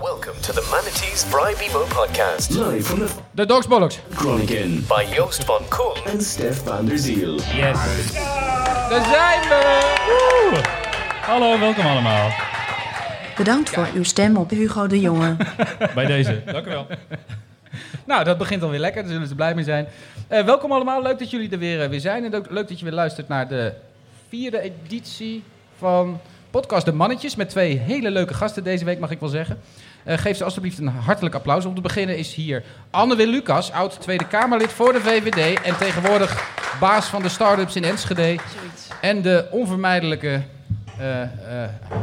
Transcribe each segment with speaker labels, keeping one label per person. Speaker 1: Welcome to the Manatees Bribe Emo podcast
Speaker 2: Live from the
Speaker 3: De Dogsbollocks.
Speaker 2: Chronican
Speaker 1: by Joost van Kool.
Speaker 2: and Stef van der Ziel.
Speaker 3: Yes. Daar zijn we!
Speaker 4: Hallo, welkom allemaal
Speaker 5: Bedankt voor uw stem op Hugo de Jonge.
Speaker 4: bij deze. Dank u wel.
Speaker 3: Nou, dat begint alweer lekker. Daar zullen ze blij mee zijn. Eh, welkom allemaal. Leuk dat jullie er weer, eh, weer zijn. En ook leuk dat je weer luistert naar de vierde editie van podcast De Mannetjes. Met twee hele leuke gasten deze week, mag ik wel zeggen. Eh, geef ze alsjeblieft een hartelijk applaus. Om te beginnen is hier Anne Wil Lucas, oud Tweede Kamerlid voor de VVD. En tegenwoordig baas van de start-ups in Enschede. En de onvermijdelijke, eh, eh,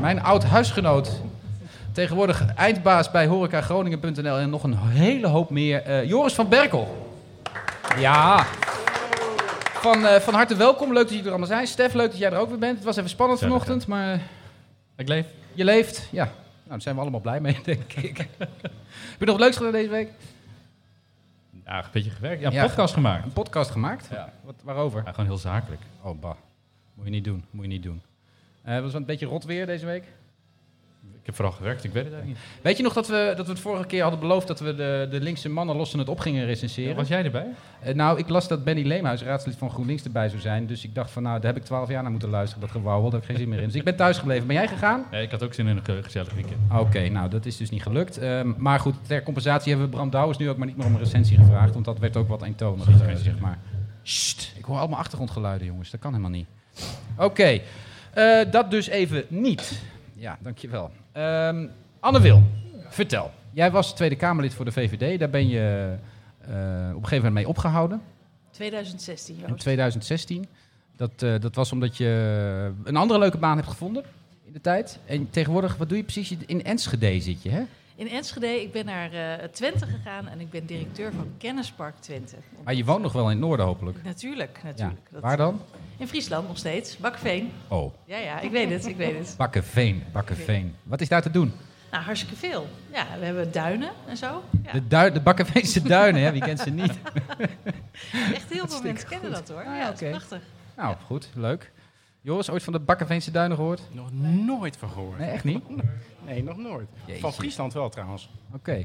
Speaker 3: mijn oud huisgenoot. Tegenwoordig eindbaas bij horecagroningen.nl en nog een hele hoop meer. eh, Joris van Berkel. Ja. Van, eh, van harte welkom. Leuk dat jullie er allemaal zijn. Stef, leuk dat jij er ook weer bent. Het was even spannend
Speaker 4: Ja,
Speaker 3: vanochtend, maar eh,
Speaker 4: Ik leef.
Speaker 3: je leeft. Ja, nou, daar zijn we allemaal blij mee, denk ik. Heb je nog wat leuks gedaan deze week?
Speaker 4: Ja, een beetje gewerkt. Ja, een
Speaker 3: Ja,
Speaker 4: podcast gemaakt.
Speaker 3: Een podcast gemaakt?
Speaker 4: Ja.
Speaker 3: Wat, waarover?
Speaker 4: Maar gewoon heel zakelijk.
Speaker 3: Oh, bah. Moet je niet doen. Moet je niet doen. Eh was het een beetje rot weer deze week?
Speaker 4: Ik heb vooral gewerkt, ik weet het eigenlijk niet.
Speaker 3: Weet je nog dat we, dat we het vorige keer hadden beloofd dat we de, de linkse mannen lossen het op gingen recenseren?
Speaker 4: was jij erbij?
Speaker 3: Eh, nou, ik las dat Benny Leemhuis, raadslid van GroenLinks, erbij zou zijn. Dus ik dacht van, nou, daar heb ik twaalf jaar naar moeten luisteren. Dat gewauwel, daar heb ik geen zin meer in. Dus ik ben thuis gebleven. Ben jij gegaan?
Speaker 4: Nee, ik had ook zin in een ge- gezellig weekend.
Speaker 3: Oké, nou, dat is dus niet gelukt. Ehm, maar goed, ter compensatie hebben we Bram Douwens nu ook maar niet meer om een recensie gevraagd. Want dat werd ook wat eentonig,
Speaker 4: Precies,
Speaker 3: eh,
Speaker 4: geen zin
Speaker 3: zeg
Speaker 4: in.
Speaker 3: maar. Sst, ik hoor allemaal achtergrondgeluiden, jongens. Dat kan helemaal niet. Oké, eh, dat dus even niet. Ja, dankjewel. Ehm Anne Wil, vertel. Jij was Tweede Kamerlid voor de VVD. Daar ben je eh, op een gegeven moment mee opgehouden.
Speaker 6: 2016,
Speaker 3: in
Speaker 6: Joost.
Speaker 3: 2016. Dat, eh, dat was omdat je een andere leuke baan hebt gevonden in de tijd. En tegenwoordig, wat doe je precies? Je- In Enschede zit je, hè?
Speaker 6: In Enschede, ik ben naar eh, Twente gegaan en ik ben directeur van Kennispark Twente.
Speaker 3: Maar Ah, je woont nog wel in het noorden, hopelijk.
Speaker 6: Natuurlijk,
Speaker 3: Ja.
Speaker 6: natuurlijk. Dat-
Speaker 3: Waar dan?
Speaker 6: In Friesland nog steeds. Bakveen.
Speaker 3: Oh,
Speaker 6: Ja, ja, ik weet het, ik weet het.
Speaker 3: Bakkenveen, Bakkenveen. Wat is daar te doen?
Speaker 6: Nou, hartstikke veel. Ja, we hebben duinen en zo. Ja,
Speaker 3: De, duin, de Bakkenveense duinen, hè? Wie kent ze niet?
Speaker 6: echt heel veel
Speaker 3: hartstikke
Speaker 6: mensen kennen dat hoor.
Speaker 3: Ah,
Speaker 6: Ja,
Speaker 3: ja,
Speaker 6: dat is
Speaker 3: oké.
Speaker 6: prachtig.
Speaker 3: Nou, goed, leuk. Joris, ooit van de Bakkenveense duinen gehoord?
Speaker 7: Nog nooit van gehoord.
Speaker 3: Nee, echt niet?
Speaker 7: Nee, nog nooit.
Speaker 3: Jeetje.
Speaker 7: Van Friesland wel trouwens.
Speaker 3: Oké.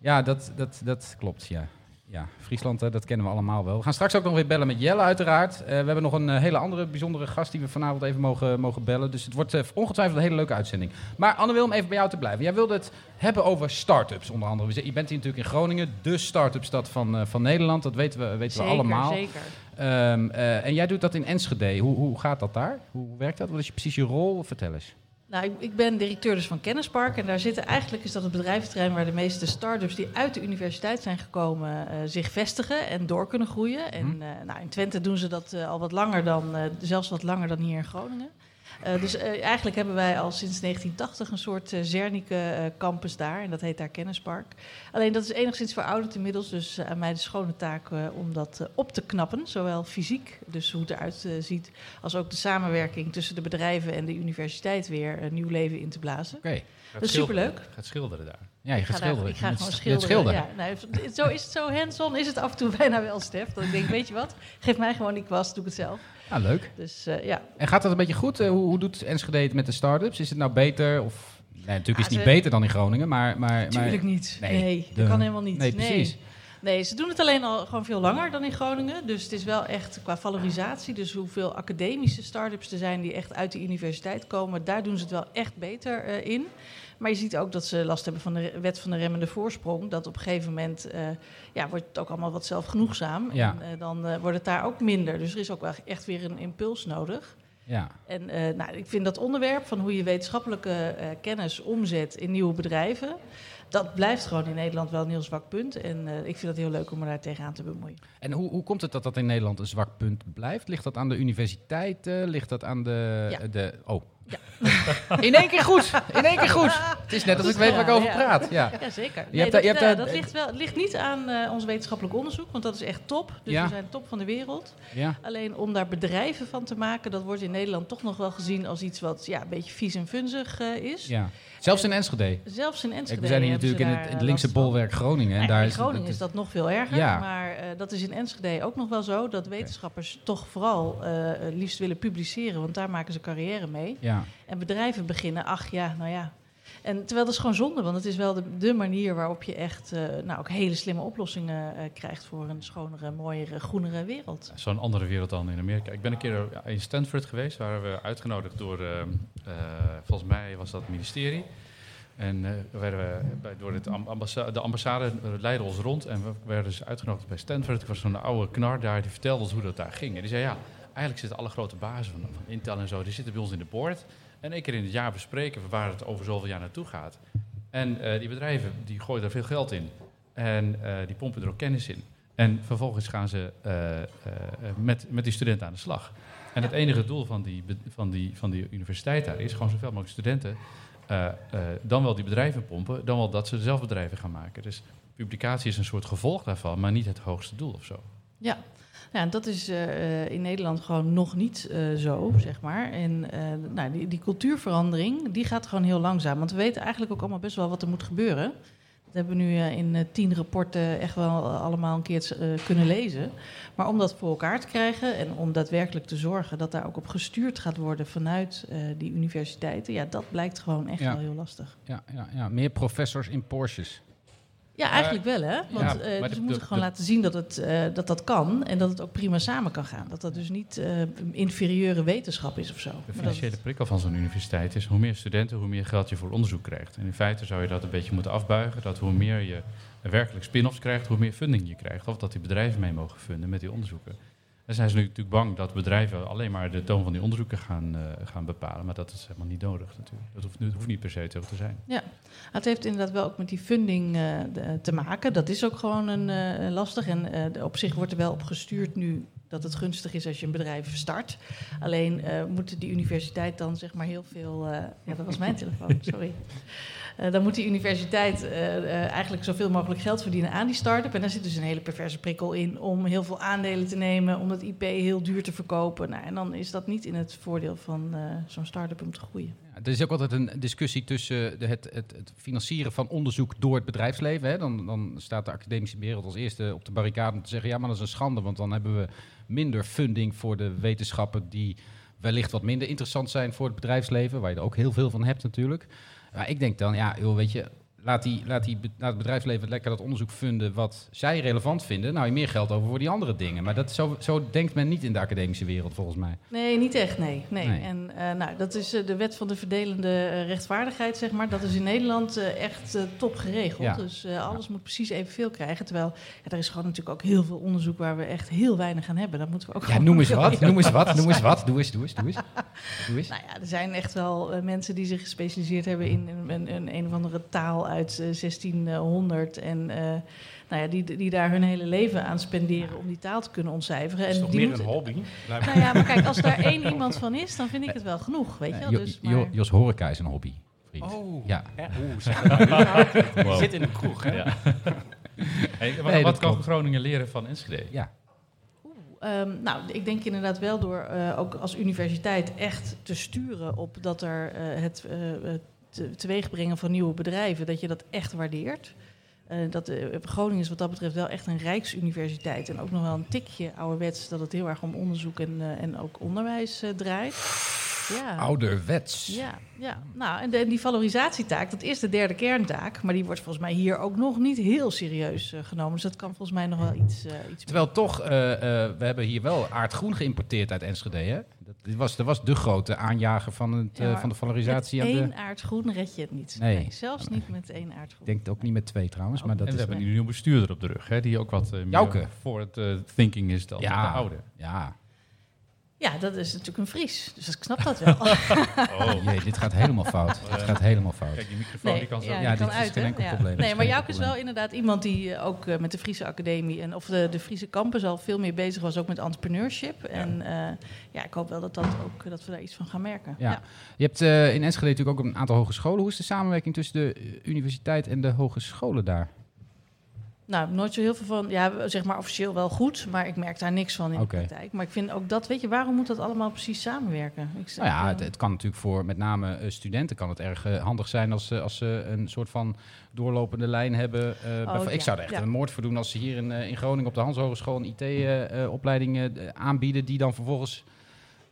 Speaker 3: Ja, dat, dat, dat klopt, ja. Ja, Friesland, hè, dat kennen we allemaal wel. We gaan straks ook nog weer bellen met Jelle, uiteraard. Eh, we hebben nog een eh, hele andere bijzondere gast die we vanavond even mogen, mogen bellen. Dus het wordt eh, ongetwijfeld een hele leuke uitzending. Maar Anne wil om even bij jou te blijven. Jij wilde het hebben over start-ups, onder andere. We ze- Je bent hier natuurlijk in Groningen, de start-upstad van, eh, van Nederland. Dat weten we, weten we allemaal.
Speaker 6: zeker.
Speaker 3: Ehm, eh, en jij doet dat in Enschede. Hoe, hoe gaat dat daar? Hoe werkt dat? Wat is je, precies je rol? Vertel eens.
Speaker 6: Nou, ik, ik ben directeur dus van Kennispark. En daar zitten eigenlijk is dat het bedrijventerrein waar de meeste start-ups die uit de universiteit zijn gekomen eh, zich vestigen en door kunnen groeien. En eh, nou, in Twente doen ze dat eh, al wat langer dan, eh, zelfs wat langer dan hier in Groningen. Eh, dus eh, eigenlijk hebben wij al sinds 1980 een soort eh, Zernike eh, campus daar. En dat heet daar Kennispark. Alleen dat is enigszins verouderd inmiddels. Dus eh, aan mij de schone taak eh, om dat eh, op te knappen. Zowel fysiek, dus hoe het eruit eh, ziet. Als ook de samenwerking tussen de bedrijven en de universiteit weer een nieuw leven in te blazen.
Speaker 3: Oké.
Speaker 4: Gaat
Speaker 6: Dat is superleuk.
Speaker 4: Gaat schilderen daar.
Speaker 3: Ja, je
Speaker 6: Ik
Speaker 3: gaat
Speaker 6: ga, daar-
Speaker 3: schilderen.
Speaker 6: ik ga
Speaker 3: Je
Speaker 6: gewoon
Speaker 3: gaat- je gaat
Speaker 6: schilderen. Ja, nou, het- zo is het zo hands-on is het af en toe bijna wel, Stef. Dat ik denk, weet je wat, geef mij gewoon die kwast, doe ik het zelf.
Speaker 3: Ja, Ah, leuk.
Speaker 6: Dus eh, ja,
Speaker 3: En gaat dat een beetje goed? Eh, hoe, hoe doet Enschede het met de start-ups? Is het nou beter? Of, nee, natuurlijk is het
Speaker 6: Ah,
Speaker 3: niet
Speaker 6: ze-
Speaker 3: beter dan in Groningen, maar... maar, maar
Speaker 6: natuurlijk niet.
Speaker 3: Nee,
Speaker 6: Nee,
Speaker 3: de-
Speaker 6: dat kan helemaal niet.
Speaker 3: Nee, precies.
Speaker 6: Nee, ze doen het alleen al gewoon veel langer dan in Groningen. Dus het is wel echt qua valorisatie, dus hoeveel academische start-ups er zijn die echt uit de universiteit komen, daar doen ze het wel echt beter eh, in. Maar je ziet ook dat ze last hebben van de re- wet van de remmende voorsprong. Dat op een gegeven moment eh, ja, wordt het ook allemaal wat zelfgenoegzaam.
Speaker 3: Ja.
Speaker 6: En eh, dan eh, wordt het daar ook minder. Dus er is ook wel echt weer een impuls nodig.
Speaker 3: Ja.
Speaker 6: En eh, nou, ik vind dat onderwerp van hoe je wetenschappelijke eh, kennis omzet in nieuwe bedrijven, dat blijft gewoon in Nederland wel een heel zwak punt. En eh, ik vind dat heel leuk om me daar tegenaan te bemoeien.
Speaker 3: En hoe, hoe komt het dat dat in Nederland een zwak punt blijft? Ligt dat aan de universiteiten? Ligt dat aan de...
Speaker 6: Ja.
Speaker 3: de oh. in één keer goed! In één keer goed! Het is net als
Speaker 6: Goed
Speaker 3: ik weet waar ik
Speaker 6: gedaan,
Speaker 3: over
Speaker 6: ja.
Speaker 3: praat. Ja.
Speaker 6: Ja, zeker.
Speaker 3: Je hebt daar-
Speaker 6: dat,
Speaker 3: je hebt
Speaker 6: eh,
Speaker 3: daar-
Speaker 6: dat ligt, wel, het ligt niet aan eh, ons wetenschappelijk onderzoek, want dat is echt top. Dus
Speaker 3: Ja.
Speaker 6: we zijn top van de wereld.
Speaker 3: Ja.
Speaker 6: Alleen om daar bedrijven van te maken, dat wordt in Nederland toch nog wel gezien als iets wat ja, een beetje vies en funzig eh, is.
Speaker 3: ja. Zelfs in Enschede.
Speaker 6: Zelfs in Enschede.
Speaker 3: We zijn hier
Speaker 6: hebben ze
Speaker 3: natuurlijk in
Speaker 6: daar,
Speaker 3: het, in het
Speaker 6: eh,
Speaker 3: linkse
Speaker 6: last van.
Speaker 3: bolwerk Groningen. En
Speaker 6: Nou,
Speaker 3: daar
Speaker 6: in Groningen is dat nog veel erger.
Speaker 3: Ja.
Speaker 6: Maar eh, dat is in Enschede ook nog wel zo. Dat wetenschappers toch vooral eh, eh, liefst willen publiceren. Want daar maken ze carrière mee.
Speaker 3: Ja.
Speaker 6: En bedrijven beginnen, ach ja, nou ja. En terwijl dat is gewoon zonde, want het is wel de, de manier waarop je echt eh, nou, ook hele slimme oplossingen eh, krijgt voor een schonere, mooiere, groenere wereld.
Speaker 4: Zo'n andere wereld dan in Amerika. Ik ben een keer eh, in Stanford geweest, waren we uitgenodigd door, eh, eh, volgens mij was dat het ministerie. En eh, werden we bij, door het am- ambassa- de ambassade eh, leidde ons rond en we werden dus uitgenodigd bij Stanford. Er was zo'n oude knar daar, die vertelde ons hoe dat daar ging. En die zei, ja, eigenlijk zitten alle grote bazen van, van Intel en zo, die zitten bij ons in de board. En één keer in het jaar bespreken we waar het over zoveel jaar naartoe gaat. En eh, die bedrijven, die gooien daar veel geld in. En eh, die pompen er ook kennis in. En vervolgens gaan ze eh, eh, met, met die studenten aan de slag. En het enige doel van die, be- van die, van die universiteit daar is gewoon zoveel mogelijk studenten. eh, eh, dan wel die bedrijven pompen, dan wel dat ze zelf bedrijven gaan maken. Dus publicatie is een soort gevolg daarvan, maar niet het hoogste doel of zo.
Speaker 6: Ja, ja en dat is eh, eh, in Nederland gewoon nog niet eh, zo, zeg maar. En eh, nou, die, die cultuurverandering, die gaat gewoon heel langzaam. Want we weten eigenlijk ook allemaal best wel wat er moet gebeuren. Dat hebben we nu eh, in eh, tien rapporten echt wel eh, allemaal een keer eh, kunnen lezen. Maar om dat voor elkaar te krijgen en om daadwerkelijk te zorgen dat daar ook op gestuurd gaat worden vanuit eh, die universiteiten, ja, dat blijkt gewoon echt
Speaker 3: Ja.
Speaker 6: wel heel lastig.
Speaker 3: Ja, ja, ja, meer professors in Porsches.
Speaker 6: Ja, eigenlijk wel, hè?
Speaker 4: ja,
Speaker 6: Want eh,
Speaker 4: maar
Speaker 6: ze
Speaker 4: de-
Speaker 6: moeten
Speaker 4: de-
Speaker 6: gewoon
Speaker 4: de-
Speaker 6: laten zien dat, het, eh, dat dat kan en dat het ook prima samen kan gaan. Dat dat dus niet eh, inferieure wetenschap is of zo.
Speaker 4: De
Speaker 6: Maar dat
Speaker 4: financiële
Speaker 6: het-
Speaker 4: prikkel van zo'n universiteit is hoe meer studenten, hoe meer geld je voor onderzoek krijgt. En in feite zou je dat een beetje moeten afbuigen, dat hoe meer je werkelijk spin-offs krijgt, hoe meer funding je krijgt. Of dat die bedrijven mee mogen funden met die onderzoeken. En zijn ze nu natuurlijk bang dat bedrijven alleen maar de toon van die onderzoeken gaan, eh, gaan bepalen. Maar dat is helemaal niet nodig natuurlijk. Dat hoeft, dat hoeft niet per se zo te zijn.
Speaker 6: ja, het heeft inderdaad wel ook met die funding eh, de- te maken. Dat is ook gewoon een, eh, lastig. En eh, de- op zich wordt er wel op gestuurd nu dat het gunstig is als je een bedrijf start. Alleen eh moet die universiteit dan zeg maar heel veel... eh, ja, dat was mijn telefoon, sorry. Eh, dan moet die universiteit eh, eh, eigenlijk zoveel mogelijk geld verdienen aan die start-up. En daar zit dus een hele perverse prikkel in om heel veel aandelen te nemen, om dat IP heel duur te verkopen. Nou, en dan is dat niet in het voordeel van eh, zo'n start-up om te groeien.
Speaker 3: Ja, er is ook altijd een discussie tussen de- het, het, het financieren van onderzoek door het bedrijfsleven. Hè. Dan, dan staat de academische wereld als eerste op de barricade om te zeggen: ja, maar dat is een schande, want dan hebben we minder funding voor de wetenschappen die wellicht wat minder interessant zijn voor het bedrijfsleven, waar je er ook heel veel van hebt natuurlijk. Maar ik denk dan, ja, joh, weet je, laat, die, laat, die, be- laat het bedrijfsleven lekker dat onderzoek vinden wat zij relevant vinden. Nou, je meer geld over voor die andere dingen. Maar dat, zo, zo denkt men niet in de academische wereld, volgens mij.
Speaker 6: Nee, niet echt, nee. nee.
Speaker 3: Nee.
Speaker 6: En eh, nou, dat is eh, de wet van de verdelende eh, rechtvaardigheid, zeg maar. Dat is in Nederland eh, echt eh, top geregeld.
Speaker 3: Ja.
Speaker 6: Dus eh, alles moet precies evenveel krijgen. Terwijl ja, er is gewoon natuurlijk ook heel veel onderzoek waar we echt heel weinig aan hebben. Dat moeten we ook
Speaker 3: Ja,
Speaker 6: gewoon
Speaker 3: noem eens
Speaker 6: heel
Speaker 3: wat, noem eens wat, noem eens wat. Doe eens, doe eens, doe eens. Doe eens.
Speaker 6: Nou ja, er zijn echt wel eh, mensen die zich gespecialiseerd hebben in een, een, een, een of andere taal uit eh, 1600. En eh, nou ja, die, die daar hun hele leven aan spenderen om die taal te kunnen ontcijferen.
Speaker 8: Dat is
Speaker 6: en
Speaker 8: toch
Speaker 6: die
Speaker 8: meer
Speaker 6: moeten-
Speaker 8: een hobby? Lijkt me.
Speaker 6: Nou ja, maar kijk, als daar één iemand van is, dan vind ik het wel genoeg, weet je wel.
Speaker 3: Eh, Jo-
Speaker 6: Dus,
Speaker 3: Jo-
Speaker 6: maar...
Speaker 3: Jos Horeca is een hobby, vriend.
Speaker 8: Oh,
Speaker 3: Ja.
Speaker 8: hè? Oeh, zeg maar.
Speaker 4: Wow.
Speaker 8: Zit in een kroeg, hè?
Speaker 4: Hey, wat
Speaker 3: Nee,
Speaker 4: wat
Speaker 3: dat
Speaker 4: kan
Speaker 3: klopt.
Speaker 4: Groningen leren van Enschede?
Speaker 3: Ja.
Speaker 6: Ehm, nou, ik denk inderdaad wel door eh, ook als universiteit echt te sturen op dat er eh, het eh, eh, te, teweegbrengen van nieuwe bedrijven, dat je dat echt waardeert. Eh, dat, eh, Groningen is wat dat betreft wel echt een rijksuniversiteit. En ook nog wel een tikje ouderwets dat het heel erg om onderzoek en, eh, en ook onderwijs eh, draait. Ja.
Speaker 3: Ouderwets.
Speaker 6: Ja, ja. Nou, en de- die valorisatietaak, dat is de derde kerntaak. Maar die wordt volgens mij hier ook nog niet heel serieus eh, genomen. Dus dat kan volgens mij nog wel iets, eh iets
Speaker 3: Terwijl toch, eh, eh, we hebben hier wel aardgroen geïmporteerd uit Enschede. Hè? Dat, dit was, dat was de grote aanjager van, het,
Speaker 6: Ja,
Speaker 3: eh,
Speaker 6: maar
Speaker 3: van de valorisatie.
Speaker 6: Met
Speaker 3: aan de,
Speaker 6: één aardgroen red je het niet.
Speaker 3: Nee.
Speaker 6: Nee. zelfs niet met één aardgroen.
Speaker 3: ik denk het ook niet met twee trouwens, maar dat is...
Speaker 4: en we hebben nu een nieuw bestuurder op de rug, hè, die ook wat eh, meer
Speaker 3: Jouke.
Speaker 4: voor het eh, thinking is dan de oude.
Speaker 3: ja.
Speaker 6: Ja, dat is natuurlijk een Fries. Dus ik snap dat wel.
Speaker 3: Oh jee, dit gaat helemaal fout. dit gaat helemaal fout.
Speaker 4: Kijk, die microfoon die kan zo.
Speaker 3: Ja, dit is geen
Speaker 6: hè?
Speaker 3: enkel probleem. Dit is
Speaker 6: Nee, maar
Speaker 3: geen
Speaker 6: Jouk
Speaker 3: enkel
Speaker 6: is wel inderdaad iemand die eh, ook eh, met de Friese Academie en of de, de Friese campus al veel meer bezig was, ook met entrepreneurship. En eh, ja, ik hoop wel dat, dat, ook, eh, dat we daar iets van gaan merken.
Speaker 3: Ja. Je hebt eh, in Enschede natuurlijk ook een aantal hogescholen. Hoe is de samenwerking tussen de eh, universiteit en de hogescholen daar?
Speaker 6: Nou, nooit zo heel veel van. Ja, we- zeg maar officieel wel goed, maar ik merk daar niks van in
Speaker 3: Oké.
Speaker 6: de praktijk. Maar ik vind ook dat, weet je, waarom moet dat allemaal precies samenwerken? Ik,
Speaker 3: Nou ja,
Speaker 6: ik,
Speaker 3: het,
Speaker 6: eh,
Speaker 3: het kan natuurlijk voor met name eh, studenten kan het erg eh, handig zijn als, ze- als ze een soort van doorlopende lijn hebben. eh, bijvoorbeeld-
Speaker 6: Oh, ja,
Speaker 3: Ik zou er echt
Speaker 6: ja.
Speaker 3: een moord voor doen als ze hier eh, in, eh, in Groningen op de Hans Hogeschool een IT-opleiding aanbieden die dan vervolgens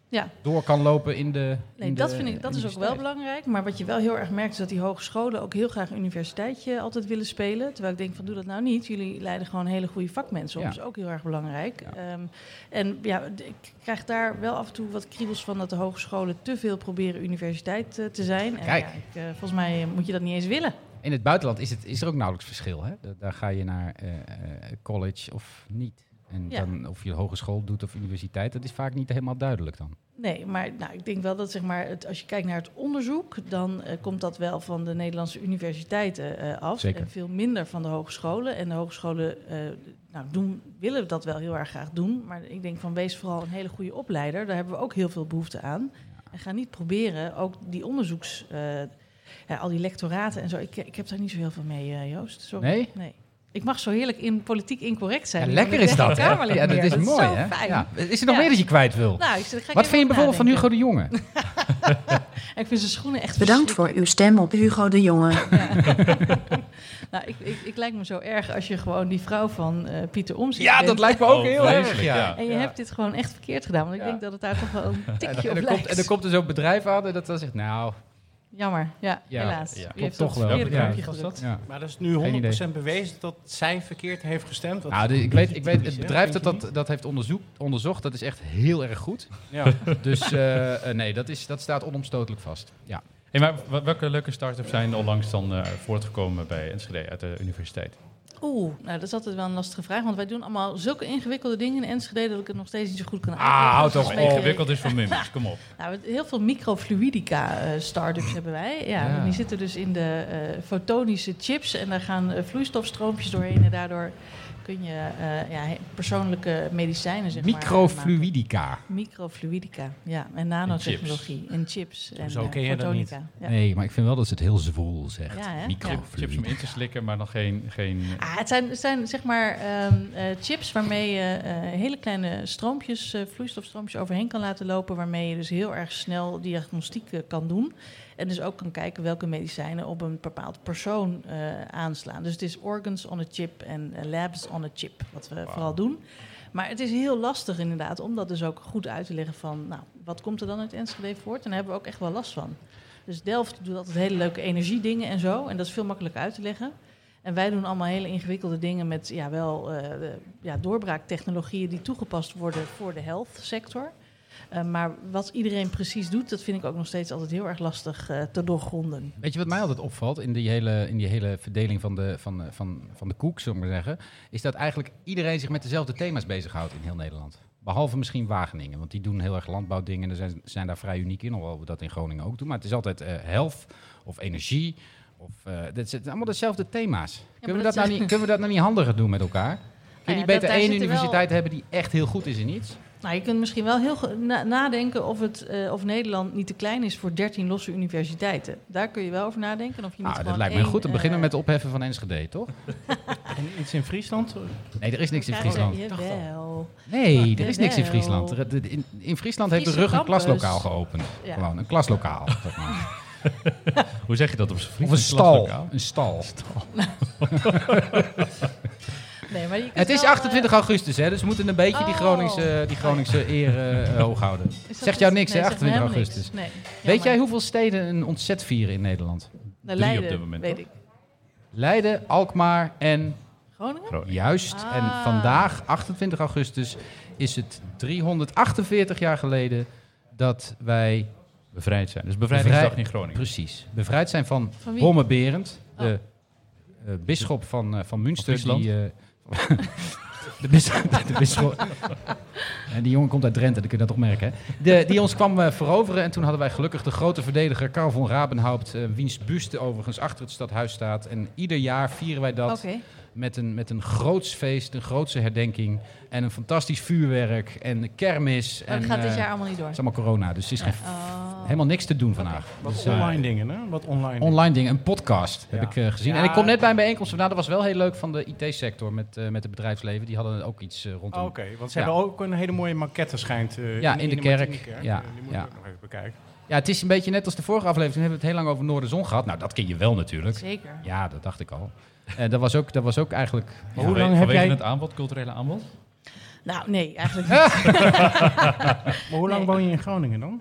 Speaker 6: Ja.
Speaker 3: door kan lopen in de.
Speaker 6: Nee,
Speaker 3: in
Speaker 6: dat,
Speaker 3: de-
Speaker 6: vind
Speaker 3: in
Speaker 6: ik, dat
Speaker 3: de
Speaker 6: is ook wel
Speaker 3: universiteit.
Speaker 6: belangrijk. Maar wat je wel heel erg merkt is dat die hogescholen ook heel graag universiteitje altijd willen spelen. Terwijl ik denk van doe dat nou niet. Jullie leiden gewoon hele goede vakmensen op.
Speaker 3: Ja.
Speaker 6: Dat is ook heel erg belangrijk. Ehm, en ja, d- ik krijg daar wel af en toe wat kriebels van dat de hogescholen te veel proberen universiteit eh, te zijn. En
Speaker 3: Kijk.
Speaker 6: ja, ik, eh, volgens mij eh, moet je dat niet eens willen.
Speaker 3: In het buitenland is, het, is er ook nauwelijks verschil. Hè? Da- Daar ga je naar eh, eh, college of niet. En
Speaker 6: Ja.
Speaker 3: dan, of je hogeschool doet of universiteit, dat is vaak niet helemaal duidelijk dan.
Speaker 6: Nee, maar nou, ik denk wel dat zeg maar, het, als je kijkt naar het onderzoek, dan eh, komt dat wel van de Nederlandse universiteiten eh, af.
Speaker 3: Zeker.
Speaker 6: En veel minder van de hogescholen. En de hogescholen eh, nou, doen, willen dat wel heel erg graag doen. Maar ik denk van wees vooral een hele goede opleider. Daar hebben we ook heel veel behoefte aan. En ga niet proberen ook die onderzoeks. eh, ja, al die lectoraten en zo. Ik, ik heb daar niet zo heel veel mee, eh, Joost. Sorry.
Speaker 3: Nee?
Speaker 6: Ik mag zo heerlijk in politiek incorrect zijn.
Speaker 3: Ja,
Speaker 6: nu,
Speaker 3: lekker
Speaker 6: want ik
Speaker 3: is
Speaker 6: ben
Speaker 3: dat.
Speaker 6: geen
Speaker 3: hè?
Speaker 6: Kamerlid
Speaker 3: Ja, dat
Speaker 6: meer.
Speaker 3: is mooi.
Speaker 6: zo
Speaker 3: hè?
Speaker 6: fijn.
Speaker 3: Ja. Is er nog
Speaker 6: Ja.
Speaker 3: meer dat je kwijt wil?
Speaker 6: Nou, ik zeg, ga ik
Speaker 3: Wat
Speaker 6: even
Speaker 3: vind je bijvoorbeeld van
Speaker 6: nadenken.
Speaker 3: Hugo de Jonge?
Speaker 6: En ik vind zijn schoenen echt
Speaker 5: Bedankt voor uw stem op Hugo de Jonge.
Speaker 6: Nou, ik, ik, ik lijkt me zo erg als je gewoon die vrouw van eh, Pieter Omzicht
Speaker 3: Ja,
Speaker 6: bent.
Speaker 3: dat lijkt me ook
Speaker 4: Oh,
Speaker 3: heel erg. Ja.
Speaker 4: vreselijk, ja.
Speaker 6: En je hebt dit gewoon echt verkeerd gedaan. Want ik
Speaker 3: Ja.
Speaker 6: denk dat het daar toch wel een tikje
Speaker 3: En,
Speaker 6: op
Speaker 3: er komt, en er
Speaker 6: lijkt.
Speaker 3: komt dus ook bedrijf aan en dat dan zegt, nou,
Speaker 6: Jammer, ja,
Speaker 3: Ja,
Speaker 6: helaas.
Speaker 4: ja,
Speaker 6: Wie
Speaker 4: klopt
Speaker 6: heeft
Speaker 3: toch
Speaker 6: dat
Speaker 3: wel.
Speaker 6: verkeerde
Speaker 3: Ja,
Speaker 6: knopje
Speaker 3: was
Speaker 6: gedrukt?
Speaker 3: ja.
Speaker 7: Maar dat is nu 100%
Speaker 3: Geen idee.
Speaker 7: bewezen dat zij verkeerd heeft gestemd. Dat
Speaker 3: Nou,
Speaker 7: is
Speaker 3: de- ik
Speaker 7: een
Speaker 3: weet,
Speaker 7: beetje
Speaker 3: ik weet,
Speaker 7: typisch,
Speaker 3: het
Speaker 7: hè?
Speaker 3: bedrijf dat
Speaker 7: Vind je
Speaker 3: dat, dat heeft onderzoek, onderzocht, dat is echt heel erg goed.
Speaker 7: niet? Ja.
Speaker 3: Dus eh, eh, nee, dat, is, dat staat onomstotelijk vast. Ja.
Speaker 4: Hey, maar wa- welke leuke start-ups zijn onlangs dan eh, voortgekomen bij Enschede uit de universiteit?
Speaker 6: Oeh, nou dat is altijd wel een lastige vraag. Want wij doen allemaal zulke ingewikkelde dingen in Enschede... dat ik het nog steeds niet zo goed kan
Speaker 3: Ah, houd
Speaker 6: Dat
Speaker 3: toch
Speaker 6: is
Speaker 3: op.
Speaker 6: een beetje-
Speaker 4: Ingewikkeld is voor mimmers, kom op.
Speaker 6: Nou, we- heel veel microfluidica-startups hebben wij. Ja,
Speaker 3: Ja.
Speaker 6: en Die zitten dus in de eh, fotonische chips en daar gaan eh, vloeistofstroompjes doorheen. En daardoor kun je eh, ja, he- persoonlijke medicijnen, zeg maar. maken.
Speaker 3: Microfluidica.
Speaker 6: Microfluidica, ja. En nanotechnologie in chips en
Speaker 7: Hoezo
Speaker 6: eh,
Speaker 7: ken je dat niet?
Speaker 6: fotonica. Ja.
Speaker 3: Nee, maar ik vind wel dat ze het heel zwoel zegt.
Speaker 6: Ja, hè?
Speaker 4: Chips om
Speaker 3: Microfluidica.
Speaker 4: in te slikken, maar nog geen... geen eh,
Speaker 6: Ah, het zijn, het zijn zeg maar ehm, eh, chips waarmee je eh, hele kleine stroompjes, eh, vloeistofstroompjes overheen kan laten lopen. Waarmee je dus heel erg snel diagnostiek eh, kan doen. En dus ook kan kijken welke medicijnen op een bepaald persoon eh, aanslaan. Dus het is organs on a chip en eh, labs on a chip, wat we vooral doen. Maar het is heel lastig inderdaad om dat dus ook goed uit te leggen van... nou, wat komt er dan uit Enschede voort? En daar hebben we ook echt wel last van. Dus Delft doet altijd hele leuke energiedingen en zo. En dat is veel makkelijker uit te leggen. En wij doen allemaal hele ingewikkelde dingen met ja, wel eh, de- ja, doorbraaktechnologieën die toegepast worden voor de health sector. Eh, maar wat iedereen precies doet, dat vind ik ook nog steeds altijd heel erg lastig eh, te doorgronden.
Speaker 3: Weet je wat mij altijd opvalt in die hele, in die hele verdeling van de, van, eh, van, van de koek, zullen we maar zeggen? Is dat eigenlijk iedereen zich met dezelfde thema's bezighoudt in heel Nederland. Behalve misschien Wageningen, want die doen heel erg landbouwdingen en zijn, zijn daar vrij uniek in, hoewel we dat in Groningen ook doen. Maar het is altijd eh health of energie. Of, eh dat zijn allemaal dezelfde thema's. Kunnen, we dat
Speaker 6: dat
Speaker 3: nou
Speaker 6: is- Nou
Speaker 3: niet, kunnen we dat nou niet handiger doen met elkaar? Kun je niet
Speaker 6: ja, dat-
Speaker 3: beter
Speaker 6: daar
Speaker 3: één
Speaker 6: zitten wel-
Speaker 3: universiteit hebben die echt heel goed is in iets?
Speaker 6: Nou, je kunt misschien wel heel goed na- nadenken of, het, eh, of Nederland niet te klein is voor 13 losse universiteiten. Daar kun je wel over nadenken. Of je niet
Speaker 3: Nou, dat
Speaker 6: gewoon
Speaker 3: lijkt me
Speaker 6: één,
Speaker 3: goed. Dan beginnen we met
Speaker 6: eh,
Speaker 3: het opheffen van Enschede, toch?
Speaker 7: En iets in Friesland? eh,
Speaker 3: Nee, er is niks in
Speaker 6: krijgen.
Speaker 3: Friesland.
Speaker 6: Jawel.
Speaker 3: Nee, er is niks in
Speaker 6: Jawel.
Speaker 3: Friesland. Er- de- In, in Friesland heeft de
Speaker 6: Friese
Speaker 3: rug een
Speaker 6: campus.
Speaker 3: klaslokaal geopend.
Speaker 6: Ja.
Speaker 3: Gewoon, een klaslokaal. zeg maar.
Speaker 4: hoe zeg je dat op zijn
Speaker 3: Of
Speaker 4: Fries?
Speaker 3: een stal.
Speaker 4: klaslokaal?
Speaker 3: Een stal.
Speaker 6: Nee, maar je kunt
Speaker 3: Het is
Speaker 6: wel, eh,
Speaker 3: 28 augustus, hè, dus we moeten een beetje die
Speaker 6: Oh.
Speaker 3: Groningse, die Groningse eer eh, hoog houden.
Speaker 6: is dat
Speaker 3: Zegt jou
Speaker 6: dus-
Speaker 3: niks,
Speaker 6: nee,
Speaker 3: hè,
Speaker 6: zegt
Speaker 3: 28
Speaker 6: me helemaal niks.
Speaker 3: augustus.
Speaker 6: Nee,
Speaker 3: Weet
Speaker 6: jammer.
Speaker 3: jij hoeveel steden een ontzet vieren in Nederland?
Speaker 6: Nou,
Speaker 4: Drie op
Speaker 6: Leiden,
Speaker 4: dit moment,
Speaker 6: Weet
Speaker 4: toch?
Speaker 6: ik.
Speaker 3: Leiden, Alkmaar en
Speaker 6: Groningen?
Speaker 3: juist. En
Speaker 6: Ah.
Speaker 3: vandaag, 28 augustus, is het 348 jaar geleden dat wij
Speaker 4: Bevrijd zijn. Dus bevrijdingsdag
Speaker 3: Bevrij-
Speaker 4: in Groningen.
Speaker 3: Precies. Bevrijd zijn van,
Speaker 6: Van wie?
Speaker 3: Romme Berend,
Speaker 6: Oh.
Speaker 3: de eh bisschop van, eh, van Münster.
Speaker 4: Van Friesland?
Speaker 3: die, eh, de bis- de bisschop. En die jongen komt uit Drenthe, dat kun je dat toch merken. Hè? De, die ons kwam eh, veroveren. En toen hadden wij gelukkig de grote verdediger Karl von Rabenhaupt. eh, wiens buste overigens achter het stadhuis staat. En ieder jaar vieren wij dat
Speaker 6: Oké.
Speaker 3: met, een, met een groots feest, een grootse herdenking. En een fantastisch vuurwerk en een kermis.
Speaker 6: Maar
Speaker 3: en,
Speaker 6: Oh, dat gaat dit
Speaker 3: eh,
Speaker 6: jaar allemaal niet door.
Speaker 3: het is allemaal corona, dus er is geen f-
Speaker 6: Oh.
Speaker 3: helemaal niks te doen vandaag.
Speaker 7: Wat
Speaker 3: Dus, eh,
Speaker 7: online dingen, hè? Wat online
Speaker 3: online dingen, een podcast heb
Speaker 7: Ja.
Speaker 3: ik eh, gezien.
Speaker 7: Ja.
Speaker 3: En ik kom net bij een bijeenkomst vandaan. Dat was wel heel leuk van de IT-sector met, eh, met het bedrijfsleven. Die hadden ook iets eh,
Speaker 7: dingen.
Speaker 3: rondom.
Speaker 7: Oh, Oké, want ze
Speaker 3: Ja.
Speaker 7: hebben ook een hele mooie maquette schijnt. eh,
Speaker 3: Ja, in de kerk. Ja,
Speaker 7: Ja, die moet
Speaker 3: ja.
Speaker 7: ik ook nog even bekijken.
Speaker 3: Ja, het is een beetje net als de vorige aflevering. We hebben het heel lang over Noorderzon gehad. Nou, dat ken je wel natuurlijk.
Speaker 6: Zeker.
Speaker 3: Ja, dat
Speaker 6: Oh,
Speaker 3: dacht ik al. Eh dat, was ook, dat was ook eigenlijk...
Speaker 7: Maar
Speaker 3: ja.
Speaker 7: hoe lang heb
Speaker 4: Vanwege
Speaker 7: jij...
Speaker 4: het aanbod, culturele aanbod?
Speaker 6: Nou, nee, eigenlijk niet.
Speaker 7: Maar hoe lang
Speaker 6: Nee.
Speaker 7: woon je in Groningen dan?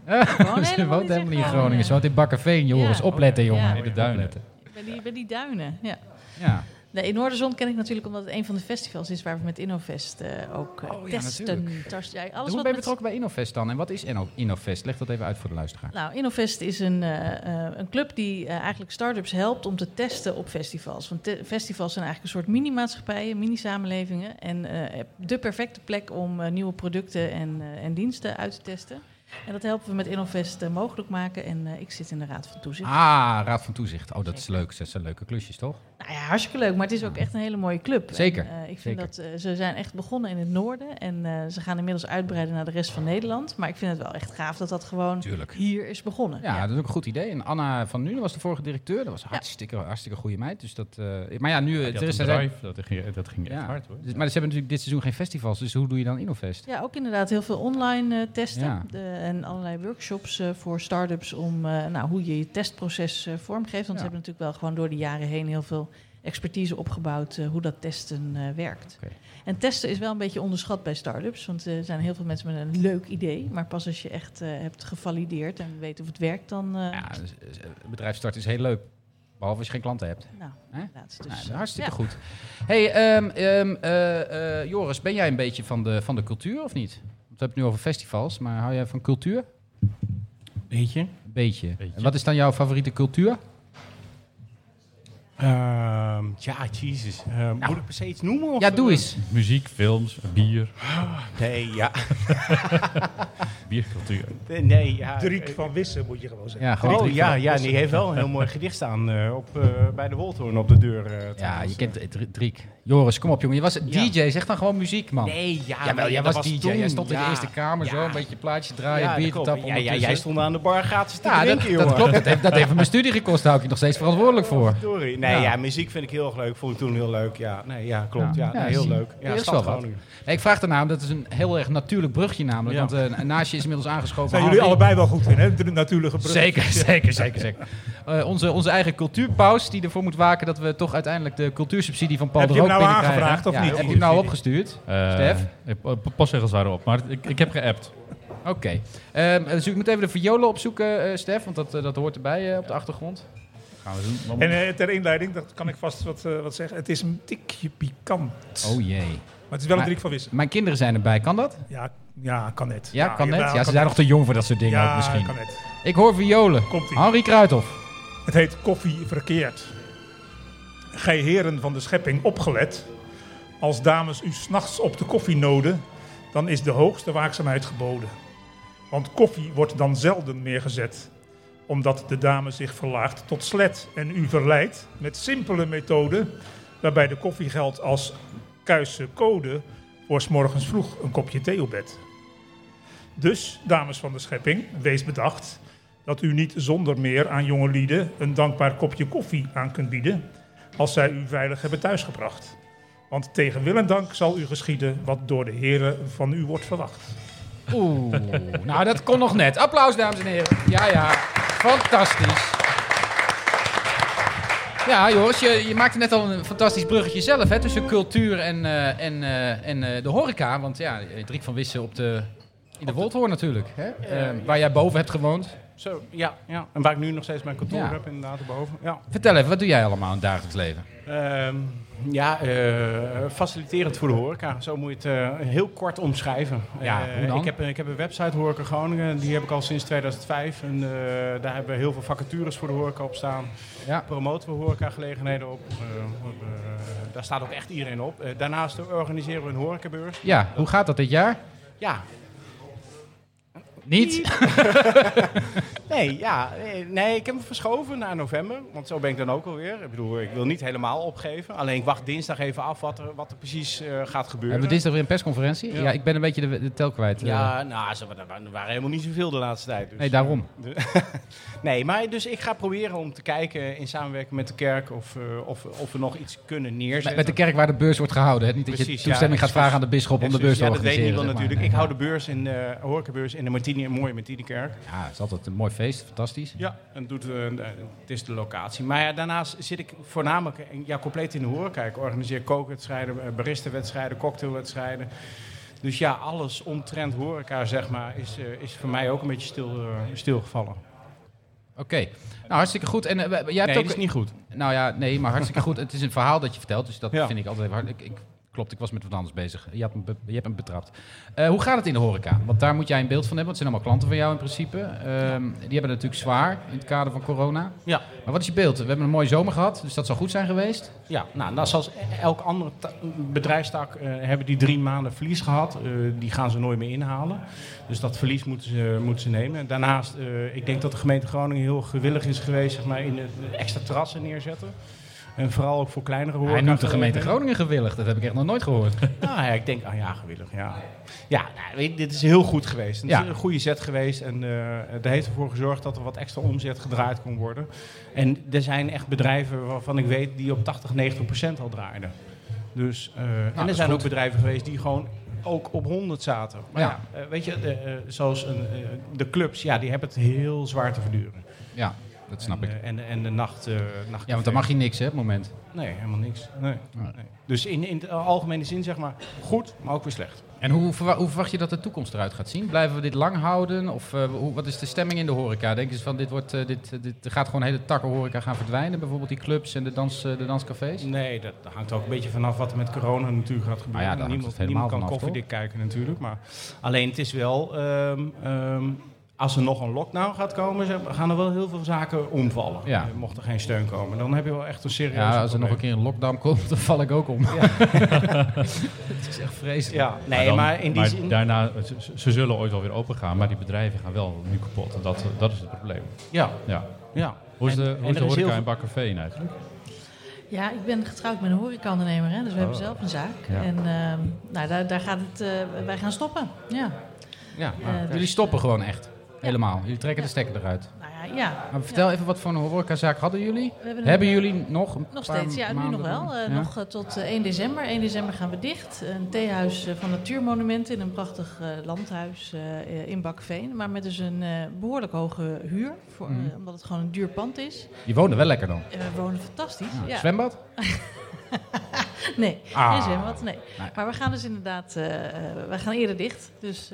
Speaker 6: Gewoon
Speaker 3: Ze woont helemaal niet in Groningen. Ze
Speaker 6: Groningen.
Speaker 3: woont in Bakkerveen, Joris.
Speaker 6: Ja.
Speaker 3: Opletten,
Speaker 6: Ja.
Speaker 3: jongen.
Speaker 6: In
Speaker 4: de duinen.
Speaker 3: Opletten.
Speaker 6: Bij die, bij die duinen, ja.
Speaker 3: Ja.
Speaker 6: Nee, in Noorderzon ken ik natuurlijk omdat het een van de festivals is waar we met Innovest eh, ook eh,
Speaker 3: Oh ja,
Speaker 6: testen.
Speaker 3: natuurlijk.
Speaker 6: Tast, ja, alles
Speaker 3: Hoe
Speaker 6: wat
Speaker 3: ben je
Speaker 6: met-
Speaker 3: betrokken bij Innofest dan? En wat is Inno- Innofest? Leg dat even uit voor de luisteraar.
Speaker 6: Nou, Innovest is een, eh, eh, een club die eh, eigenlijk start-ups helpt om te testen op festivals. Want te- festivals zijn eigenlijk een soort mini-maatschappijen, mini-samenlevingen. En eh, de perfecte plek om eh, nieuwe producten en, eh, en diensten uit te testen. En dat helpen we met Innovest eh, mogelijk maken. En eh, ik zit in de Raad van Toezicht.
Speaker 3: Ah, Raad van Toezicht. Oh, dat is leuk. Dat zijn leuke klusjes, toch?
Speaker 6: Nou ja, hartstikke leuk, maar het is ook echt een hele mooie club.
Speaker 3: Zeker,
Speaker 6: En, eh, ik vind
Speaker 3: zeker.
Speaker 6: dat eh, ze zijn echt begonnen in het noorden en eh, ze gaan inmiddels uitbreiden naar de rest van Nederland. Maar ik vind het wel echt gaaf dat dat gewoon
Speaker 3: Tuurlijk.
Speaker 6: hier is begonnen.
Speaker 3: Ja, dat is ook een goed idee. En Anna van Nuenen was de vorige directeur. Dat was een hartstikke, hartstikke goede meid. Dus dat, eh, maar ja, nu...
Speaker 4: Die
Speaker 3: er
Speaker 4: had
Speaker 3: is,
Speaker 4: een
Speaker 3: er zijn-
Speaker 4: drive, dat ging, dat ging echt
Speaker 3: ja.
Speaker 4: hard hoor.
Speaker 3: Dus- maar ze hebben natuurlijk dit seizoen geen festivals. Dus hoe doe je dan Innofest?
Speaker 6: Ja, ook inderdaad heel veel online eh, testen
Speaker 3: Ja.
Speaker 6: De- en allerlei workshops eh, voor start-ups om eh, nou, hoe je je testproces eh, vormgeeft. Want
Speaker 3: Ja.
Speaker 6: ze hebben natuurlijk wel gewoon door de jaren heen heel veel expertise opgebouwd eh, hoe dat testen eh, werkt.
Speaker 3: Oké.
Speaker 6: En testen is wel een beetje onderschat bij start-ups, want eh, er zijn heel veel mensen met een leuk idee. Maar pas als je echt eh, hebt gevalideerd en weet of het werkt, dan... eh,
Speaker 3: Ja, dus, eh, bedrijfsstart is heel leuk. Behalve als je geen klanten hebt.
Speaker 6: Nou,
Speaker 3: Hè?
Speaker 6: inderdaad. Dus,
Speaker 3: Nou, dat is
Speaker 6: eh,
Speaker 3: hartstikke
Speaker 6: ja.
Speaker 3: goed. Hey, ehm, ehm, eh, eh, Joris, ben jij een beetje van de, van de cultuur of niet? Want we hebben het nu over festivals, maar hou jij van cultuur?
Speaker 7: Weet je?
Speaker 3: Een beetje.
Speaker 4: Beetje.
Speaker 3: En wat is dan jouw favoriete cultuur?
Speaker 7: Ehm, ja, jezus. Ehm, Moet ik per se iets noemen? Of
Speaker 3: Nou. ja, doe eens.
Speaker 4: Muziek, films, bier,
Speaker 7: Nee, ja.
Speaker 4: biercultuur.
Speaker 7: Nee, ja.
Speaker 9: Driek van Wissen moet je gewoon zeggen.
Speaker 3: Ja, gewoon.
Speaker 7: Oh ja, ja, die heeft wel een heel mooi gedicht staan eh, op, eh, bij de Woltoorn op de deur. eh,
Speaker 3: Ja,
Speaker 7: trouwens.
Speaker 3: je kent het, Drie- Driek. Joris, kom op jongen. Je was
Speaker 7: Ja.
Speaker 3: DJ, zeg dan gewoon muziek, man.
Speaker 7: Nee, ja.
Speaker 3: Oh. Jawel,
Speaker 7: nee,
Speaker 3: jij
Speaker 7: dat
Speaker 3: Ah, was, DJ.
Speaker 7: toen,
Speaker 3: Jij stond in de
Speaker 7: ja.
Speaker 3: Eerste Kamer zo,
Speaker 7: Ja.
Speaker 3: een beetje plaatje draaien,
Speaker 7: Ja,
Speaker 3: bier
Speaker 7: dat
Speaker 3: te
Speaker 7: klopt.
Speaker 3: tappen
Speaker 7: ja, ja,
Speaker 3: ondertussen.
Speaker 7: jij stond aan de bar gratis te
Speaker 3: Ja, dat,
Speaker 7: drinken, jongen.
Speaker 3: dat klopt. Dat heeft, dat heeft me mijn studie gekost. Daar hou ik je nog steeds verantwoordelijk voor.
Speaker 7: Sorry. Nee,
Speaker 3: Ja.
Speaker 7: ja. muziek vind ik heel erg leuk. Vond ik toen heel leuk. Ja, nee, ja klopt.
Speaker 3: Ja.
Speaker 7: Ja,
Speaker 3: Ja,
Speaker 7: nee, heel
Speaker 3: zie-
Speaker 7: leuk.
Speaker 3: er
Speaker 7: Ja,
Speaker 3: is
Speaker 7: stad
Speaker 3: wel wat.
Speaker 7: Groningen.
Speaker 3: Nee, ik vraag daarna, omdat het is een heel erg natuurlijk brugje namelijk.
Speaker 7: Ja.
Speaker 3: Want eh, naast je is inmiddels aangeschoven.
Speaker 9: Zijn jullie
Speaker 3: Henri.
Speaker 9: allebei wel goed in, hè? De natuurlijke brug.
Speaker 3: Zeker, zeker, zeker, zeker. Eh, onze, onze eigen cultuurpaus die ervoor moet waken dat we toch uiteindelijk de cultuursubsidie van Paul
Speaker 9: Heb
Speaker 3: de
Speaker 9: je hem
Speaker 3: Rook
Speaker 9: nou
Speaker 3: binnenkrijgen.
Speaker 9: aangevraagd of
Speaker 3: Ja,
Speaker 9: niet?
Speaker 3: Heb je hem nou opgestuurd?
Speaker 4: Eh,
Speaker 3: Stef?
Speaker 4: ik- eh, Postzegels waren op, maar ik, ik heb geappt.
Speaker 3: Oké. Ehm, eh, dus ik moet even de violen opzoeken, eh, Stef, want dat, eh, dat hoort erbij eh, op de achtergrond.
Speaker 4: Gaan we doen.
Speaker 9: En eh, ter inleiding, dat kan ik vast wat, eh, wat zeggen. Het is een tikje pikant.
Speaker 3: Oh jee.
Speaker 9: Maar het is wel een
Speaker 3: Maar-
Speaker 9: Driek van Wissen.
Speaker 3: Mijn kinderen zijn erbij, kan dat?
Speaker 9: Ja, ja, kan net.
Speaker 3: Ja, kan net.
Speaker 9: jawel,
Speaker 3: Ja, ze
Speaker 9: kan
Speaker 3: zijn nog te
Speaker 9: net.
Speaker 3: jong voor dat soort dingen
Speaker 9: ja,
Speaker 3: ook misschien.
Speaker 9: kan net.
Speaker 3: Ik hoor violen.
Speaker 9: Komt-ie.
Speaker 3: Henri Kruithof.
Speaker 9: Het heet Koffie Verkeerd. Gij heren van de schepping opgelet. Als dames u s'nachts op de koffie noden, dan is de hoogste waakzaamheid geboden. Want koffie wordt dan zelden meer gezet, omdat de dame zich verlaagt tot slet en u verleidt met simpele methoden, waarbij de koffie geldt als kuisse code voor 's morgens vroeg een kopje thee op bed. Dus, dames van de schepping, wees bedacht dat u niet zonder meer aan jonge lieden een dankbaar kopje koffie aan kunt bieden, als zij u veilig hebben thuisgebracht. Want tegen wil en dank zal u geschieden wat door de heren van u wordt verwacht.
Speaker 3: Oeh, nou dat kon nog net. Applaus, dames en heren. Ja, ja. Fantastisch. Ja, Joris, je, je maakte net al een fantastisch bruggetje zelf hè, tussen cultuur en, eh, en, eh, en eh, de horeca. Want ja, eh, Driek van Wissen op de, in de Woldhoorn natuurlijk. Hè? Eh, waar jij boven hebt gewoond.
Speaker 7: Zo, ja, ja. En waar ik nu nog steeds mijn kantoor
Speaker 3: Ja.
Speaker 7: heb, inderdaad, erboven. Ja.
Speaker 3: Vertel even, wat doe jij allemaal in het dagelijks leven?
Speaker 7: Ehm, ja, eh, faciliterend voor de horeca. Zo moet je het eh, heel kort omschrijven.
Speaker 3: Ja,
Speaker 7: Eh,
Speaker 3: hoe dan?
Speaker 7: Ik heb, ik heb een website Horeca Groningen. Die heb ik al sinds 2005. En eh, daar hebben we heel veel vacatures voor de horeca op staan.
Speaker 3: Ja.
Speaker 7: Promoten we horecagelegenheden op. Eh, eh, daar staat ook echt iedereen op. Eh, daarnaast organiseren we een horecabeurs.
Speaker 3: Ja, hoe gaat dat dit jaar?
Speaker 7: Ja,
Speaker 3: Niet?
Speaker 7: Nee, ja, eh, nee, ik heb hem verschoven naar november. Want zo ben ik dan ook alweer. Ik bedoel, ik wil niet helemaal opgeven. Alleen ik wacht dinsdag even af wat er, wat er precies eh, gaat
Speaker 3: We
Speaker 7: gebeuren.
Speaker 3: hebben dinsdag weer een persconferentie. Ja,
Speaker 7: Ja.
Speaker 3: ik ben een beetje de, de tel kwijt. eh.
Speaker 7: Ja, nou, ze, er waren er waren helemaal niet zoveel de laatste tijd. Dus.
Speaker 3: Nee, daarom.
Speaker 7: Nee, maar dus ik ga proberen om te kijken in samenwerking met de kerk of, eh, of, of we nog iets kunnen
Speaker 3: Met,
Speaker 7: neerzetten.
Speaker 3: met de kerk waar de beurs wordt gehouden. Hè? Niet dat
Speaker 7: Precies,
Speaker 3: je
Speaker 7: ja,
Speaker 3: toestemming gaat
Speaker 7: excuus.
Speaker 3: vragen aan de bisschop om de beurs te
Speaker 7: Ja, dat weet
Speaker 3: organiseren.
Speaker 7: niemand
Speaker 3: zeg maar.
Speaker 7: natuurlijk.
Speaker 3: Nee,
Speaker 7: Ik hou de beurs in, eh horecabeurs in de Martini, een mooie Martinikerk.
Speaker 3: Ja, het is altijd een mooi feest. Fantastisch.
Speaker 7: Ja, en doet, eh, eh, het is de locatie. Maar ja, daarnaast zit ik voornamelijk eh, ja, compleet in de horeca. Ik organiseer kookwedstrijden, eh, baristenwedstrijden, cocktailwedstrijden. Dus ja, alles omtrent horeca, zeg maar, is, eh, is voor mij ook een beetje stil, eh, stilgevallen.
Speaker 3: Oké, nou hartstikke goed. En eh, we- we- jij hebt
Speaker 7: Nee,
Speaker 3: ook...
Speaker 7: dat is niet goed.
Speaker 3: Nou ja, nee, maar hartstikke goed. Het is een verhaal dat je vertelt, dus dat
Speaker 7: Ja.
Speaker 3: vind ik altijd hard. Ik, ik, klopt, ik was met wat anders bezig. Je, had me be- je hebt hem betrapt. Eh, hoe gaat het in de horeca? Want daar moet jij een beeld van hebben, want het zijn allemaal klanten van jou in principe. Ehm, Die hebben het natuurlijk zwaar in het kader van corona.
Speaker 7: Ja.
Speaker 3: Maar wat is je beeld? We hebben een mooie zomer gehad, dus dat zou goed zijn geweest.
Speaker 7: Ja, nou, nou, zoals elk andere ta- bedrijfstak eh, hebben die drie maanden verlies gehad. Eh, die gaan ze nooit meer inhalen. Dus dat verlies moeten ze, moeten ze nemen. Daarnaast, eh, ik denk dat de gemeente Groningen heel gewillig is geweest zeg maar, in het extra terrassen neerzetten. En vooral ook voor kleinere horeca.
Speaker 3: Hij noemt de gemeente Groningen gewillig. Dat heb ik echt nog nooit gehoord.
Speaker 7: Nou ja, ik denk, ah ja, gewillig, ja. Ja, nou, weet je, dit is heel goed geweest. Het
Speaker 3: Ja.
Speaker 7: is een goede zet geweest en eh dat heeft ervoor gezorgd dat er wat extra omzet gedraaid kon worden. En er zijn echt bedrijven waarvan ik weet die op 80, 90 procent al draaiden. Dus, eh, en
Speaker 3: Nou, dat
Speaker 7: er
Speaker 3: is
Speaker 7: zijn
Speaker 3: goed.
Speaker 7: ook bedrijven geweest die gewoon ook op 100 zaten. Maar
Speaker 3: Ja.
Speaker 7: ja, eh, weet je, eh, eh, zoals een, eh, de clubs, ja, die hebben het heel zwaar te verduren.
Speaker 3: Ja, dat snap
Speaker 7: en,
Speaker 3: ik.
Speaker 7: eh, en, en de nacht, eh nacht
Speaker 3: Ja, want dan mag je niks, hè, op het moment.
Speaker 7: Nee, helemaal niks. Nee,
Speaker 3: Nee.
Speaker 7: nee. Dus in, in de algemene zin zeg maar goed, maar ook weer slecht.
Speaker 3: En hoe, verwa- hoe verwacht je dat de toekomst eruit gaat zien? Blijven we dit lang houden? Of eh, hoe, wat is de stemming in de horeca? Denken ze van, dit, wordt, eh, dit, eh, dit er gaat gewoon hele takken horeca gaan verdwijnen? Bijvoorbeeld die clubs en de, dans, eh, de danscafés?
Speaker 7: Nee, dat hangt ook een beetje vanaf wat er met corona natuurlijk gaat gebeuren.
Speaker 3: Ah ja, daar hangt
Speaker 7: niemand,
Speaker 3: het helemaal
Speaker 7: niemand kan
Speaker 3: vanaf,
Speaker 7: koffiedik kijken natuurlijk. Maar alleen het is wel, ehm, ehm, als er nog een lockdown gaat komen, zeg maar, gaan er wel heel veel zaken omvallen.
Speaker 3: Ja.
Speaker 7: Eh, Mocht er geen steun komen, dan heb je wel echt een serieus
Speaker 3: Ja, als er nog
Speaker 7: probleem.
Speaker 3: een keer een lockdown komt, dan val ik ook om. Het is echt vreselijk.
Speaker 7: Ja, nee, maar,
Speaker 4: dan-
Speaker 7: in die
Speaker 4: maar
Speaker 7: zin...
Speaker 4: daarna, ze, ze zullen ooit wel weer open gaan, maar die bedrijven gaan wel nu kapot. En dat, dat is het probleem.
Speaker 7: Ja,
Speaker 4: Ja.
Speaker 7: ja.
Speaker 4: Hoe is
Speaker 7: En-
Speaker 4: de,
Speaker 7: en
Speaker 4: hoe is de
Speaker 7: er is heel
Speaker 4: horeca
Speaker 7: veel-
Speaker 4: in Bakkerveen eigenlijk?
Speaker 6: Ja, ik ben getrouwd met een horecaondernemer, hè, dus we
Speaker 3: Oh.
Speaker 6: hebben zelf een zaak.
Speaker 4: Ja.
Speaker 6: En ehm, nou, daar, daar gaat het, eh, wij gaan stoppen. Ja.
Speaker 3: Ja,
Speaker 6: Eh, dus,
Speaker 3: Jullie stoppen gewoon echt. Helemaal. Jullie trekken de stekker eruit.
Speaker 6: Nou ja, ja.
Speaker 3: Maar vertel even wat voor een horecazaak hadden jullie?
Speaker 6: We hebben een-
Speaker 3: Hebben jullie nog een
Speaker 6: Nog
Speaker 3: paar
Speaker 6: steeds, ja, nu
Speaker 3: maanden
Speaker 6: nog wel.
Speaker 3: dan?
Speaker 6: Eh,
Speaker 3: Ja?
Speaker 6: Nog eh, tot eh, 1 december. 1 december gaan we dicht. Een theehuis eh, van natuurmonumenten in een prachtig eh, landhuis eh, eh, in Bakveen. Maar met dus een eh, behoorlijk hoge huur, voor,
Speaker 3: Mhm.
Speaker 6: eh, omdat het gewoon een duur pand is.
Speaker 3: Je woonde wel lekker dan.
Speaker 6: En we wonen fantastisch.
Speaker 3: Ja.
Speaker 6: Ja.
Speaker 3: Zwembad?
Speaker 6: Nee,
Speaker 3: Ah.
Speaker 6: geen zwembad, nee.
Speaker 3: Nee.
Speaker 6: Maar we gaan dus inderdaad, eh, eh, we gaan eerder dicht. Dus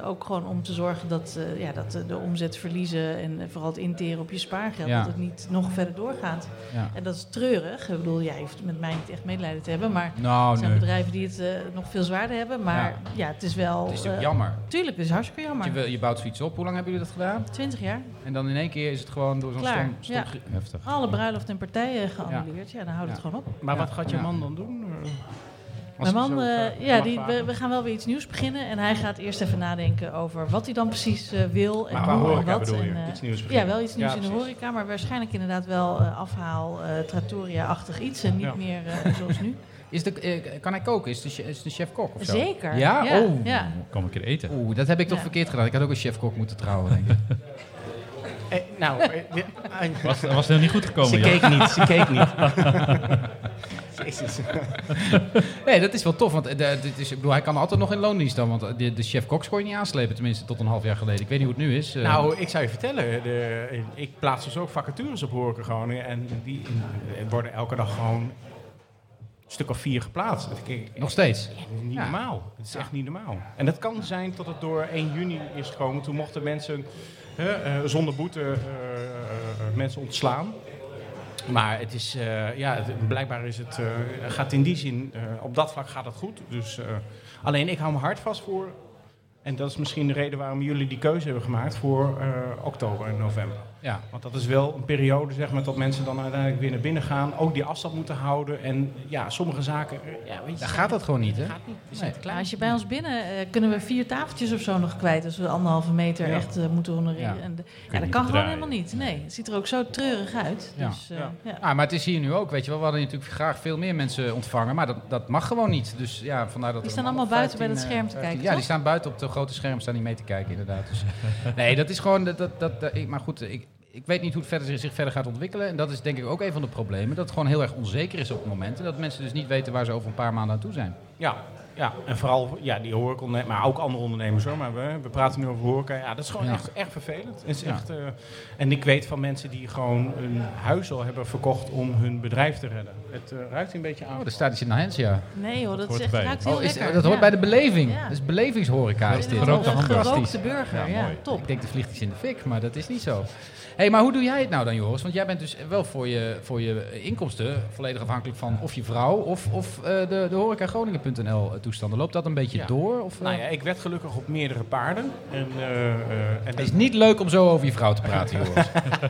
Speaker 6: eh, ook gewoon om te zorgen dat, eh, ja, dat eh, de omzet verliezen en eh, vooral het interen op je spaargeld,
Speaker 3: Ja.
Speaker 6: dat het niet nog verder doorgaat.
Speaker 3: Ja.
Speaker 6: En dat is treurig. Ik bedoel, jij hoeft met mij niet echt medelijden te hebben, maar
Speaker 3: Nou,
Speaker 6: het zijn
Speaker 3: nee.
Speaker 6: bedrijven die het eh, nog veel zwaarder hebben. Maar
Speaker 3: Ja.
Speaker 6: ja, het is wel...
Speaker 3: Het is natuurlijk
Speaker 6: eh,
Speaker 3: jammer.
Speaker 6: Tuurlijk, het is hartstikke
Speaker 3: Want Je,
Speaker 6: jammer.
Speaker 3: wil- je bouwt zoiets op. Hoe lang hebben jullie dat gedaan?
Speaker 6: 20 jaar,
Speaker 3: En dan in één keer is het gewoon door zo'n
Speaker 6: Klaar,
Speaker 3: storm. storm-
Speaker 6: ja.
Speaker 3: Heftig.
Speaker 6: alle bruiloften en partijen geannuleerd. Ja, dan houdt
Speaker 3: Ja.
Speaker 6: het gewoon op.
Speaker 7: Maar wat gaat je
Speaker 3: Ja.
Speaker 7: man dan doen? Eh,
Speaker 3: Als
Speaker 6: Mijn
Speaker 3: ik
Speaker 6: man,
Speaker 3: zo
Speaker 6: eh,
Speaker 7: vraag-
Speaker 6: ja,
Speaker 7: mag
Speaker 6: die, we,
Speaker 7: vragen.
Speaker 6: we gaan wel weer iets nieuws beginnen. En hij gaat eerst even nadenken over wat hij dan precies eh, wil. En
Speaker 7: Maar
Speaker 6: hoe
Speaker 7: qua
Speaker 6: en
Speaker 7: horeca
Speaker 6: wat.
Speaker 7: bedoel je?
Speaker 6: En, eh,
Speaker 7: Iets nieuws
Speaker 6: ja,
Speaker 7: beginnen.
Speaker 6: wel iets nieuws
Speaker 7: Ja,
Speaker 6: in de
Speaker 7: precies.
Speaker 6: horeca. Maar waarschijnlijk inderdaad wel eh, afhaal, eh, trattoria-achtig iets. En niet
Speaker 7: Ja.
Speaker 6: meer eh, zoals nu.
Speaker 3: Is de, eh, kan hij koken? Is de, che- is de chef-kok of zo?
Speaker 6: Zeker.
Speaker 3: Ja?
Speaker 6: Ja,
Speaker 3: Oh.
Speaker 6: ja.
Speaker 4: Kom een keer eten.
Speaker 3: Oeh, dat heb ik toch
Speaker 6: Ja.
Speaker 3: verkeerd gedaan. Ik had ook een chef-kok moeten trouwen, denk ik.
Speaker 7: Eh, nou, eh, ja, ah,
Speaker 4: Was, was het niet goed
Speaker 7: ze
Speaker 4: gekomen? Jan?
Speaker 7: keek niet, ze keek niet. Jezus.
Speaker 3: Nee, dat is wel tof. Want eh, de- dit is, ik bedoel, hij kan altijd nog in loondienst dan. Want eh, de, de chef-koks kon je niet aanslepen, tenminste tot een half jaar geleden. Ik weet niet hoe het nu is. eh.
Speaker 7: Nou, ik zou je vertellen, de, ik plaats dus ook vacatures op Horeca Groningen en die eh, worden elke dag gewoon een stuk of vier geplaatst. Dat vind ik
Speaker 3: nog steeds.
Speaker 7: niet
Speaker 3: Ja.
Speaker 7: normaal. Het is echt niet normaal. En dat kan zijn dat het door 1 juni is gekomen. Toen mochten mensen hè, eh, zonder boete eh, eh, eh, mensen ontslaan. Maar het is, eh, ja, het- blijkbaar is het, eh, gaat in die zin, eh, op dat vlak gaat het goed. Dus, eh, alleen ik hou me hard vast voor, en dat is misschien de reden waarom jullie die keuze hebben gemaakt voor eh, oktober en november.
Speaker 3: Ja.
Speaker 7: Want dat is wel een periode zeg maar, dat mensen dan uiteindelijk weer naar binnen gaan, ook die afstand moeten houden. En ja, sommige zaken, eh, ja, weet je,
Speaker 3: Dan gaat dat gewoon niet, hè?
Speaker 7: gaat niet. Is
Speaker 3: Nee.
Speaker 7: niet
Speaker 6: Klaar, als je bij ons binnen eh, kunnen we vier tafeltjes of zo nog kwijt. Als we anderhalve meter
Speaker 7: Ja.
Speaker 6: echt eh, moeten honoreren.
Speaker 3: Ja.
Speaker 6: En de- ja,
Speaker 4: je
Speaker 6: dat
Speaker 4: niet
Speaker 6: kan gewoon
Speaker 4: draaien.
Speaker 6: helemaal niet. Nee, het ziet er ook zo treurig uit.
Speaker 3: Ja.
Speaker 6: Dus, eh,
Speaker 7: Ja.
Speaker 6: ja.
Speaker 3: Ah, maar het is hier nu ook, weet je wel. We hadden natuurlijk graag veel meer mensen ontvangen, maar dat, dat mag gewoon niet. Dus ja, vandaar dat
Speaker 6: Die
Speaker 3: er
Speaker 6: staan
Speaker 3: een man
Speaker 6: allemaal
Speaker 3: of
Speaker 6: buiten bij dat
Speaker 3: 15,
Speaker 6: scherm te
Speaker 3: eh, 15
Speaker 6: kijken,
Speaker 3: Ja, die
Speaker 6: toch?
Speaker 3: staan buiten op de grote scherm, staan niet mee te kijken, inderdaad. Dus, nee, dat is gewoon... Dat, dat, dat, dat- ik- maar goed, ik, ik weet niet hoe het verder, zich- zich verder gaat ontwikkelen. En dat is denk ik ook een van de problemen. Dat het gewoon heel erg onzeker is op het moment. En dat mensen dus niet weten waar ze over een paar maanden aan toe zijn.
Speaker 7: Ja, ja, en vooral ja, die horecaondernemers, maar ook andere ondernemers hoor. Maar we, we praten nu over horeca. Ja, dat is gewoon echt, echt vervelend. Het is echt, eh, en ik weet van mensen die gewoon hun huis al hebben verkocht om hun bedrijf te redden. Het eh, ruikt een beetje aan.
Speaker 3: Oh, daar staat iets in de hands, ja.
Speaker 6: Nee hoor, dat,
Speaker 4: hoort
Speaker 6: is echt,
Speaker 4: erbij.
Speaker 6: ruikt heel
Speaker 3: Oh, is, dat
Speaker 6: lekker.
Speaker 3: hoort
Speaker 6: Ja.
Speaker 3: bij de beleving.
Speaker 6: Ja.
Speaker 3: Dus belevingshoreca is dit.
Speaker 6: Een
Speaker 4: Gerookte hamburgers.
Speaker 6: gerookte burger, ja, top.
Speaker 3: Nou, Ik denk, de vliegt iets in de fik, maar dat is niet zo. hey, maar hoe doe jij het nou dan, Joris? Want jij bent dus wel voor je, voor je inkomsten volledig afhankelijk van of je vrouw of, of eh, de, de horecagroningen.nl eh, toestanden. Loopt dat een beetje
Speaker 7: Ja.
Speaker 3: door? Of, eh?
Speaker 7: Nou ja, ik werd gelukkig op meerdere paarden. En, eh, eh, en
Speaker 3: Het is niet leuk om zo over je vrouw te praten, Joris.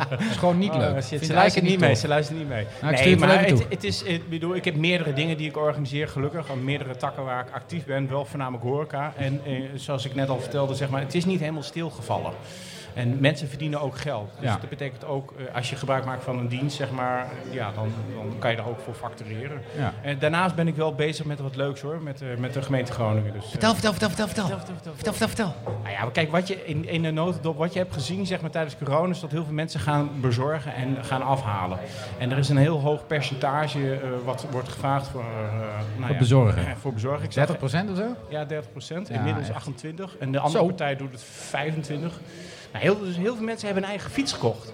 Speaker 3: Het is gewoon niet
Speaker 7: Oh,
Speaker 3: leuk.
Speaker 7: shit,
Speaker 3: Vindt
Speaker 7: ze
Speaker 3: hij
Speaker 7: luistert
Speaker 3: het
Speaker 7: niet mee.
Speaker 3: tof.
Speaker 7: Ze luistert niet mee.
Speaker 3: Nou, ik stuur hem wel even
Speaker 7: het,
Speaker 3: toe.
Speaker 7: het is, ik bedoel, ik heb meerdere dingen die ik organiseer, gelukkig. Aan meerdere takken waar ik actief ben, wel voornamelijk horeca. En eh, zoals ik net al vertelde, zeg maar, het is niet helemaal stilgevallen. En mensen verdienen ook geld. Dus
Speaker 3: Ja.
Speaker 7: dat betekent ook, eh, als je gebruik maakt van een dienst, zeg maar, ja, dan, dan kan je daar ook voor factureren.
Speaker 3: Ja.
Speaker 7: En daarnaast ben ik wel bezig met wat leuks hoor, met, eh, met de gemeente Groningen. Dus, eh,
Speaker 10: vertel, vertel, vertel, vertel. Vertel, vertel, vertel.
Speaker 7: nou ja, maar kijk, wat je in, in de notendop, wat je hebt gezien zeg maar, tijdens corona, is dat heel veel mensen gaan bezorgen en gaan afhalen. En er is een heel hoog percentage eh, wat wordt gevraagd voor, eh, nou ja,
Speaker 3: bezorgen.
Speaker 7: eh, Voor bezorgen. Ik zag-
Speaker 3: 30% of zo?
Speaker 7: Ja, 30 procent.
Speaker 3: Ja,
Speaker 7: Inmiddels
Speaker 3: echt.
Speaker 7: 28. En de andere
Speaker 3: Zo.
Speaker 7: partij doet het 25. Nou, heel, dus heel veel mensen hebben een eigen fiets gekocht.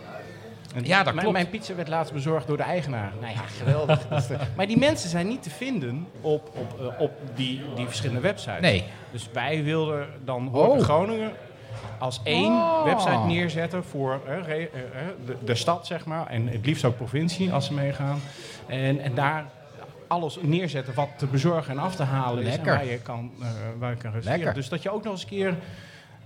Speaker 7: En
Speaker 3: Ja, dat
Speaker 7: mijn,
Speaker 3: klopt.
Speaker 7: Mijn pizza werd laatst bezorgd door de eigenaar. Nou ja, geweldig. Dat is de- maar die mensen zijn niet te vinden op, op, eh, op die, die verschillende websites.
Speaker 3: Nee.
Speaker 7: Dus wij wilden dan Horeca
Speaker 3: Oh.
Speaker 7: Groningen als één
Speaker 3: Oh.
Speaker 7: website neerzetten voor eh, re- eh, eh, de, de stad, zeg maar. En het liefst ook provincie, als ze meegaan. En, en daar alles neerzetten wat te bezorgen en af te halen is.
Speaker 3: Lekker.
Speaker 7: En waar je kan, eh, waar je kan reserveren.
Speaker 3: Lekker.
Speaker 7: Dus dat je ook nog eens een keer...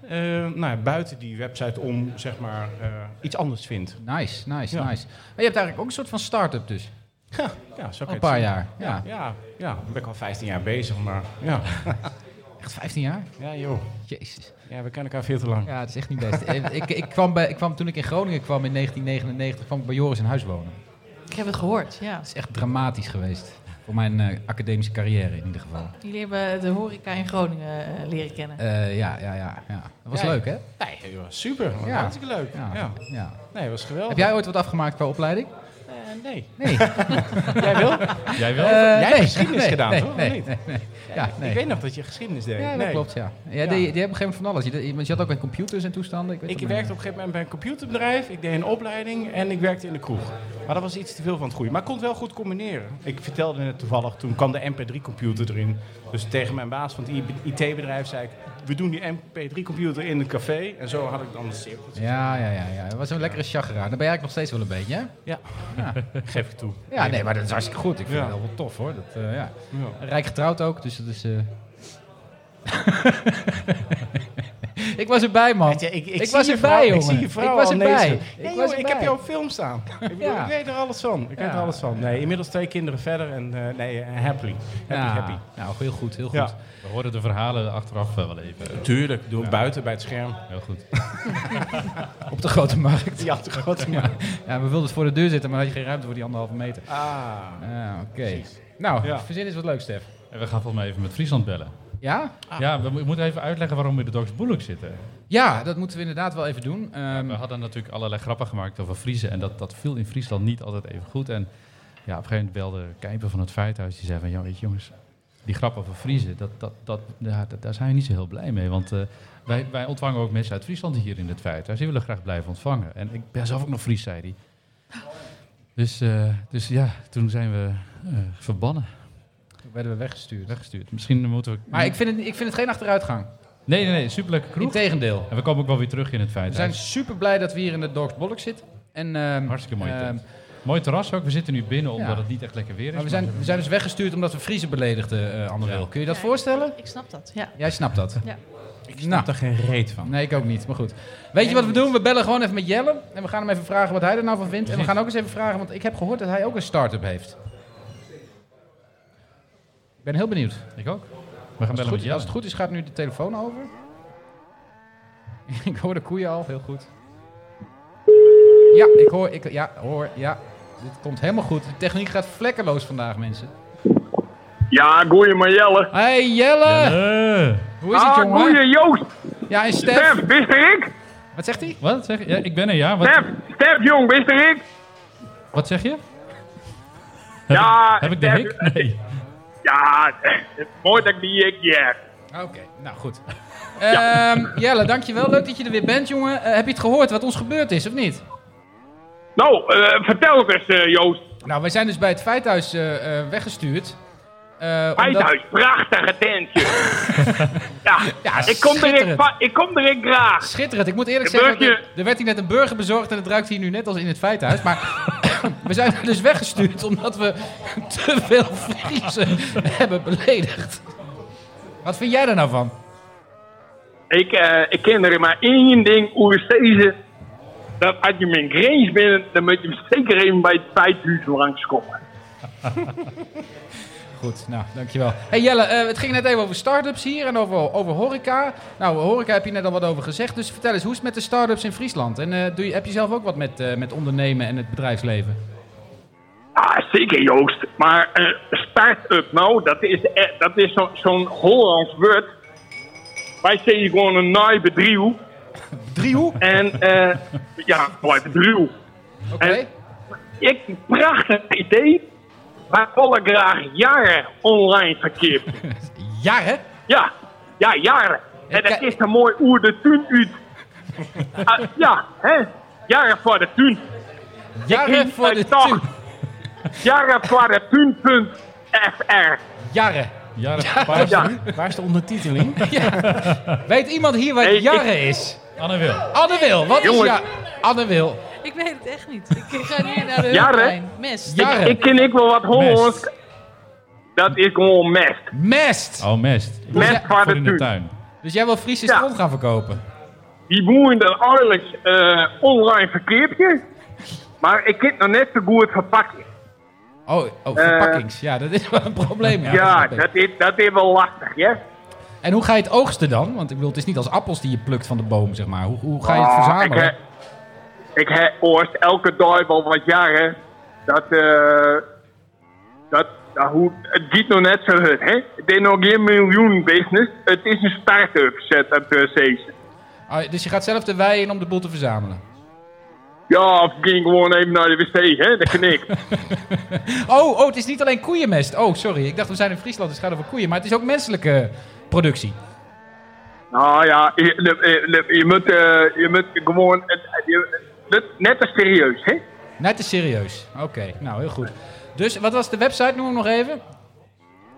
Speaker 7: eh, nou, ja, buiten die website om, zeg maar, eh, iets anders vindt.
Speaker 3: Nice, nice,
Speaker 7: Ja.
Speaker 3: nice. Maar je hebt eigenlijk ook een soort van start-up dus.
Speaker 7: Ja, zo kan je
Speaker 3: Al een
Speaker 7: het
Speaker 3: paar
Speaker 7: zien.
Speaker 3: jaar. Ja.
Speaker 7: Ja, ja, daar ben ik al 15 jaar bezig, maar ja.
Speaker 3: Echt 15 jaar?
Speaker 7: Ja, joh.
Speaker 3: Jezus.
Speaker 7: Ja, we kennen elkaar veel te lang.
Speaker 3: Ja, het is echt niet best. Eh, ik, ik, kwam bij, ik kwam toen ik in Groningen kwam in 1999, kwam ik bij Joris in huis wonen.
Speaker 6: Ik heb het gehoord, ja.
Speaker 3: Het is echt dramatisch geweest. Voor mijn eh, academische carrière in ieder geval.
Speaker 6: Jullie hebben eh, de horeca in Groningen eh, leren kennen.
Speaker 3: Eh, ja, ja, ja, ja. Dat was
Speaker 7: Ja,
Speaker 3: leuk, hè?
Speaker 7: Nee, joh, super.
Speaker 3: Ja.
Speaker 7: Hartstikke leuk.
Speaker 3: Ja.
Speaker 7: ja.
Speaker 3: ja.
Speaker 7: Nee, was geweldig.
Speaker 3: Heb jij ooit wat afgemaakt qua opleiding?
Speaker 7: Eh, nee.
Speaker 3: Nee.
Speaker 7: Jij wil?
Speaker 4: Jij wel?
Speaker 3: Eh,
Speaker 7: hebt geschiedenis
Speaker 3: nee,
Speaker 7: gedaan,
Speaker 3: nee,
Speaker 7: toch? Of
Speaker 3: Nee,
Speaker 7: niet?
Speaker 3: nee, nee. Ja, nee.
Speaker 7: Ik weet nog dat je geschiedenis deed.
Speaker 3: ja, dat
Speaker 7: Nee.
Speaker 3: klopt, ja. ja, Die, die hebben op een gegeven moment van alles. Je, de- want je had ook met computers en toestanden. Ik, weet
Speaker 7: Ik
Speaker 3: het
Speaker 7: werkte op een gegeven moment bij een computerbedrijf. Ik deed een opleiding en ik werkte in de kroeg. Maar dat was iets te veel van het goede. Maar ik kon het wel goed combineren. Ik vertelde net toevallig, toen kwam de MP3-computer erin. Dus tegen mijn baas van het IT-bedrijf zei ik... we doen die MP3-computer in het café. En zo had ik dan een cirkeltje.
Speaker 3: Ja, ja, ja, ja. Het was een lekkere chageraar. Daar ben je eigenlijk nog steeds wel een beetje, hè?
Speaker 7: Geef ik toe.
Speaker 3: Ja, nee, maar dat is hartstikke goed. Ik vind
Speaker 7: Ja.
Speaker 3: het wel wel tof, hoor. Dat, eh, ja.
Speaker 7: Ja.
Speaker 3: Rijk getrouwd ook, dus dat is... eh. ik was erbij, man.
Speaker 7: Ja, ik, ik
Speaker 3: Ik
Speaker 7: zie
Speaker 3: was
Speaker 7: je
Speaker 3: erbij,
Speaker 7: vrouw-
Speaker 3: jongen.
Speaker 7: Ik zie je vrouw
Speaker 3: Ik was
Speaker 7: al
Speaker 3: erbij.
Speaker 7: nezen.
Speaker 3: Ik
Speaker 7: Nee,
Speaker 3: was
Speaker 7: joh, ik
Speaker 3: erbij.
Speaker 7: heb jouw film staan. Ik, bedoel,
Speaker 3: Ja.
Speaker 7: ik weet er alles van. Ik weet
Speaker 3: Ja.
Speaker 7: er alles van. Nee, inmiddels twee kinderen verder en eh, nee, eh, happily. Happy,
Speaker 3: Ja,
Speaker 7: happy.
Speaker 3: Nou, heel goed, heel goed.
Speaker 7: Ja.
Speaker 4: We horen de verhalen achteraf eh, wel even.
Speaker 7: Tuurlijk, doe buiten bij het scherm.
Speaker 4: Heel goed.
Speaker 3: Op de grote markt.
Speaker 7: Ja, toch wat.
Speaker 3: Ja. ja, we wilden het voor de deur zitten, maar dan had je geen ruimte voor die anderhalve meter.
Speaker 7: Ah.
Speaker 3: Ah, oké. Nou,
Speaker 7: Ja.
Speaker 3: verzin is wat leuk, Stef.
Speaker 4: En we gaan volgens mij even met Friesland bellen.
Speaker 3: Ja?
Speaker 7: Ah.
Speaker 4: Ja, we mo- moeten even uitleggen waarom we in de Dogs Boelijk zitten.
Speaker 3: Ja, dat moeten we inderdaad wel even doen. Ehm,
Speaker 4: We hadden natuurlijk allerlei grappen gemaakt over Friese. En dat, dat viel in Friesland niet altijd even goed. En ja, op een gegeven moment belde Kijper van het Feithuis. Die zei van, ja, weet je jongens, die grap over Friese, dat, dat, dat, ja, dat- daar zijn we niet zo heel blij mee. Want eh, wij, wij ontvangen ook mensen uit Friesland hier in het Feithuis. Die willen graag blijven ontvangen. En ik ben zelf ook nog Fries, zei hij. Dus, eh, dus ja, toen zijn we eh, verbannen,
Speaker 3: toen werden we weggestuurd.
Speaker 4: weggestuurd. Misschien moeten we...
Speaker 3: Maar ik vind, het, ik vind het geen achteruitgang.
Speaker 4: Nee, nee, nee, superleuke kroeg.
Speaker 3: Integendeel.
Speaker 4: En we komen ook wel weer terug in het
Speaker 3: We zijn
Speaker 4: Feithuis.
Speaker 3: super blij dat we hier in de Dogs Bolk zitten. En, ehm,
Speaker 4: Hartstikke mooie
Speaker 3: ehm,
Speaker 4: tent. Mooi terras ook. We zitten nu binnen omdat
Speaker 3: Ja.
Speaker 4: het niet echt lekker weer is.
Speaker 3: maar we zijn, we zijn dus weggestuurd omdat we Friese beledigden, eh Anderil. Kun je dat voorstellen?
Speaker 6: Ik snap dat, ja.
Speaker 3: Jij snapt dat.
Speaker 6: Ja.
Speaker 3: Ik snap
Speaker 7: geen reet van.
Speaker 3: Nee, ik ook niet, maar goed. Weet je wat we doen? We bellen gewoon even met Jelle. En we gaan hem even vragen wat hij er nou van vindt. En we gaan ook eens even vragen, want ik heb gehoord dat hij ook een start-up heeft. Ik ben heel benieuwd.
Speaker 4: Ik ook. We gaan
Speaker 3: Als het,
Speaker 4: bellen met
Speaker 3: goed,
Speaker 4: Jelle.
Speaker 3: als het goed is, gaat nu de telefoon over. ik hoor de koeien al, heel goed. Ja, ik hoor, ik, ja, hoor, ja. Dit komt helemaal goed. De techniek gaat vlekkeloos vandaag, mensen.
Speaker 11: Ja, goeie Marjelle.
Speaker 3: Hey Jelle!
Speaker 4: Eh,
Speaker 3: Hoe is het,
Speaker 11: ah,
Speaker 3: jongen?
Speaker 11: goeie Joost.
Speaker 3: Ja, en Stef.
Speaker 11: Stef, wist er ik?
Speaker 3: Wat zegt hij?
Speaker 4: wat zeg je? Ja, ik ben er, ja. Wat,
Speaker 11: Stef, Stef jong, wist er ik?
Speaker 4: wat zeg je?
Speaker 11: Ja,
Speaker 4: Heb ik de
Speaker 11: Stef,
Speaker 4: hik? Nee.
Speaker 11: Ja, mooi dat ik die ik ja.
Speaker 3: Oké, nou goed. Ehm, Jelle, dankjewel. Leuk dat je er weer bent, jongen. Eh, heb je het gehoord wat ons gebeurd is, of niet?
Speaker 11: Nou, eh, vertel het eens, eh, Joost.
Speaker 3: Nou, wij zijn dus bij het feithuis eh, eh, weggestuurd. Eh, omdat-
Speaker 11: Feithuis, prachtige tentje. ja, ik kom direct,
Speaker 3: schitterend.
Speaker 11: va- ik kom direct graag.
Speaker 3: Schitterend. Ik moet eerlijk
Speaker 11: Een
Speaker 3: zeggen, dat
Speaker 11: burger.
Speaker 3: er, er werd hier net een burger bezorgd en het ruikt hier nu net als in het feithuis. Maar we zijn er dus weggestuurd omdat we te veel Friesen hebben beledigd. Wat vind jij daar nou van?
Speaker 11: Ik, eh, ik ken er maar één ding over steeds. Dat als je mijn grens bent, dan moet je zeker even bij het feithuis langskomen.
Speaker 3: Goed, nou, dankjewel. Hey Jelle, eh, het ging net even over start-ups hier en over, over horeca. Nou, horeca heb je net al wat over gezegd. Dus vertel eens, hoe is het met de start-ups in Friesland? En eh, doe je, heb je zelf ook wat met, eh, met ondernemen en het bedrijfsleven?
Speaker 11: Ah, zeker Joost. Maar eh, start-up nou, dat is, eh, dat is zo- zo'n Hollands woord. Wij zeggen gewoon een naai bedrijf.
Speaker 3: Driehoek?
Speaker 11: En eh ja, blijf bedrijf.
Speaker 3: Oké.
Speaker 11: En- Ik prachtig idee. Wij willen graag jaren online verkeer.
Speaker 3: Ja, hè?
Speaker 11: Ja, ja, jaren. En dat is een mooi oer de tuin uit. Ah, ja, hè? Jaren voor de tuin.
Speaker 3: Jaren voor de
Speaker 11: Dag.
Speaker 3: tuin.
Speaker 11: Jaren voor de tuin.fr.
Speaker 3: Jaren.
Speaker 4: Jaren
Speaker 11: Ja.
Speaker 7: Waar is de ondertiteling?
Speaker 3: Weet iemand hier wat
Speaker 11: Nee, ik-
Speaker 3: Jarre is?
Speaker 4: Anne Wil.
Speaker 3: Anne Wil, wat is
Speaker 11: Jongens.
Speaker 3: ja? Anne Wil.
Speaker 6: Ik weet het echt niet. Ik ga nu naar de
Speaker 11: Ja, hè?
Speaker 6: hulplijn. Mes.
Speaker 3: Ja, hè?
Speaker 11: Ik ken ik wel wat Hollands. Dat is gewoon mest.
Speaker 3: Mest.
Speaker 4: Oh, mest. Ik
Speaker 11: Mest
Speaker 4: voor
Speaker 11: waar de
Speaker 4: in de
Speaker 11: tuin.
Speaker 4: tuin.
Speaker 3: Dus jij wil Friese
Speaker 11: Ja.
Speaker 3: stront gaan verkopen?
Speaker 11: Die boeren dan eigenlijk eh, online verkeertje. Maar ik heb nog net te goed verpakken.
Speaker 3: Oh, oh verpakkings. Ja, dat is wel een probleem. Ja, dat
Speaker 11: Eh. Ja,
Speaker 3: snap ik.
Speaker 11: dat is, dat is wel lastig, ja.
Speaker 3: En hoe ga je het oogsten dan? Want ik bedoel, het is niet als appels die je plukt van de boom, zeg maar. Hoe, hoe ga je het verzamelen?
Speaker 11: Oh, Ik, he- ik heb ooit elke dag wel wat jaren. Dat, eh. dat, dat hoe, het gaat nog net zo goed, hè? Het is nog geen miljoen business. Het is een start-up, zet dat eh, per se.
Speaker 3: Ah, dus je gaat zelf de wei in om de boel te verzamelen.
Speaker 11: Ja, of ging gewoon even naar de wc, hè? Dat knikt.
Speaker 3: Oh, oh, het is niet alleen koeienmest. Oh, sorry. Ik dacht, we zijn in Friesland, dus het gaat over koeien. Maar het is ook menselijke productie.
Speaker 11: nou ja, je, je- je- je moet, eh, je moet gewoon. het- je- net, net als serieus, hè?
Speaker 3: Net te serieus. Oké, nou, heel goed. Dus, wat was de website? Noem hem nog even.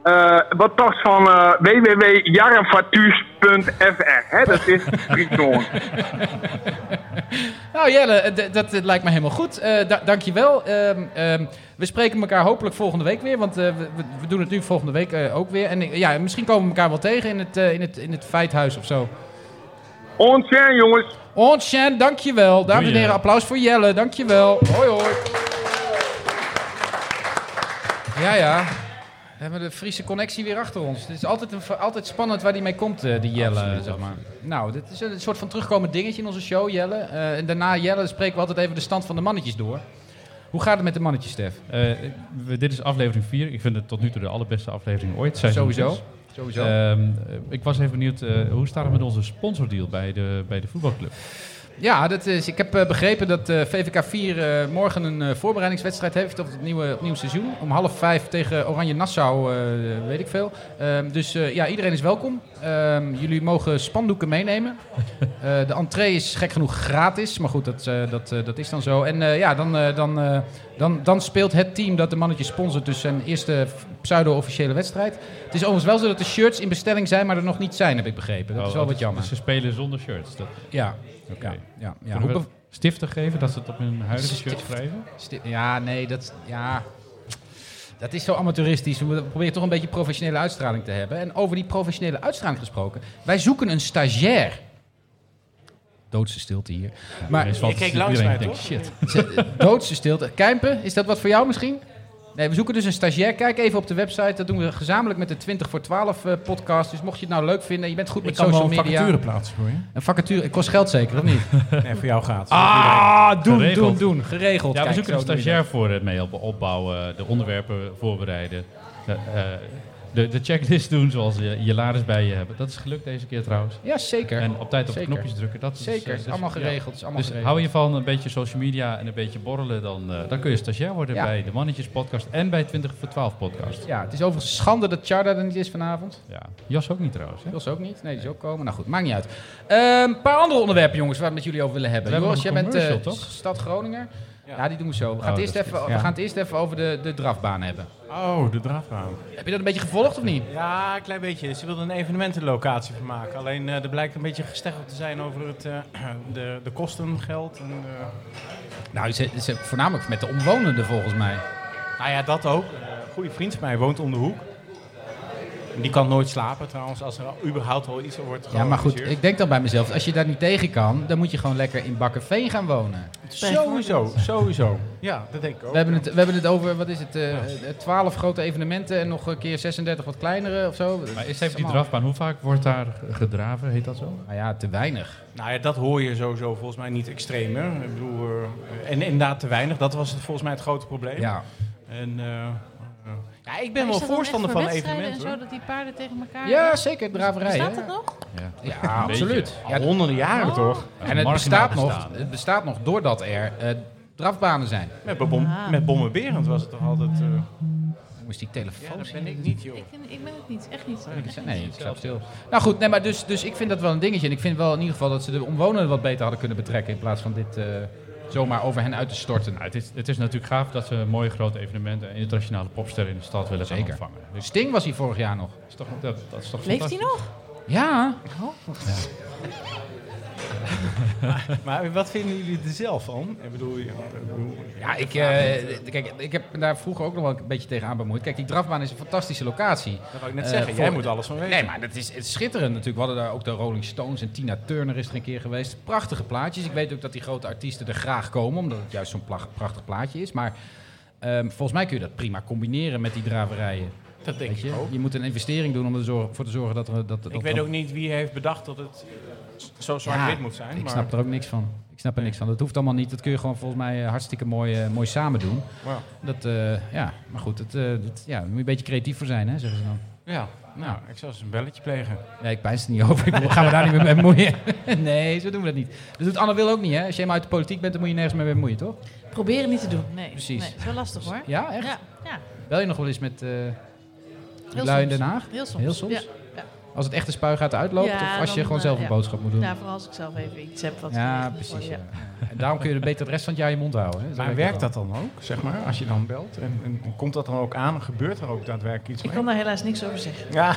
Speaker 11: Eh, wat toch van eh www.jarrenfatuurs.fr, hè? Dat is Friesland.
Speaker 3: Nou Jelle, eh, d- dat eh, lijkt me helemaal goed. Eh da dankjewel. Ehm, ehm, we spreken elkaar hopelijk volgende week weer. Want eh, we, we- we doen het nu volgende week eh, ook weer. En ik- ja, misschien komen we elkaar wel tegen in het, eh, in het, in het feithuis of zo.
Speaker 11: Ontzettend, jongens.
Speaker 3: Ontsjen, dankjewel. Dames en
Speaker 4: Doei,
Speaker 3: heren,
Speaker 4: Jelle.
Speaker 3: applaus voor Jelle. Dankjewel. Hoi hoi. Ja, ja. We hebben de Friese connectie weer achter ons. Het is altijd, een, altijd spannend waar die mee komt, eh, die Jelle, zeg maar. Nou, dit is een soort van terugkomend dingetje in onze show, Jelle. Eh, en daarna, Jelle, spreken we altijd even de stand van de mannetjes door. Hoe gaat het met de mannetjes, Stef?
Speaker 4: Eh, we- dit is aflevering 4. Ik vind het tot nu toe de allerbeste aflevering ooit. Seizoen
Speaker 3: Sowieso.
Speaker 4: zes.
Speaker 3: Sowieso.
Speaker 4: Ehm, eh, ik was even benieuwd, eh, hoe staat het met onze sponsordeal bij de, bij de voetbalclub?
Speaker 3: Ja, dat is, ik heb eh, begrepen dat eh, VVK 4 eh, morgen een eh, voorbereidingswedstrijd heeft op het nieuwe, opnieuw seizoen. Om half vijf tegen Oranje Nassau, eh, weet ik veel. Ehm, dus eh, ja, iedereen is welkom. Ehm, jullie mogen spandoeken meenemen. Eh, de entree is gek genoeg gratis, maar goed, dat, eh, dat, eh, dat is dan zo. En eh, ja, dan, eh, dan, eh, dan, dan speelt het team dat de mannetje sponsort dus zijn eerste f- pseudo-officiële wedstrijd. Het is overigens wel zo dat de shirts in bestelling zijn, maar er nog niet zijn, heb ik begrepen. Dat
Speaker 4: Oh,
Speaker 3: is wel wat
Speaker 4: oh, dus-
Speaker 3: jammer.
Speaker 4: dus ze spelen zonder shirts. Dat,
Speaker 3: Ja,
Speaker 4: Oké.
Speaker 3: ja, ja, ja.
Speaker 4: Kunnen
Speaker 3: Hoe
Speaker 4: we
Speaker 3: bev-
Speaker 4: stiften geven dat ze het op hun huidige shirt
Speaker 3: Stift.
Speaker 4: schrijven?
Speaker 3: Sti- Ja, nee, dat, ja, dat is zo amateuristisch. We moeten- we proberen toch een beetje professionele uitstraling te hebben. En over die professionele uitstraling gesproken, wij zoeken een stagiair. Doodse stilte hier. Maar
Speaker 4: Er is wel-
Speaker 10: Ik keek
Speaker 4: iedereen
Speaker 10: langs mij,
Speaker 4: denkt,
Speaker 10: toch?
Speaker 4: Shit.
Speaker 3: ze- doodse stilte. Kijmpen, is dat wat voor jou misschien? Nee, we zoeken dus een stagiair. Kijk even op de website. Dat doen we gezamenlijk met de 20 voor 12 eh, podcast. Dus mocht je het nou leuk vinden en je bent goed
Speaker 9: Ik
Speaker 3: met
Speaker 9: kan wel
Speaker 3: social
Speaker 9: een
Speaker 3: media.
Speaker 9: vacature plaatsen voor je.
Speaker 3: Een vacature. Het kost geld zeker, of niet?
Speaker 9: Nee, voor jou gaat.
Speaker 3: Ah, doen,
Speaker 4: Geregeld.
Speaker 3: doen, doen. Geregeld.
Speaker 4: Ja, we
Speaker 3: Kijk,
Speaker 4: zoeken
Speaker 3: zo
Speaker 4: een
Speaker 3: doen we dat.
Speaker 4: stagiair voor het mee op- opbouwen, de onderwerpen voorbereiden. Eh, eh, de, de checklist doen zoals je, je laders bij je hebt. Dat is gelukt deze keer trouwens.
Speaker 3: Ja, zeker.
Speaker 4: En op tijd op
Speaker 3: Zeker.
Speaker 4: de knopjes drukken. Dat is,
Speaker 3: Zeker,
Speaker 4: eh,
Speaker 3: is allemaal geregeld, is allemaal
Speaker 4: dus
Speaker 3: geregeld.
Speaker 4: hou je van een beetje social media en een beetje borrelen, dan, eh, dan kun je stagiair worden
Speaker 3: Ja.
Speaker 4: bij de Mannetjes Podcast en bij 20 voor 12 Podcast.
Speaker 3: Ja, het is overigens schande dat Charda er niet is vanavond.
Speaker 4: Ja. Jos ook niet trouwens. Hè?
Speaker 3: Jos ook niet. Nee, die is ook komen. Nou goed, maakt niet uit. Ehm, Een paar andere onderwerpen, jongens, waar we het met jullie over willen hebben.
Speaker 4: We hebben
Speaker 3: Joris, jij
Speaker 4: nog een
Speaker 3: bent eh,
Speaker 4: commercial, toch?
Speaker 3: stad Groninger. Ja. die doen we zo. We gaan,
Speaker 4: Oh,
Speaker 3: het eerst
Speaker 4: dat is
Speaker 3: even,
Speaker 4: goed.
Speaker 3: we
Speaker 4: Ja.
Speaker 3: gaan het eerst even over de, de drafbaan hebben.
Speaker 7: Oh, de draadbaan.
Speaker 3: Heb je dat een beetje gevolgd of niet?
Speaker 7: Ja, een klein beetje. Ze wilden een evenementenlocatie van maken. Alleen eh, er blijkt een beetje gesteggeld te zijn over het, eh, de, de kosten, geld. En, eh,
Speaker 3: Nou, ze, ze, voornamelijk met de omwonenden volgens mij.
Speaker 7: nou ja, dat ook. Eh, Een goede vriend van mij woont om de hoek. En die kan nooit slapen trouwens, als er al- überhaupt al iets wordt
Speaker 3: Ja, maar goed,
Speaker 7: georganiseerd.
Speaker 3: ik denk dan bij mezelf, als je daar niet tegen kan, dan moet je gewoon lekker in Bakkerveen gaan wonen.
Speaker 7: Sowieso, sowieso. Ja, dat denk ik ook.
Speaker 3: We hebben, het, we hebben het over, wat is het, eh, eh, 12 grote evenementen en nog een keer 36 wat kleinere of zo.
Speaker 4: Maar
Speaker 3: is
Speaker 4: eerst even die drafbaan. Hoe vaak wordt daar gedraven? Heet dat zo?
Speaker 3: Nou ja, te weinig.
Speaker 7: Nou ja, dat hoor je sowieso volgens mij niet extreem. Hè? Ik bedoel, eh, en inderdaad te weinig. Dat was het, volgens mij het grote probleem.
Speaker 3: Ja.
Speaker 7: En, eh, eh, ja, ik ben
Speaker 6: Maar
Speaker 7: wel
Speaker 6: is dat dan echt
Speaker 7: voorstander
Speaker 6: voor
Speaker 7: van
Speaker 6: wedstrijden
Speaker 7: evenementen.
Speaker 6: En zo dat die paarden tegen elkaar.
Speaker 3: Ja, zeker, draverij.
Speaker 6: Bestaat
Speaker 3: hè?
Speaker 6: dat nog?
Speaker 4: Ja.
Speaker 3: Ja, absoluut.
Speaker 7: hoor. Al honderden
Speaker 6: Oh.
Speaker 7: jaren toch?
Speaker 3: En het
Speaker 4: Marginaal
Speaker 3: bestaat, nog,
Speaker 4: bestaan.
Speaker 3: het bestaat nog doordat er eh, drafbanen zijn.
Speaker 7: Met, bom,
Speaker 6: Ah.
Speaker 7: met bommenberend was het toch altijd... eh,
Speaker 3: Moest die
Speaker 7: ja,
Speaker 3: telefoon
Speaker 7: dat ben ik niet, joh.
Speaker 6: Ik, vind- ik ben het niet, echt niet.
Speaker 3: Nee, ik sta stil. Nou goed, nee, maar dus, dus ik vind dat wel een dingetje. En ik vind wel in ieder geval dat ze de omwonenden wat beter hadden kunnen betrekken. In plaats van dit eh, zomaar over hen uit te storten.
Speaker 4: Nou, het, is, het is natuurlijk gaaf dat ze mooie grote evenementen en internationale popsterren in de stad willen gaan
Speaker 3: Zeker.
Speaker 4: ontvangen. Dus
Speaker 3: Sting was hij vorig jaar nog.
Speaker 4: dat is toch, dat, dat is toch
Speaker 6: Leeft hij
Speaker 4: fantastisch.
Speaker 6: nog?
Speaker 3: Ja,
Speaker 7: Maar wat vinden jullie er zelf van? Ik bedoel, eh, ja, ik bedoel,
Speaker 3: ja ik, eh, kijk, ik heb me daar vroeger ook nog wel een beetje tegenaan bemoeid. Kijk, die drafbaan is een fantastische locatie.
Speaker 7: dat wou ik net
Speaker 3: Eh,
Speaker 7: zeggen. Jij
Speaker 3: voor-
Speaker 7: moet alles van weten.
Speaker 3: Nee, maar dat is, het is schitterend natuurlijk. We hadden daar ook de Rolling Stones en Tina Turner is er een keer geweest. Prachtige plaatjes. Ik weet ook dat die grote artiesten er graag komen, omdat het juist zo'n pla- prachtig plaatje is. Maar ehm, volgens mij kun je dat prima combineren met die draverijen.
Speaker 7: dat denk ik
Speaker 3: Weet je?
Speaker 7: ook.
Speaker 3: je moet een investering doen om ervoor te zorgen dat er... Dat, dat
Speaker 7: Ik weet ook niet wie heeft bedacht dat het eh, zo zwart-wit moet zijn.
Speaker 3: Ik
Speaker 7: maar,
Speaker 3: snap er ook niks van. Ik snap er niks van. Dat hoeft allemaal niet. Dat kun je gewoon volgens mij eh, hartstikke mooi, eh, mooi samen doen.
Speaker 7: Ja.
Speaker 3: Dat, eh, ja, maar goed, dat, eh, dat, ja, daar moet je een beetje creatief voor zijn, hè, zeggen ze dan.
Speaker 7: Ja, nou, ik zal eens een belletje plegen.
Speaker 3: Nee, ik pijs er niet over. Ik wil- gaan we daar niet meer mee bemoeien. Nee, zo doen we dat niet. Dat doet Anne Wil ook niet, hè? Als je helemaal uit de politiek bent, dan moet je nergens meer mee bemoeien, toch?
Speaker 6: Probeer het niet te doen. Nee,
Speaker 3: Precies.
Speaker 6: Nee, het is wel lastig hoor.
Speaker 3: Ja, echt?
Speaker 6: Ja, ja.
Speaker 3: Bel je nog wel eens met eh
Speaker 6: Heel
Speaker 3: lui in
Speaker 6: soms.
Speaker 3: Den Haag?
Speaker 6: Heel soms.
Speaker 3: Heel soms?
Speaker 6: Ja, ja.
Speaker 3: Als het echt de spuigaat uitloopt?
Speaker 6: Ja,
Speaker 3: of als je
Speaker 6: dan,
Speaker 3: gewoon
Speaker 6: eh,
Speaker 3: zelf een
Speaker 6: ja.
Speaker 3: boodschap moet doen?
Speaker 6: Nou,
Speaker 3: Ja,
Speaker 6: vooral als ik zelf even iets heb wat ik niet
Speaker 3: precies.
Speaker 6: voor-
Speaker 3: Ja. En daarom kun je er beter de rest van het jaar je mond houden. Hè? Zo
Speaker 7: Maar
Speaker 3: werkt
Speaker 7: werkt dat dan ook, zeg maar, als je dan belt? En, en, en komt dat dan ook aan? Gebeurt er ook daadwerkelijk iets
Speaker 6: Ik
Speaker 7: mee?
Speaker 6: kan daar helaas niks over zeggen.
Speaker 7: Ja,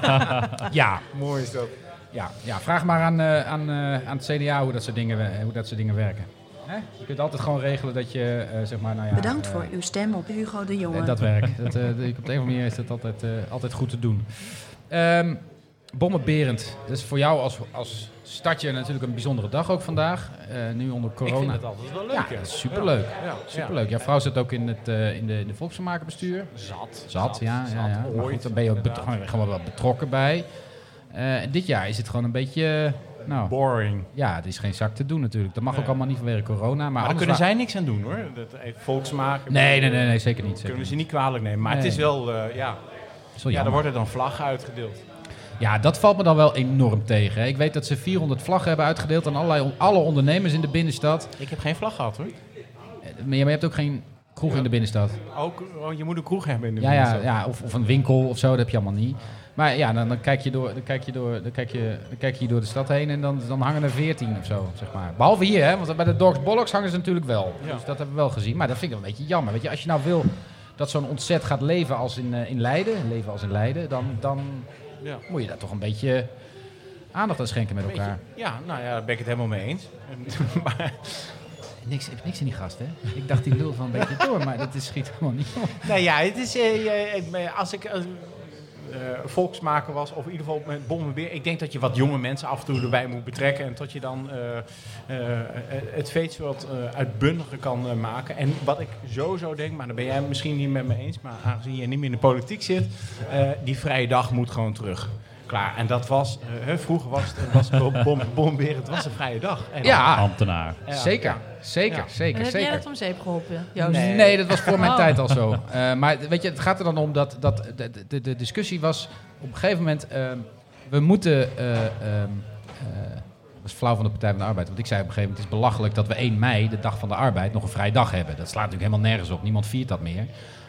Speaker 3: dan. Ja,
Speaker 7: mooi is dat.
Speaker 3: ja, ja. vraag maar aan, eh, aan, eh, aan het CDA hoe dat soort dingen, we- hoe dat soort dingen werken. Hè? Je kunt altijd gewoon regelen dat je, eh, zeg maar, nou ja...
Speaker 5: Bedankt
Speaker 3: eh,
Speaker 5: voor uw stem op Hugo de
Speaker 3: Eh,
Speaker 5: Jonge.
Speaker 3: dat werkt. Dat, eh, de- op de een of andere manier is dat altijd, eh, altijd goed te doen. Ehm Bommen Berend, dat is voor jou als, als stadje natuurlijk een bijzondere dag ook vandaag. Eh, nu onder
Speaker 7: Ik
Speaker 3: corona.
Speaker 7: vind het altijd wel leuk.
Speaker 3: ja,
Speaker 7: hè.
Speaker 3: dat is superleuk.
Speaker 7: Ja,
Speaker 3: Superleuk. Jouw vrouw zit ook in, het, eh, in de, in de volksvermakerbestuur.
Speaker 7: Zat.
Speaker 3: Zat, ja. ja, ja. Maar goed,
Speaker 7: ooit,
Speaker 3: dan ben je ook bet-
Speaker 7: inderdaad.
Speaker 3: gewoon, gewoon wel betrokken bij. Eh, en dit jaar is het gewoon een beetje... eh, nou,
Speaker 7: Boring.
Speaker 3: ja, het is geen zak te doen natuurlijk. Dat mag ook allemaal niet vanwege corona. Maar,
Speaker 7: Maar daar
Speaker 3: anders
Speaker 7: kunnen
Speaker 3: wa-
Speaker 7: zij niks aan doen hoor. Dat heeft volksmaken.
Speaker 3: Nee, nee, nee, nee, zeker niet. Zeker
Speaker 7: Kunnen we
Speaker 3: niet.
Speaker 7: ze niet kwalijk nemen. Maar
Speaker 3: Nee.
Speaker 7: het is wel, eh, ja.
Speaker 3: Dat is wel
Speaker 7: ja,
Speaker 3: jammer.
Speaker 7: er worden dan vlaggen uitgedeeld.
Speaker 3: Ja, dat valt me dan wel enorm tegen. hè. Ik weet dat ze 400 vlaggen hebben uitgedeeld aan allerlei, alle ondernemers in de binnenstad.
Speaker 7: Ik heb geen vlag gehad hoor.
Speaker 3: Eh, Maar je maar je hebt ook geen kroeg in de binnenstad.
Speaker 7: Ook, oh, je moet een kroeg hebben in de
Speaker 3: Ja, ja,
Speaker 7: binnenstad.
Speaker 3: ja of, of een winkel of zo, dat heb je allemaal niet. Maar ja, dan, dan kijk je door, dan kijk je door, dan kijk je, dan kijk je hier door de stad heen en dan, dan hangen er 14 of zo, zeg maar. Behalve hier, hè, want bij de Dorks Bollocks hangen ze natuurlijk wel.
Speaker 7: Ja.
Speaker 3: Dus dat hebben we wel gezien. Maar dat vind ik wel een beetje jammer. Weet je, als je nou wil dat zo'n ontzet gaat leven als in, eh, in Leiden, leven als in Leiden, dan, dan
Speaker 7: Ja.
Speaker 3: moet je daar toch een beetje aandacht aan schenken met
Speaker 7: Beetje-
Speaker 3: elkaar.
Speaker 7: ja, nou ja, daar ben ik het helemaal mee eens. En- maar,
Speaker 3: Niks, niks in die gast, hè? Ik dacht die lul van een beetje door, maar dat is, schiet helemaal niet op.
Speaker 7: nou ja, het is, eh, eh, ik ben- als ik eh, eh, volksmaker was, of in ieder geval met bommenbeer, ik denk dat je wat jonge mensen af en toe erbij moet betrekken. En dat je dan eh, eh, eh, het feest wat eh, uitbundiger kan eh, maken. En wat ik sowieso denk, maar daar ben jij misschien niet met me eens, maar aangezien je niet meer in de politiek zit, eh, die vrije dag moet gewoon terug. Klaar. En dat was, eh, vroeger was het, was het bom- bom, bomberen, het was een vrije dag. En
Speaker 3: Ja.
Speaker 12: Ambtenaar.
Speaker 7: Ja.
Speaker 3: Zeker, zeker,
Speaker 7: Ja.
Speaker 3: zeker,
Speaker 6: En heb jij
Speaker 3: zeker.
Speaker 6: dat om zeep geholpen, Joost?
Speaker 3: Nee. dat was voor mijn
Speaker 6: Oh.
Speaker 3: tijd al zo. Eh, maar weet je, het gaat er dan om dat, dat de, de, de discussie was op een gegeven moment... ehm, we moeten... eh, ehm, eh, dat was flauw van de Partij van de Arbeid. Want ik zei op een gegeven moment... het is belachelijk dat we 1 mei, de dag van de arbeid... nog een vrije dag hebben. Dat slaat natuurlijk helemaal nergens op. Niemand viert dat meer.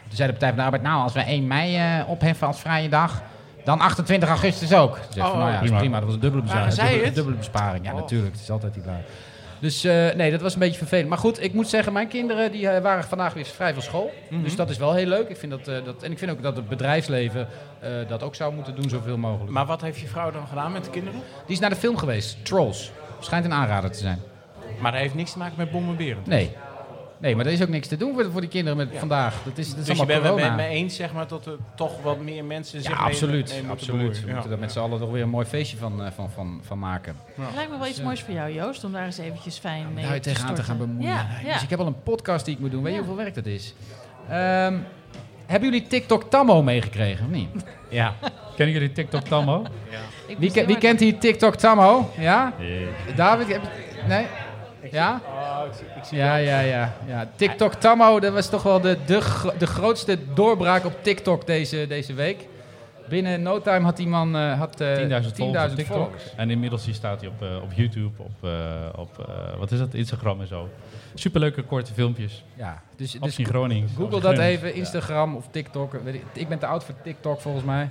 Speaker 3: Toen zei de Partij van de Arbeid... nou, als we 1 mei eh, opheffen als vrije dag... dan 28 augustus ook. Ik Zeg,
Speaker 12: Oh,
Speaker 3: van, nou ja,
Speaker 12: prima.
Speaker 3: prima. prima. Dat was een dubbele
Speaker 12: Waren
Speaker 3: bezwaring.
Speaker 12: zij
Speaker 3: dubbele,
Speaker 12: het? Oh.
Speaker 3: dubbele besparing. Ja, natuurlijk. Het is altijd die waar. Dus eh, nee, dat was een beetje vervelend. Maar goed, ik moet zeggen, mijn kinderen die, eh, waren vandaag weer vrij van school.
Speaker 12: Mhm.
Speaker 3: Dus dat is wel heel leuk. Ik vind dat, eh, dat, en ik vind ook dat het bedrijfsleven eh, dat ook zou moeten doen, zoveel mogelijk.
Speaker 12: Maar wat heeft je vrouw dan gedaan met de kinderen?
Speaker 3: Die is naar de film geweest, Trolls. Schijnt een aanrader te zijn.
Speaker 12: Maar dat heeft niks te maken met bommenberen.
Speaker 3: Nee. Nee, maar er is ook niks te doen voor, voor die kinderen met, vandaag. Dat is, dat is
Speaker 12: Dus je
Speaker 3: allemaal
Speaker 12: bent het
Speaker 3: corona.
Speaker 12: met me eens zeg maar, dat er toch wat meer mensen zich
Speaker 3: ja,
Speaker 12: mee-
Speaker 3: absoluut.
Speaker 12: mee moeten
Speaker 3: absoluut. We
Speaker 12: bemoeien.
Speaker 3: moeten
Speaker 12: Ja.
Speaker 3: er met z'n allen toch weer een mooi feestje van, eh, van, van, van maken.
Speaker 6: Lijkt me wel iets moois voor jou, Joost, om daar eens eventjes fijn mee
Speaker 3: Daar je
Speaker 6: te
Speaker 3: tegenaan te
Speaker 6: storten.
Speaker 3: gaan bemoeien.
Speaker 6: Ja,
Speaker 3: Nee,
Speaker 6: ja.
Speaker 3: Dus ik heb al een podcast die ik moet doen. Weet je hoeveel werk dat is? Ehm, hebben jullie TikTok Tammo meegekregen of niet?
Speaker 12: Ja.
Speaker 4: Kennen jullie TikTok Tammo?
Speaker 6: Ik
Speaker 3: Wie,
Speaker 6: moest
Speaker 3: ke- wie
Speaker 6: heel hard-
Speaker 3: kent hier TikTok Tammo? Ja?
Speaker 12: Nee.
Speaker 3: David? heb- Nee? Ja? Ja, ja, ja, ja. TikTok Tammo, dat was toch wel de, de, gro- de grootste doorbraak op TikTok deze, deze week. Binnen no time had die man eh, had, eh,
Speaker 4: 10.000 volgers
Speaker 3: 10.000
Speaker 4: op TikTok.
Speaker 3: volgers.
Speaker 4: En inmiddels die staat hij op, eh, op YouTube, op, eh, op eh, wat is dat, Instagram en zo. Superleuke korte filmpjes.
Speaker 3: Ja, dus,
Speaker 4: Dus
Speaker 3: dus
Speaker 4: in Groningen.
Speaker 3: Google dat even, Instagram of TikTok. weet ik- Ik ben te oud voor TikTok volgens mij.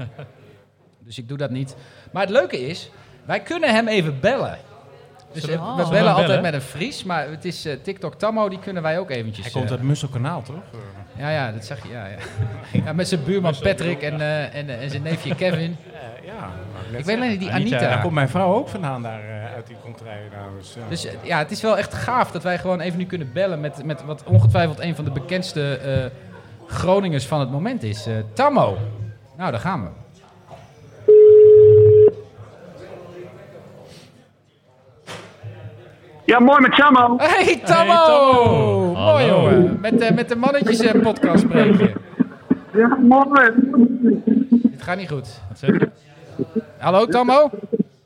Speaker 3: dus ik doe dat niet. Maar het leuke is, wij kunnen hem even bellen. Dus
Speaker 6: Zullen we-
Speaker 3: eh,
Speaker 6: Oh.
Speaker 3: we
Speaker 6: Zullen
Speaker 4: we hem
Speaker 3: bellen altijd
Speaker 4: bellen?
Speaker 3: met een Fries, maar het is eh, TikTok Tammo, die kunnen wij ook eventjes...
Speaker 12: Hij komt
Speaker 3: eh,
Speaker 12: uit Musselkanaal, toch?
Speaker 3: Ja, ja, dat zeg je. Ja, ja. ja, met zijn buurman Patrick en, eh, en, eh, en zijn neefje Kevin.
Speaker 7: ja,
Speaker 3: Ik weet alleen niet, die
Speaker 4: Anita.
Speaker 7: Daar komt
Speaker 3: Anita.
Speaker 7: mijn vrouw ook vandaan daar eh, uit die contrij. Nou, dus, ja.
Speaker 3: Dus eh, ja, het is wel echt gaaf dat wij gewoon even nu kunnen bellen met, met wat ongetwijfeld een van de bekendste eh, Groningers van het moment is. eh, Tammo. Nou, daar gaan we.
Speaker 11: Ja, mooi met Samo.
Speaker 3: Hey Tammo! Mooi jongen. Met, eh, met de mannetjes eh, podcast spreek je.
Speaker 11: Ja, mooi.
Speaker 3: Het gaat niet goed. Hallo Tammo?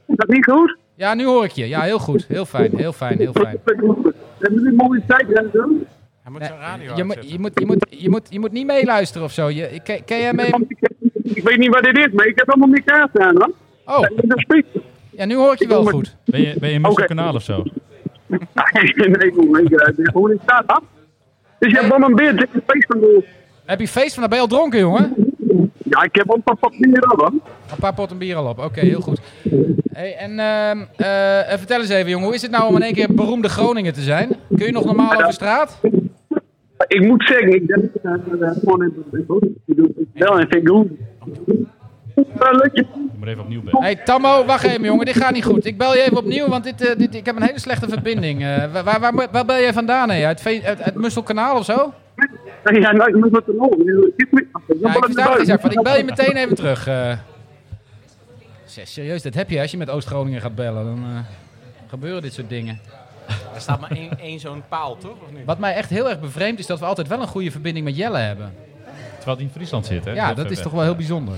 Speaker 11: Is dat niet goed?
Speaker 3: Ja, nu hoor ik je. Ja, heel goed. Heel fijn, heel fijn, heel fijn.
Speaker 11: Hebben jullie mooie tijd, Renzo?
Speaker 7: Hij
Speaker 3: eh,
Speaker 7: moet zijn radio
Speaker 3: Je moet, je moet, je moet, je moet, je moet niet meeluisteren of zo. Je, ken, ken jij mee?
Speaker 11: Ik weet niet wat dit is, maar ik heb allemaal niks aan staan, hoor.
Speaker 3: Oh,
Speaker 11: En dat spreekt-
Speaker 3: ja, nu hoor ik je wel goed.
Speaker 4: Ben je, ben je in Musselkanaal of zo?
Speaker 11: nee, ik moet niet uit. Hoe is dat, hè? Dus je hebt wel een beer tegen de feest van de...
Speaker 3: Heb je feest vandaag? Ben je al dronken, jongen?
Speaker 11: Ja, ik heb al een paar papieren al, hoor.
Speaker 3: Een paar potten bier al op. Oké, heel goed. Hey, en ehm, eh, eh, vertel eens even, jongen. Hoe is het nou om in één keer beroemde Groningen te zijn? Kun je nog normaal over straat?
Speaker 11: Ik moet zeggen, ik denk dat ik eh, gewoon in de doe. Wel en vind doen. Wel leuk.
Speaker 4: Ik moet even opnieuw bellen.
Speaker 3: hey, Tammo, wacht even, jongen. Dit gaat niet goed. Ik bel je even opnieuw, want dit, eh, dit, ik heb een hele slechte verbinding. Eh, waar, waar, waar, waar bel jij vandaan, hè? Uit, Ve- uit, uit Musselkanaal of zo?
Speaker 11: Ja, nou, ik moet wat te doen. Ik moet-
Speaker 3: Ja, ik versta het niet
Speaker 11: Ja,
Speaker 3: echt van. Ik bel je meteen even terug. eh. Zeg, serieus, dat heb je als je met Oost-Groningen gaat bellen. Dan eh, gebeuren dit soort dingen.
Speaker 12: Er staat maar één, één zo'n paal, toch? Of niet?
Speaker 3: Wat mij echt heel erg bevreemdt is dat we altijd wel een goede verbinding met Jelle hebben.
Speaker 4: Terwijl die in Friesland zit, hè?
Speaker 3: Ja, dat is toch wel heel bijzonder.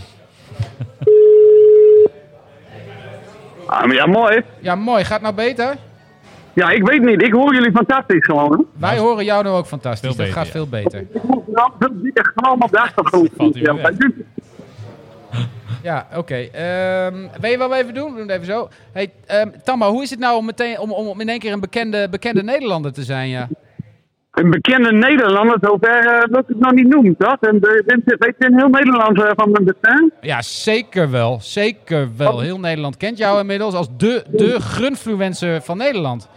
Speaker 11: Ah, maar ja, mooi.
Speaker 3: Ja, mooi. Gaat nou beter?
Speaker 11: Ja, ik weet niet. Ik hoor jullie fantastisch gewoon. Hè.
Speaker 3: Wij horen jou nu ook fantastisch. dat
Speaker 4: Veel beter,
Speaker 3: gaat
Speaker 4: ja.
Speaker 3: Nou, veel beter.
Speaker 11: Ik hoor nou, dat die echt gewoon op de achtergrond.
Speaker 4: Valt u
Speaker 11: Ja,
Speaker 4: weg.
Speaker 11: maar dit-
Speaker 3: Ja, oké. Ehm weet je wat we even doen? We doen het even zo. Hey, ehm Tammo, hoe is het nou om, meteen, om, om om in één keer een bekende, bekende Nederlander te zijn? Ja?
Speaker 11: Een bekende Nederlander, zover eh dat ik nog niet noem, dat. En de, dit- weet je in heel Nederland eh, van mijn bestaan?
Speaker 3: ja, zeker wel. Zeker wel. Heel Nederland kent jou inmiddels als de, de grunfluencer van Nederland.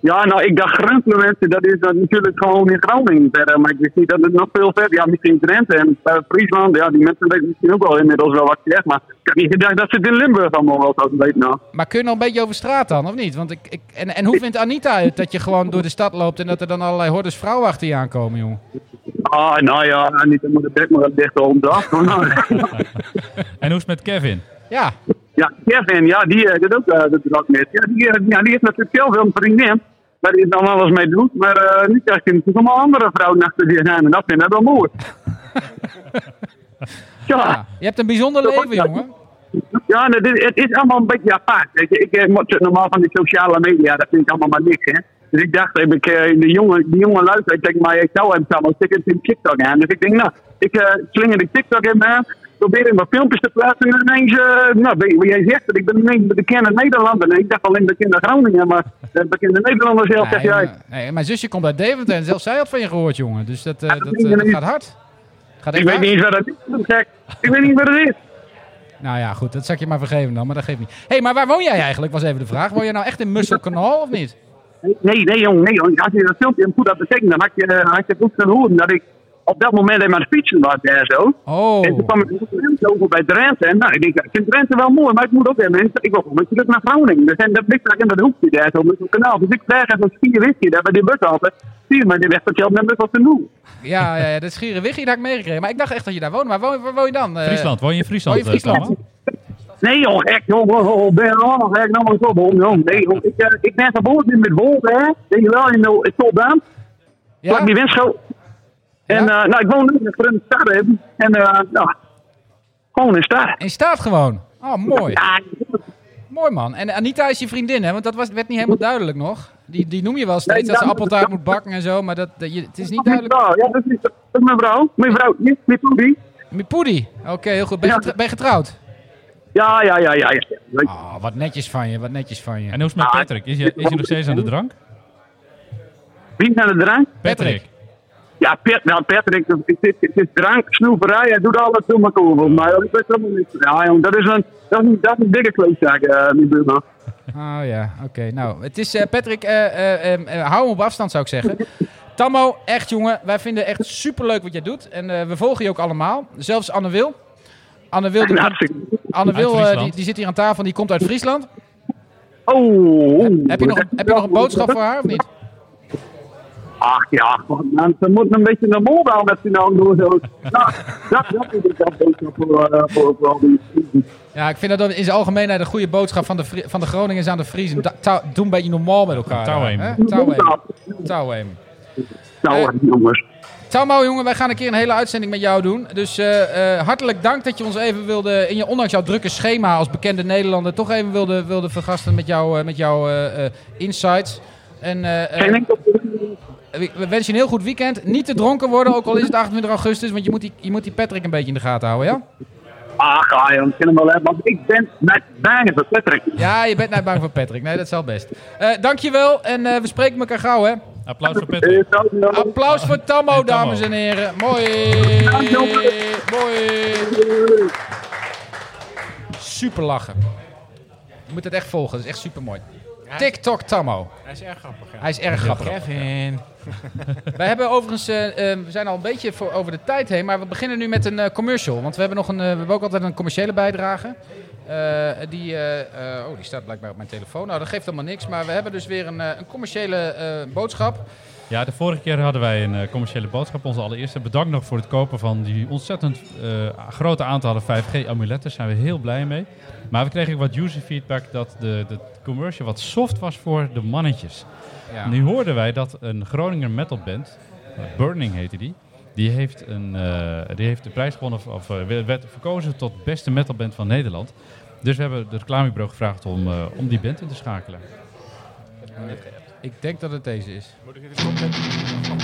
Speaker 11: Ja, nou, ik dacht Grunten, mensen, dat is dan natuurlijk gewoon in Groningen verder. Maar ik wist niet dat het nog veel verder... Ja, misschien Drenthe en eh, Friesland. Ja, die mensen weten misschien ook wel inmiddels wel wat je zegt. Maar ik had niet gedacht dat ze het in Limburg allemaal wel zouden weten, nou.
Speaker 3: Maar kun je nog een beetje over straat dan, of niet? Want ik, ik, en, en hoe vindt Anita het dat je gewoon door de stad loopt en dat er dan allerlei hordes vrouwen achter je aankomen, jongen?
Speaker 11: Ah, nou ja, niet helemaal de bek, maar dat ligt wel om Nou, de achtergrond.
Speaker 4: En hoe is het met Kevin?
Speaker 3: Ja,
Speaker 11: Ja, Kevin, ja, die eh, doet ook eh, dat dat met. Ja, die, eh, ja, die heeft natuurlijk heel veel een vriendin. Waar hij dan alles mee doet. Maar eh, nu krijg je natuurlijk allemaal andere vrouwen achter die naam. En dat vind ik wel mooi. ja,
Speaker 3: je hebt een bijzonder leven, jongen.
Speaker 11: ja. Ja, nou, dit, het is allemaal een beetje apart. Weet je. Ik eh, moet het normaal van die sociale media, dat vind ik allemaal maar niks. Hè. Dus ik dacht, heb ik eh, die jongen, die jongen luistert, ik denk, maar ik zou hem samen stikken in TikTok aan. Dus ik denk, nou, ik eh, slinger de TikTok in me aan, probeer in wat filmpjes te plaatsen en ineens, eh, nou, wie, wie jij zegt, dat ik ben ineens de bekende Nederlander. En ik dacht alleen bekende Groningen, maar de bekende Nederlander zelf, zeg
Speaker 3: Nee,
Speaker 11: jij.
Speaker 3: maar- nee, mijn zusje komt uit Deventer en zelfs zij had van je gehoord, jongen. Dus dat, eh, dat,
Speaker 11: vind ik
Speaker 3: eh, dat
Speaker 11: niet.
Speaker 3: gaat hard. Gaat
Speaker 11: Ik
Speaker 3: echt
Speaker 11: weet niet eens
Speaker 3: hard.
Speaker 11: wat dat is, gek. Ik weet niet wat het is.
Speaker 3: Nou ja, goed, dat zal ik je maar vergeven dan, maar dat geeft niet. Hé, hey, maar waar woon jij eigenlijk, was even de vraag. Woon je nou echt in Musselkanaal of niet?
Speaker 11: Nee, nee, jong, nee, jong. Als je dat filmpje goed had bekeken, dan had je, eh, had je goed kunnen horen dat ik op dat moment in mijn fietsen was en zo.
Speaker 3: Oh.
Speaker 11: En toen kwam ik in Drenthe over bij Drenthe. En nou, ik denk, ik vind Drenthe wel mooi, maar ik moet ook even, ik wil gewoon terug naar Groningen. Dus en dat ligt daar in dat hoekje daar zo met zo'n kanaal. Dus ik krijg even vier whisky daar bij die bus altijd. Zie je maar, die weg tot je op naar Mussel te doen.
Speaker 3: Ja, ja, ja dat schieren wiggie, dat had ik meegekregen. Maar ik dacht echt dat je daar woonde. Maar woon, waar woon je dan? eh?
Speaker 4: Friesland, woon je in Friesland?
Speaker 3: Woon je in
Speaker 4: eh,
Speaker 3: Friesland?
Speaker 11: Nee joh, gek joh, oh, oh, ben je allemaal gek, nou maar zo bom jong. Nee joh, ik, eh, ik ben geboren in met Wolde, hè. Denk je nou, wel, in de in Soldaan.
Speaker 3: Ja.
Speaker 11: Vlak die windschoot. En eh, nou, ik woon nu in een vreemde stad, hè. En eh, nou, gewoon in stad.
Speaker 3: In staat gewoon. Oh, mooi.
Speaker 11: Ja,
Speaker 3: Mooi man. En Anita is je vriendin, hè? Want dat was, werd niet helemaal duidelijk nog. Die, die noem je wel steeds
Speaker 11: Nee,
Speaker 3: dat ze
Speaker 11: ja,
Speaker 3: appeltaart
Speaker 11: dat-
Speaker 3: moet bakken en zo, maar dat, dat je, het is niet
Speaker 11: dat is mijn
Speaker 3: duidelijk.
Speaker 11: vrouw. Ja, dat is, dat is mijn vrouw. Mijn vrouw, niet mijn poedie.
Speaker 3: Mipoedi. Oké, heel goed. Ben, je
Speaker 11: Ja.
Speaker 3: getrou- ben je getrouwd?
Speaker 11: Ja, ja, ja, ja. ja.
Speaker 3: Oh, wat netjes van je, wat netjes van je.
Speaker 4: En hoe is het met Patrick? Is hij is hij nog steeds aan de drank?
Speaker 11: Wie is naar de drank?
Speaker 4: Patrick.
Speaker 11: Ja, Pet, nou, Patrick, het is, het is drank, snoeperij, hij doet alles door elkaar. over. Maar dat is helemaal niks. Ja, jong, dat is een, dat is een, dat is een dikke kleedzaak, eh mijn buurman.
Speaker 3: Oh ja, oké. Nou, het is eh, Patrick, eh, eh, eh, eh, hou hem op afstand zou ik zeggen. Tammo, echt jongen, wij vinden echt superleuk wat jij doet. En eh, we volgen je ook allemaal. Zelfs Anne Wil. Anne Wil,
Speaker 11: Nou,
Speaker 3: die, komt- Anne
Speaker 11: Uit
Speaker 3: Wil eh,
Speaker 11: Friesland.
Speaker 3: die, die zit hier aan tafel en die komt uit Friesland.
Speaker 11: Oh,
Speaker 3: Heb je nog, een- heb je nog een boodschap voor haar of niet?
Speaker 11: Ach ja, man, ze moeten een beetje naar mobile met z'n allen doen. Zo. Nou, dat, dat is het wel beter voor, eh, voor, voor al die
Speaker 3: Ja, ik vind dat dat in zijn algemeenheid een goede boodschap van de, Fri- van de Groningers aan de Friesen. Da- tau- doe een beetje normaal met elkaar.
Speaker 4: Touw heen.
Speaker 3: hè? Touw heen. Touw heen.
Speaker 11: Nou,
Speaker 3: Eh,
Speaker 11: jongens.
Speaker 3: Tammo, jongen, wij gaan een keer een hele uitzending met jou doen. Dus eh, eh, hartelijk dank dat je ons even wilde, in je, ondanks jouw drukke schema als bekende Nederlander, toch even wilde, wilde vergasten met jouw eh, met jouw eh, eh, insights. En eh, eh,
Speaker 11: Geen enkel
Speaker 3: we we wensen je een heel goed weekend. Niet te dronken worden, ook al is het 28 augustus, want je moet die, je moet die Patrick een beetje in de gaten houden, ja?
Speaker 11: Ach, ja, jongens, kunnen Ah, we wel hebben, want ik ben met bijna voor Patrick.
Speaker 3: Ja, je bent net bang voor Patrick. Nee, dat is al best. Eh, dankjewel en eh, we spreken elkaar gauw, hè?
Speaker 4: Applaus voor Patrick.
Speaker 11: Eh, zou je
Speaker 3: Ah,
Speaker 11: nou-
Speaker 3: Applaus voor Tammo, dames en heren. Mooi. Mooi. Super lachen. Je moet het echt volgen, dat is echt super mooi. TikTok Tammo.
Speaker 12: Hij is erg grappig. ja.
Speaker 3: Hij is erg grappig.
Speaker 12: Kevin.
Speaker 3: Wij hebben overigens, eh, eh, we zijn al een beetje voor, over de tijd heen, maar we beginnen nu met een eh, commercial. Want we hebben, nog een, eh, we hebben ook altijd een commerciële bijdrage. Eh, die, eh, eh, oh, die staat blijkbaar op mijn telefoon. Nou, dat geeft helemaal niks. Maar we hebben dus weer een, eh, een commerciële eh, boodschap.
Speaker 4: Ja, de vorige keer hadden wij een eh, commerciële boodschap, onze allereerste. Bedankt nog voor het kopen van die ontzettend eh, grote aantallen 5G-amuletten. Daar zijn we heel blij mee. Maar we kregen ook wat user feedback dat de, de commercial wat soft was voor de mannetjes.
Speaker 3: Ja.
Speaker 4: Nu hoorden wij dat een Groninger metalband, eh, Burning heette die, die heeft, een, eh, die heeft de prijs gewonnen, of, of eh, werd verkozen tot beste metalband van Nederland. Dus we hebben de reclamebureau gevraagd om, eh, om die band in te schakelen.
Speaker 3: Ik denk dat het deze is. Moet ik even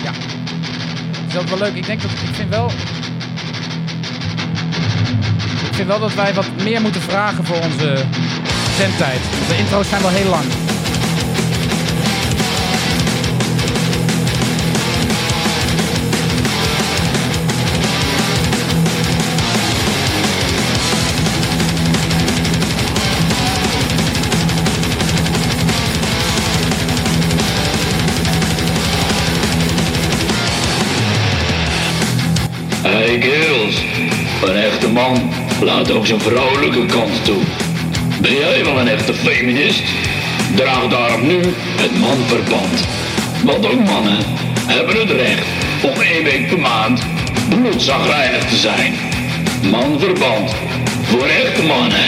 Speaker 3: Ja. Het is ook wel leuk. Ik denk dat ik vind wel. Ik vind wel dat wij wat meer moeten vragen voor onze zendtijd. Want De intro's zijn wel heel lang.
Speaker 13: Hey kerels, een echte man laat ook zijn vrouwelijke kant toe. Ben jij wel een echte feminist? Draag daarom nu het manverband. Want ook mannen hebben het recht om één week per maand bloedzagrijnig te zijn. Manverband voor echte mannen.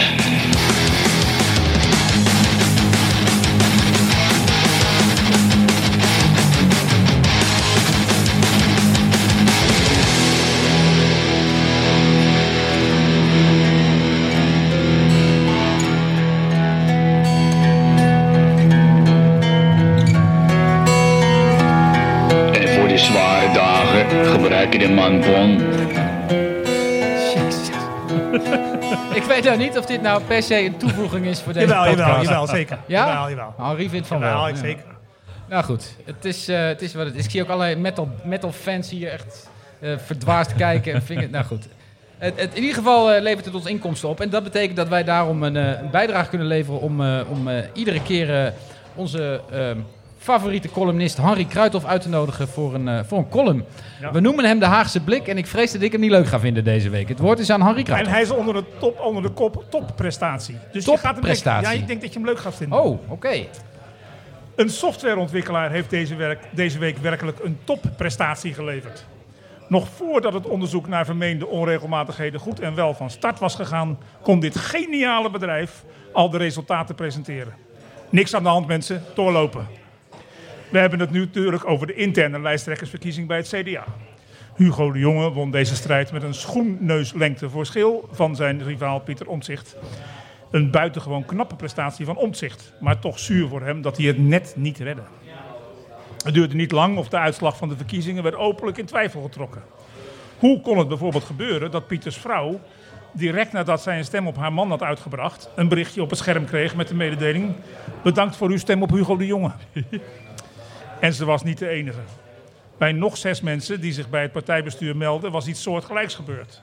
Speaker 14: Thank
Speaker 3: Ik weet nou niet of dit nou per se een toevoeging is voor deze
Speaker 9: Jawel, jawel,
Speaker 3: podcast.
Speaker 9: jawel, zeker.
Speaker 3: Ja?
Speaker 9: Jawel, jawel.
Speaker 3: Henri vindt van
Speaker 9: Jawel,
Speaker 3: wel.
Speaker 9: ik zeker.
Speaker 3: Nou goed, het is, eh, het is wat het is. Ik zie ook allerlei metal, metal fans hier echt eh verdwaasd kijken en vinger. Nou goed. Het, het, in ieder geval eh, levert het ons inkomsten op. En dat betekent dat wij daarom een, eh, een bijdrage kunnen leveren om, eh, om eh, iedere keer eh, onze ehm, favoriete columnist Henri Kruithof uit te nodigen voor een, eh, voor een column. We noemen hem de Haagse Blik en ik vrees dat ik hem niet leuk ga vinden deze week. Het woord is aan Henri
Speaker 9: En
Speaker 3: Kruithof.
Speaker 9: hij is onder de, top, onder de kop topprestatie. Dus je gaat hem echt-
Speaker 3: Topprestatie.
Speaker 9: ja, ik denk dat je hem leuk gaat vinden.
Speaker 3: Oh, oké.
Speaker 9: Een softwareontwikkelaar heeft deze, werk, deze week werkelijk een topprestatie geleverd. Nog voordat het onderzoek naar vermeende onregelmatigheden goed en wel van start was gegaan, kon dit geniale bedrijf al de resultaten presenteren. Niks aan de hand, mensen, doorlopen. We hebben het nu natuurlijk over de interne lijsttrekkersverkiezing bij het CDA. Hugo de Jonge won deze strijd met een schoenneuslengte verschil van zijn rivaal Pieter Omtzigt. Een buitengewoon knappe prestatie van Omtzigt, maar toch zuur voor hem dat hij het net niet redde. Het duurde niet lang of de uitslag van de verkiezingen werd openlijk in twijfel getrokken. Hoe kon het bijvoorbeeld gebeuren dat Pieters vrouw, direct nadat zij een stem op haar man had uitgebracht, een berichtje op het scherm kreeg met de mededeling: Bedankt voor uw stem op Hugo de Jonge. En ze was niet de enige. Bij nog zes mensen die zich bij het partijbestuur melden, was iets soortgelijks gebeurd.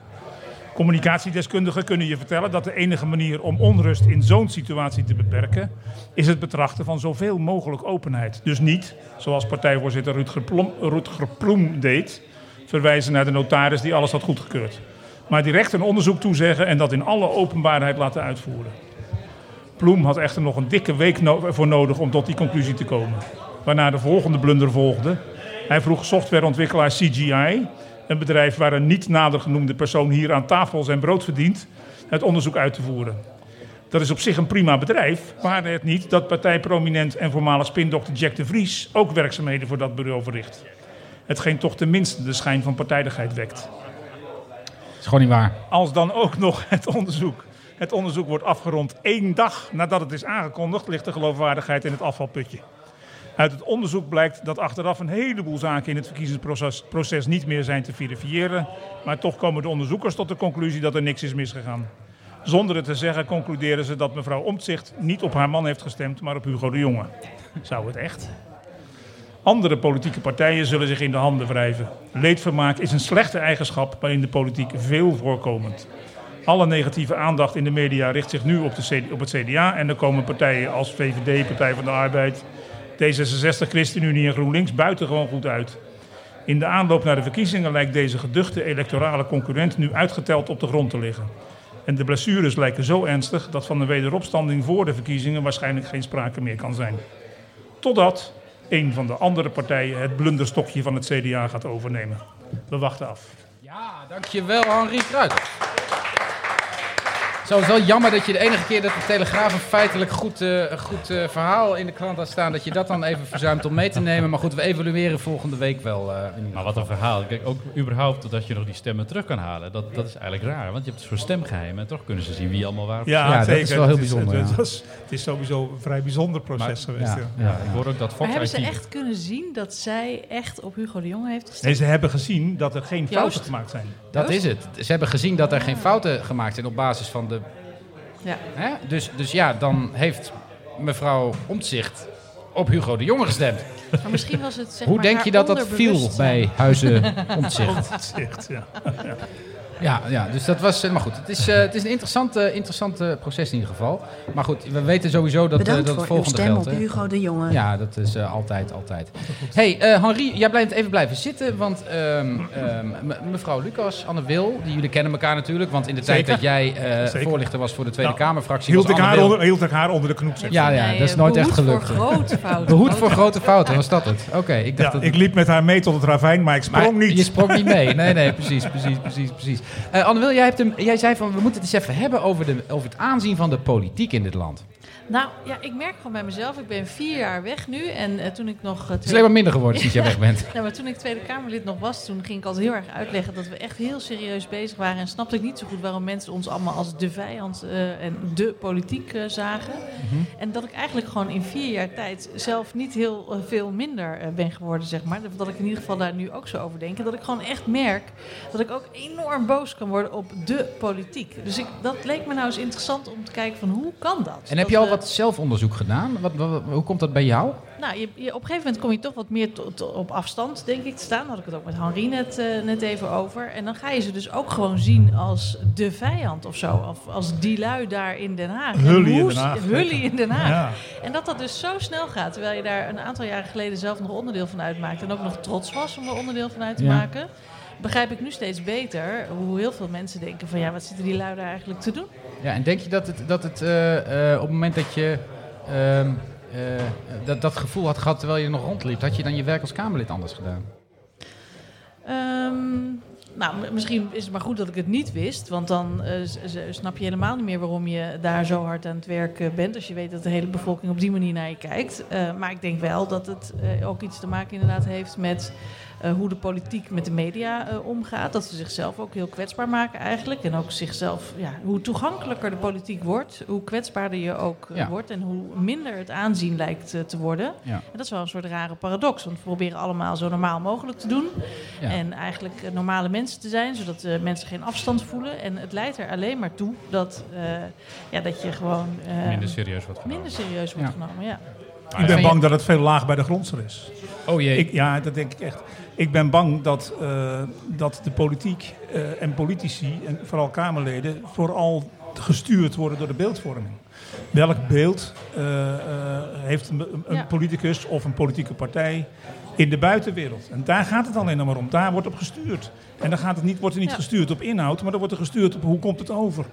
Speaker 9: Communicatiedeskundigen kunnen je vertellen dat de enige manier om onrust in zo'n situatie te beperken, is het betrachten van zoveel mogelijk openheid. Dus niet, zoals partijvoorzitter Rutger Plom- Rutger Ploem deed, verwijzen naar de notaris die alles had goedgekeurd. Maar direct een onderzoek toezeggen en dat in alle openbaarheid laten uitvoeren. Ploem had echter nog een dikke week no- voor nodig om tot die conclusie te komen. Waarna de volgende blunder volgde. Hij vroeg softwareontwikkelaar CGI, een bedrijf waar een niet nader genoemde persoon hier aan tafel zijn brood verdient, het onderzoek uit te voeren. Dat is op zich een prima bedrijf, maar het niet dat partijprominent en voormalig spindokter Jack de Vries ook werkzaamheden voor dat bureau verricht. Hetgeen toch tenminste de schijn van partijdigheid wekt.
Speaker 3: is gewoon niet waar.
Speaker 9: Als dan ook nog het onderzoek. Het onderzoek wordt afgerond één dag nadat het is aangekondigd, ligt de geloofwaardigheid in het afvalputje. Uit het onderzoek blijkt dat achteraf een heleboel zaken in het verkiezingsproces proces niet meer zijn te verifiëren. Maar toch komen de onderzoekers tot de conclusie dat er niks is misgegaan. Zonder het te zeggen concluderen ze dat mevrouw Omtzigt niet op haar man heeft gestemd, maar op Hugo de Jonge. Zou het echt? Andere politieke partijen zullen zich in de handen wrijven. Leedvermaak is een slechte eigenschap, maar in de politiek veel voorkomend. Alle negatieve aandacht in de media richt zich nu op, de CD op het CDA. En er komen partijen als VVD, Partij van de Arbeid, D66, ChristenUnie en GroenLinks buitengewoon goed uit. In de aanloop naar de verkiezingen lijkt deze geduchte electorale concurrent nu uitgeteld op de grond te liggen. En de blessures lijken zo ernstig dat van een wederopstanding voor de verkiezingen waarschijnlijk geen sprake meer kan zijn. Totdat een van de andere partijen het blunderstokje van het CDA gaat overnemen. We wachten af.
Speaker 3: Ja, dankjewel Henri Kruijthof. Zo, het is wel jammer dat je de enige keer dat de Telegraaf een feitelijk goed, eh, goed eh, verhaal in de krant had staan, dat je dat dan even verzuimt om mee te nemen. Maar goed, we evalueren volgende week wel. eh, in ieder
Speaker 4: Maar wat een verhaal. Kijk, ook überhaupt dat je nog die stemmen terug kan halen, dat, dat is eigenlijk raar. Want je hebt een soort stemgeheim en toch kunnen ze zien wie allemaal waar.
Speaker 9: Ja,
Speaker 3: dat
Speaker 9: zeker.
Speaker 3: is wel heel
Speaker 9: Het
Speaker 3: bijzonder,
Speaker 9: Het,
Speaker 3: ja.
Speaker 9: was- het is sowieso een vrij bijzonder proces
Speaker 4: Maar-
Speaker 9: geweest.
Speaker 4: ja,
Speaker 9: Ja.
Speaker 4: ja, ik hoor ook dat
Speaker 6: Maar
Speaker 4: Fox
Speaker 6: hebben ze
Speaker 4: IT
Speaker 6: echt kunnen zien dat zij echt op Hugo de Jonge heeft gestemd?
Speaker 9: Nee, ze hebben gezien dat er geen fouten
Speaker 6: Joost?
Speaker 9: gemaakt zijn.
Speaker 3: Dat is het. Ze hebben gezien dat er geen fouten gemaakt zijn op basis van de.
Speaker 6: Ja.
Speaker 3: Hè? Dus, dus ja, dan heeft mevrouw Omtzigt op Hugo de Jonge gestemd.
Speaker 6: Maar misschien was het zeg
Speaker 3: Hoe
Speaker 6: maar
Speaker 3: denk
Speaker 6: haar
Speaker 3: je dat dat viel
Speaker 6: onderbewustzijn.
Speaker 3: bij Huizen Omtzigt?
Speaker 9: Omtzigt, ja.
Speaker 3: Ja, ja, dus dat was. eh, Maar goed, het is, eh, het is een interessant, eh, interessant eh, proces in ieder geval. Maar goed, we weten sowieso dat, eh,
Speaker 5: Bedankt
Speaker 3: dat
Speaker 5: voor
Speaker 3: het
Speaker 5: uw
Speaker 3: volgende
Speaker 5: stem
Speaker 3: geldt.
Speaker 5: op
Speaker 3: hè.
Speaker 5: Hugo de Jonge.
Speaker 3: Ja, dat is eh, altijd, altijd. hey, eh, Henri, jij blijft even blijven zitten, want ehm, ehm, me- mevrouw Lucas, Anne Wil, die jullie kennen elkaar natuurlijk, want in de tijd
Speaker 9: Zeker.
Speaker 3: dat jij eh,
Speaker 9: Zeker.
Speaker 3: voorlichter was voor de Tweede
Speaker 9: Nou,
Speaker 3: Kamerfractie,
Speaker 9: Hield
Speaker 3: was
Speaker 9: ik,
Speaker 3: Anne
Speaker 9: haar
Speaker 3: Wil-
Speaker 9: onder, hield ik haar onder de knoep, zeg.
Speaker 3: Ja, ja,
Speaker 6: Nee,
Speaker 3: dat is
Speaker 6: eh,
Speaker 3: nooit echt
Speaker 6: behoed
Speaker 3: gelukt.
Speaker 6: voor grote fouten.
Speaker 3: Behoed voor grote fouten, was dat het? Oké, ik dacht
Speaker 9: Ja,
Speaker 3: dat
Speaker 9: ik liep met haar mee tot het ravijn, maar ik sprong
Speaker 3: maar
Speaker 9: niet.
Speaker 3: Je sprong niet mee. Nee, nee, precies, precies, precies, precies. Eh Anne Wil, jij, hebt hem, jij zei van we moeten het eens even hebben over, de, over het aanzien van de politiek in dit land.
Speaker 6: Nou, ja, ik merk gewoon bij mezelf. Ik ben vier jaar weg nu. En eh, toen ik nog... eh,
Speaker 3: Het is alleen maar minder geworden sinds jij weg bent.
Speaker 6: Nou, maar toen ik Tweede Kamerlid nog was, toen ging ik altijd heel erg uitleggen dat we echt heel serieus bezig waren. En snapte ik niet zo goed waarom mensen ons allemaal als de vijand eh, en de politiek eh, zagen.
Speaker 3: Mhm.
Speaker 6: En dat ik eigenlijk gewoon in vier jaar tijd zelf niet heel eh, veel minder eh, ben geworden, zeg maar. Dat ik in ieder geval daar nu ook zo over denk. En dat ik gewoon echt merk dat ik ook enorm boos kan worden op de politiek. Dus ik, dat leek me nou eens interessant om te kijken van hoe kan dat?
Speaker 3: En heb je al wat zelfonderzoek gedaan? Wat, wat- hoe komt dat bij jou?
Speaker 6: Nou, je, je- op een gegeven moment kom je toch wat meer tot- tot op afstand, denk ik, te staan. Daar had ik het ook met Henri net, eh, net even over. En dan ga je ze dus ook gewoon zien als de vijand of zo. Of als die lui daar in Den Haag. En
Speaker 9: Hullie in
Speaker 6: hoe
Speaker 9: Den
Speaker 6: ze-
Speaker 9: Haag,
Speaker 6: Hullie
Speaker 9: zeker.
Speaker 6: in Den Haag.
Speaker 9: Ja.
Speaker 6: En dat dat dus zo snel gaat, terwijl je daar een aantal jaren geleden zelf nog onderdeel van uitmaakt. En ook nog trots was om er onderdeel van uit te
Speaker 3: Ja.
Speaker 6: maken. Begrijp ik nu steeds beter hoe heel veel mensen denken van ja, wat zitten die lui daar eigenlijk te doen?
Speaker 3: Ja, en denk je dat het, dat het eh, eh, op het moment dat je ehm, eh, dat, dat gevoel had gehad terwijl je nog rondliep, had je dan je werk als Kamerlid anders gedaan?
Speaker 6: Ehm, nou, m- misschien is het maar goed dat ik het niet wist. Want dan eh, s- s- snap je helemaal niet meer waarom je daar zo hard aan het werken bent. Als je weet dat de hele bevolking op die manier naar je kijkt. Eh, maar ik denk wel dat het eh, ook iets te maken inderdaad heeft met eh, hoe de politiek met de media eh, omgaat. Dat ze zichzelf ook heel kwetsbaar maken eigenlijk. En ook zichzelf, ja, hoe toegankelijker de politiek wordt, hoe kwetsbaarder je ook eh,
Speaker 3: Ja.
Speaker 6: wordt. En hoe minder het aanzien lijkt eh, te worden.
Speaker 3: Ja.
Speaker 6: En dat is wel een soort rare paradox. Want we proberen allemaal zo normaal mogelijk te doen.
Speaker 3: Ja.
Speaker 6: En eigenlijk eh, normale mensen te zijn, zodat eh, mensen geen afstand voelen. En het leidt er alleen maar toe dat, eh, ja, dat je gewoon. eh,
Speaker 4: Minder serieus wordt genomen.
Speaker 6: Minder serieus
Speaker 4: Ja.
Speaker 6: wordt genomen, ja.
Speaker 9: Ik ben bang dat het veel laag bij de grondslag is.
Speaker 3: Oh jee.
Speaker 9: Ik, ja, dat denk ik echt. Ik ben bang dat, eh, dat de politiek eh, en politici, en vooral Kamerleden, vooral gestuurd worden door de beeldvorming. Welk beeld eh, eh, heeft een, een
Speaker 6: Ja.
Speaker 9: politicus of een politieke partij in de buitenwereld? En daar gaat het alleen nog maar om. Daar wordt op gestuurd. En dan gaat het niet, wordt er niet
Speaker 6: Ja.
Speaker 9: gestuurd op inhoud, maar er wordt er gestuurd op hoe komt het over.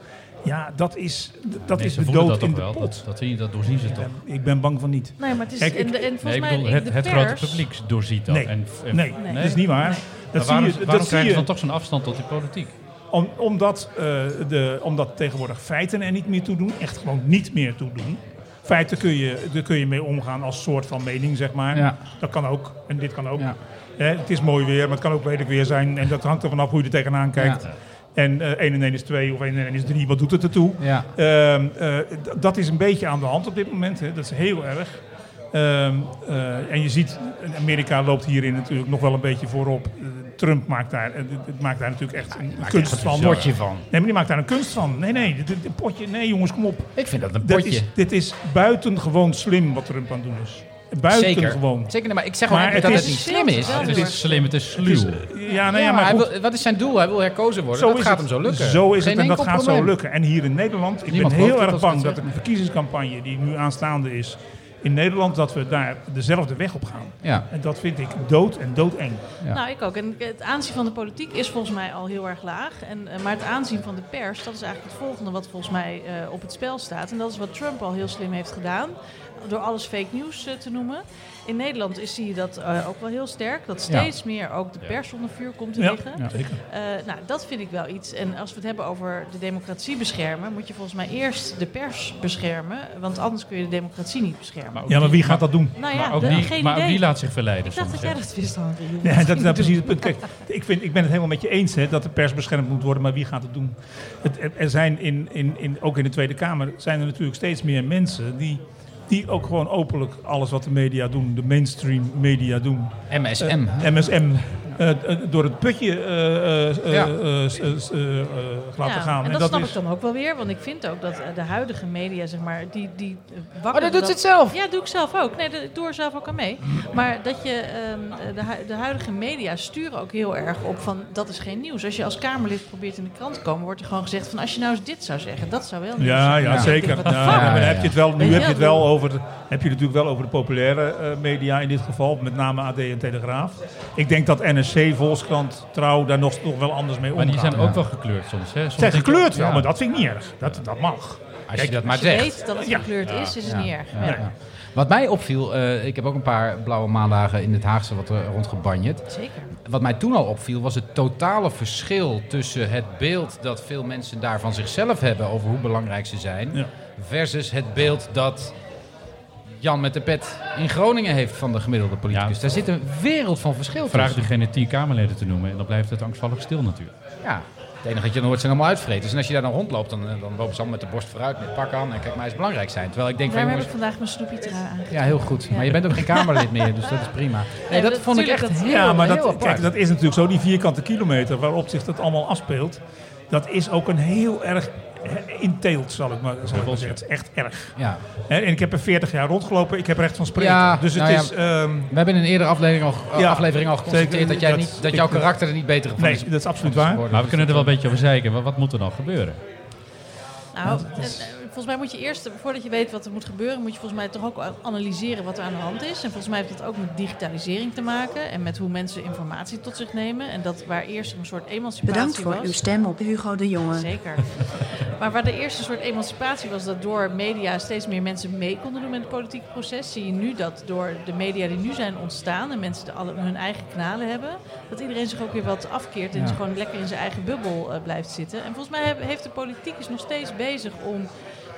Speaker 9: Ja, dat is, dat
Speaker 4: Nee,
Speaker 9: is
Speaker 4: ze
Speaker 9: de
Speaker 4: voelen
Speaker 9: dood
Speaker 4: dat toch
Speaker 9: in de
Speaker 4: wel.
Speaker 9: pot.
Speaker 4: Dat, dat, zie je, dat doorzien ze toch.
Speaker 9: Ik ben bang van niet.
Speaker 6: Nee, maar het is-
Speaker 9: Kijk,
Speaker 6: en,
Speaker 9: ik-
Speaker 6: de- en volgens
Speaker 4: Nee, ik
Speaker 6: mij.
Speaker 4: bedoel, het,
Speaker 6: de
Speaker 4: het
Speaker 6: pers,
Speaker 4: grote publiek doorziet dat.
Speaker 9: Nee,
Speaker 4: en, en-
Speaker 9: nee, dat is niet waar.
Speaker 4: Maar
Speaker 9: Dat zie
Speaker 4: waarom
Speaker 9: je,
Speaker 4: waarom
Speaker 9: dat zie
Speaker 4: krijgen
Speaker 9: je
Speaker 4: ze dan toch zo'n afstand tot die politiek?
Speaker 9: om, omdat, eh, de, omdat tegenwoordig feiten er niet meer toe doen. Echt gewoon niet meer toe doen. Feiten kun je, daar kun je mee omgaan als soort van mening, zeg maar.
Speaker 3: Ja.
Speaker 9: Dat kan ook. En dit kan ook.
Speaker 3: Ja.
Speaker 9: Hè, het is mooi weer, maar het kan ook lelijk weer zijn. En dat hangt er vanaf hoe je er tegenaan kijkt.
Speaker 3: Ja.
Speaker 9: En eh 1 en 1 is 2 of 1 en 1 is 3. Wat doet het ertoe?
Speaker 3: Ja.
Speaker 9: Ehm, eh, d- dat is een beetje aan de hand op dit moment. Hè. Dat is heel erg. Ehm, eh, en je ziet, Amerika loopt hierin natuurlijk nog wel een beetje voorop. Eh, Trump maakt daar, eh, d- d- maakt daar natuurlijk echt een
Speaker 3: maakt
Speaker 9: kunst
Speaker 3: echt
Speaker 9: van.
Speaker 3: een potje van.
Speaker 9: Nee, maar die maakt daar een kunst van. Nee, nee, dit- dit- een potje. Nee, jongens, kom op.
Speaker 3: Ik vind dat een
Speaker 9: Dit
Speaker 3: potje.
Speaker 9: is, dit is buitengewoon slim wat Trump aan het doen is. Buitengewoon.
Speaker 3: Zeker, Zeker, nee, maar ik zeg gewoon
Speaker 9: Maar
Speaker 3: niet dat
Speaker 9: het
Speaker 3: het
Speaker 9: is-
Speaker 3: niet slim is.
Speaker 9: Het is
Speaker 4: slim, het is sluw.
Speaker 9: Ja, nou ja, maar
Speaker 3: hij
Speaker 9: goed.
Speaker 3: wil- wat is zijn doel? Hij wil herkozen worden. dat
Speaker 9: is
Speaker 3: gaat
Speaker 9: het.
Speaker 3: hem zo lukken.
Speaker 9: Zo is
Speaker 3: Geen
Speaker 9: het en dat
Speaker 3: enkel
Speaker 9: gaat zo
Speaker 3: probleem.
Speaker 9: lukken. En hier in Nederland, ik
Speaker 3: Niemand
Speaker 9: ben heel
Speaker 3: gelooft het
Speaker 9: erg
Speaker 3: als ik
Speaker 9: bang
Speaker 3: het
Speaker 9: dat de verkiezingscampagne die nu aanstaande is in Nederland, dat we daar dezelfde weg op gaan.
Speaker 3: Ja.
Speaker 9: En dat vind ik dood en doodeng.
Speaker 6: Nou, ik ook. En het aanzien van de politiek is volgens mij al heel erg laag. En, eh, maar het aanzien van de pers, dat is eigenlijk het volgende wat volgens mij eh, op het spel staat. En dat is wat Trump al heel slim heeft gedaan. Door alles fake news eh, te noemen. In Nederland is, zie je dat eh, ook wel heel sterk. Dat
Speaker 14: Ja.
Speaker 6: steeds meer ook de pers onder vuur komt te
Speaker 14: Ja,
Speaker 6: liggen.
Speaker 14: ja, zeker.
Speaker 6: Eh, nou, dat vind ik wel iets. En als we het hebben over de democratie beschermen, moet je volgens mij eerst de pers beschermen. Want anders kun je de democratie niet beschermen.
Speaker 9: ook Ja, maar wie die- gaat dat doen?
Speaker 6: Nou ja,
Speaker 4: maar ook
Speaker 6: de-
Speaker 4: die,
Speaker 6: geen
Speaker 4: maar ook
Speaker 6: idee.
Speaker 4: die laat zich verleiden.
Speaker 6: Ik dacht dat
Speaker 4: soms,
Speaker 6: jij
Speaker 4: hè.
Speaker 6: dat wist, Henri.
Speaker 9: Ja, dat is nou precies het punt. Kijk, ik, vind, ik ben het helemaal met je eens hè, dat de pers beschermd moet worden, maar wie gaat het doen? Het, er- er zijn in, in, in, ook in de Tweede Kamer zijn er natuurlijk steeds meer mensen die, die ook gewoon openlijk alles wat de media doen, de mainstream media doen.
Speaker 3: MSM.
Speaker 9: eh, MSM. eh, eh, door het putje eh, eh, eh,
Speaker 3: Ja.
Speaker 9: eh, eh, eh, eh, laten
Speaker 6: Ja,
Speaker 9: gaan.
Speaker 6: En dat, snap
Speaker 9: is-
Speaker 6: ik dan ook wel weer, want ik vind ook dat eh, de huidige media, zeg maar, die, die eh, wakker...
Speaker 3: Oh, dat doet ze het zelf?
Speaker 6: Ja, doe ik zelf ook. Nee, dat, ik doe er zelf ook aan mee. Maar dat je, ehm, de, hu- de huidige media sturen ook heel erg op van, dat is geen nieuws. Als je als Kamerlid probeert in de krant te komen, wordt er gewoon gezegd van, als je nou eens dit zou zeggen, dat zou wel nieuws
Speaker 9: Ja,
Speaker 6: zijn.
Speaker 9: ja,
Speaker 6: Nou, ik
Speaker 9: zeker.
Speaker 6: denk,
Speaker 9: Ja,
Speaker 6: what the fuck?
Speaker 9: maar dan heb je het wel, nu
Speaker 6: Weet
Speaker 9: heb je het wel
Speaker 6: ik bedoel,
Speaker 9: over, de- heb je het natuurlijk wel over de populaire eh, media in dit geval, met name AD en Telegraaf. Ik denk dat NSC, Volkskrant, Trouw daar nog, nog wel anders mee
Speaker 4: Maar
Speaker 9: omgaan.
Speaker 4: die zijn ook wel gekleurd soms. Hè? Soms
Speaker 9: Zijn
Speaker 4: denk je-
Speaker 9: gekleurd wel,
Speaker 4: ja.
Speaker 9: maar dat vind ik niet erg. Dat, dat mag.
Speaker 4: Als je dat maar
Speaker 6: Als je weet dat het gekleurd is, is het niet erg. Ja.
Speaker 4: Maar
Speaker 3: Wat mij opviel, eh, ik heb ook een paar blauwe maandagen in het Haagse wat eh, rondgebanjerd.
Speaker 6: Zeker.
Speaker 3: Wat mij toen al opviel was het totale verschil tussen het beeld dat veel mensen daar van zichzelf hebben over hoe belangrijk ze zijn, versus het beeld dat Jan met de pet in Groningen heeft van de gemiddelde politicus. daar zit een wereld van verschil
Speaker 4: Vraag
Speaker 3: tussen.
Speaker 4: degene tien Kamerleden te noemen en dan blijft het angstvallig stil natuurlijk.
Speaker 3: Ja. Het enige dat je dan hoort zijn allemaal uitvreters. En als je daar dan rondloopt, dan, eh, dan lopen ze allemaal met de borst vooruit, met pak aan. En kijk, mij is belangrijk zijn. Terwijl ik denk van,
Speaker 6: Daarom heb
Speaker 3: jongens,
Speaker 6: ik vandaag mijn snoepje trui aangedaan.
Speaker 3: ja, heel goed. Maar je bent ook geen Kamerlid meer, dus dat is prima. Nee, dat
Speaker 6: dat-
Speaker 3: vond ik echt
Speaker 6: tuurlijk, dat-
Speaker 3: heel,
Speaker 9: Ja, maar
Speaker 3: heel
Speaker 9: dat,
Speaker 3: apart.
Speaker 9: kijk, dat is natuurlijk zo. Die vierkante kilometer waarop zich dat allemaal afspeelt, dat is ook een heel erg eh, inteelt, zal ik maar, zal ik maar zeggen. Het is echt erg.
Speaker 3: Ja.
Speaker 9: Hè, En ik heb er 40 jaar rondgelopen, ik heb recht van spreken.
Speaker 3: Ja,
Speaker 9: dus het
Speaker 3: nou ja,
Speaker 9: is... ehm,
Speaker 3: We hebben in een eerdere aflevering al, eh,
Speaker 9: Ja,
Speaker 3: aflevering al geconstateerd
Speaker 9: zeker.
Speaker 3: dat, jij
Speaker 9: Dat-
Speaker 3: niet, dat
Speaker 9: ik-
Speaker 3: jouw karakter er niet beter van
Speaker 9: Nee,
Speaker 3: is.
Speaker 9: dat is absoluut waar.
Speaker 3: geworden.
Speaker 4: Maar we kunnen er wel een beetje over zeiken. Wat, wat moet er dan gebeuren?
Speaker 6: Nou, eh, eh, volgens mij moet je eerst, voordat je weet wat er moet gebeuren, moet je volgens mij toch ook analyseren wat er aan de hand is. En volgens mij heeft dat ook met digitalisering te maken en met hoe mensen informatie tot zich nemen. En dat waar eerst een soort emancipatie
Speaker 5: Bedankt voor
Speaker 6: was.
Speaker 5: uw stem op Hugo de Jonge.
Speaker 6: Zeker. Maar waar de eerste soort emancipatie was dat door media steeds meer mensen mee konden doen met het politieke proces, zie je nu dat door de media die nu zijn ontstaan en mensen de alle, hun eigen kanalen hebben, dat iedereen zich ook weer wat afkeert en dus
Speaker 15: Ja.
Speaker 6: gewoon lekker in zijn eigen bubbel eh, blijft zitten. En volgens mij heb- heeft de politiek is nog steeds bezig om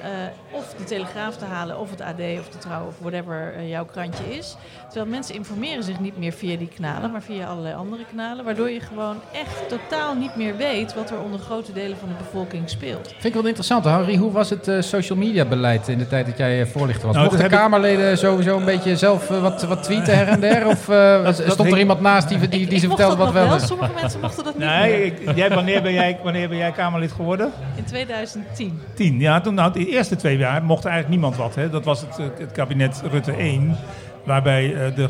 Speaker 6: eh, of de Telegraaf te halen, of het AD, of de Trouw, of whatever eh, jouw krantje is. Terwijl mensen informeren zich niet meer via die kanalen, maar via allerlei andere kanalen. Waardoor je gewoon echt totaal niet meer weet wat er onder grote delen van de bevolking speelt.
Speaker 3: Vind ik wel interessant. Harry, hoe was het eh, social media beleid in de tijd dat jij eh, voorlichter was?
Speaker 9: Nou,
Speaker 3: Mochten
Speaker 9: dat heb ik-
Speaker 3: Kamerleden sowieso een beetje zelf eh, wat, wat tweeten her en der? Of eh,
Speaker 9: Dat-
Speaker 3: stond
Speaker 9: dat
Speaker 3: er
Speaker 9: hing-
Speaker 3: iemand naast die, die, die ze
Speaker 6: mocht
Speaker 3: vertelde
Speaker 6: dat
Speaker 3: wat
Speaker 6: nog
Speaker 3: wel
Speaker 6: wel,
Speaker 3: is?
Speaker 6: sommige mensen mochten dat niet
Speaker 9: nee,
Speaker 6: meer.
Speaker 9: ik- jij, wanneer, ben jij, wanneer ben jij Kamerlid geworden?
Speaker 6: In 2010.
Speaker 9: Tien. Ja, toen, nou, de eerste twee jaar mocht eigenlijk niemand wat. Hè. Dat was het, eh, het kabinet Rutte 1, waarbij eh, de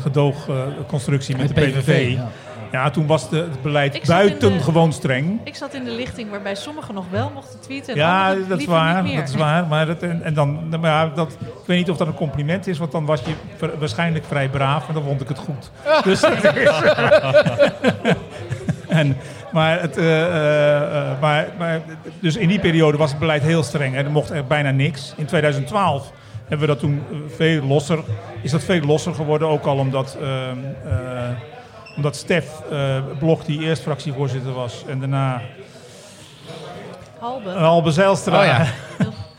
Speaker 9: gedoogconstructie met de
Speaker 3: Met
Speaker 9: PVV.
Speaker 3: PVV, ja.
Speaker 9: ja. toen was de, het
Speaker 6: Ik
Speaker 9: beleid
Speaker 6: zat in de-
Speaker 9: buitengewoon streng.
Speaker 6: Ik zat in de lichting waarbij sommigen nog wel mochten tweeten en
Speaker 9: Ja,
Speaker 6: anderen
Speaker 9: dat is
Speaker 6: liever
Speaker 9: waar.
Speaker 6: niet meer.
Speaker 9: Dat is waar. Maar dat, en, en dan, nou, maar ja, dat, ik weet niet of dat een compliment is, want dan was je ver- waarschijnlijk vrij braaf en dan vond ik het goed. Dus dat is. en, maar, het, eh, eh, eh, maar, maar dus in die periode was het beleid heel streng en er mocht er bijna niks. In 2012 hebben we dat toen eh, veel losser, is dat veel losser geworden, ook al omdat. ehm, eh, omdat Stef eh, Blok, die eerst fractievoorzitter was en daarna
Speaker 6: Halbe. Oh
Speaker 9: Albe Zijlstra.
Speaker 3: Oh ja.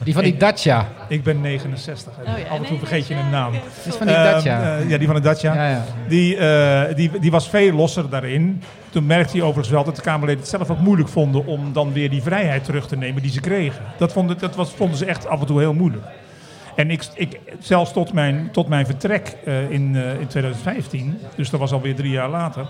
Speaker 3: Die van die Dacia.
Speaker 9: Ik ben 69. hè.
Speaker 6: Oh ja,
Speaker 9: Af en
Speaker 6: nee,
Speaker 9: toe vergeet je een naam.
Speaker 3: is van die
Speaker 9: Ehm,
Speaker 3: Dacia.
Speaker 9: eh, ja, die van de Dacia.
Speaker 3: Ja, ja.
Speaker 9: Die, eh, die, die was veel losser daarin. Toen merkte hij overigens wel dat de Kamerleden het zelf ook moeilijk vonden om dan weer die vrijheid terug te nemen die ze kregen. Dat vonden, dat was, vonden ze echt af en toe heel moeilijk. En ik, ik, zelfs tot mijn, tot mijn vertrek eh, in, eh, in 2015, dus dat was alweer drie jaar later,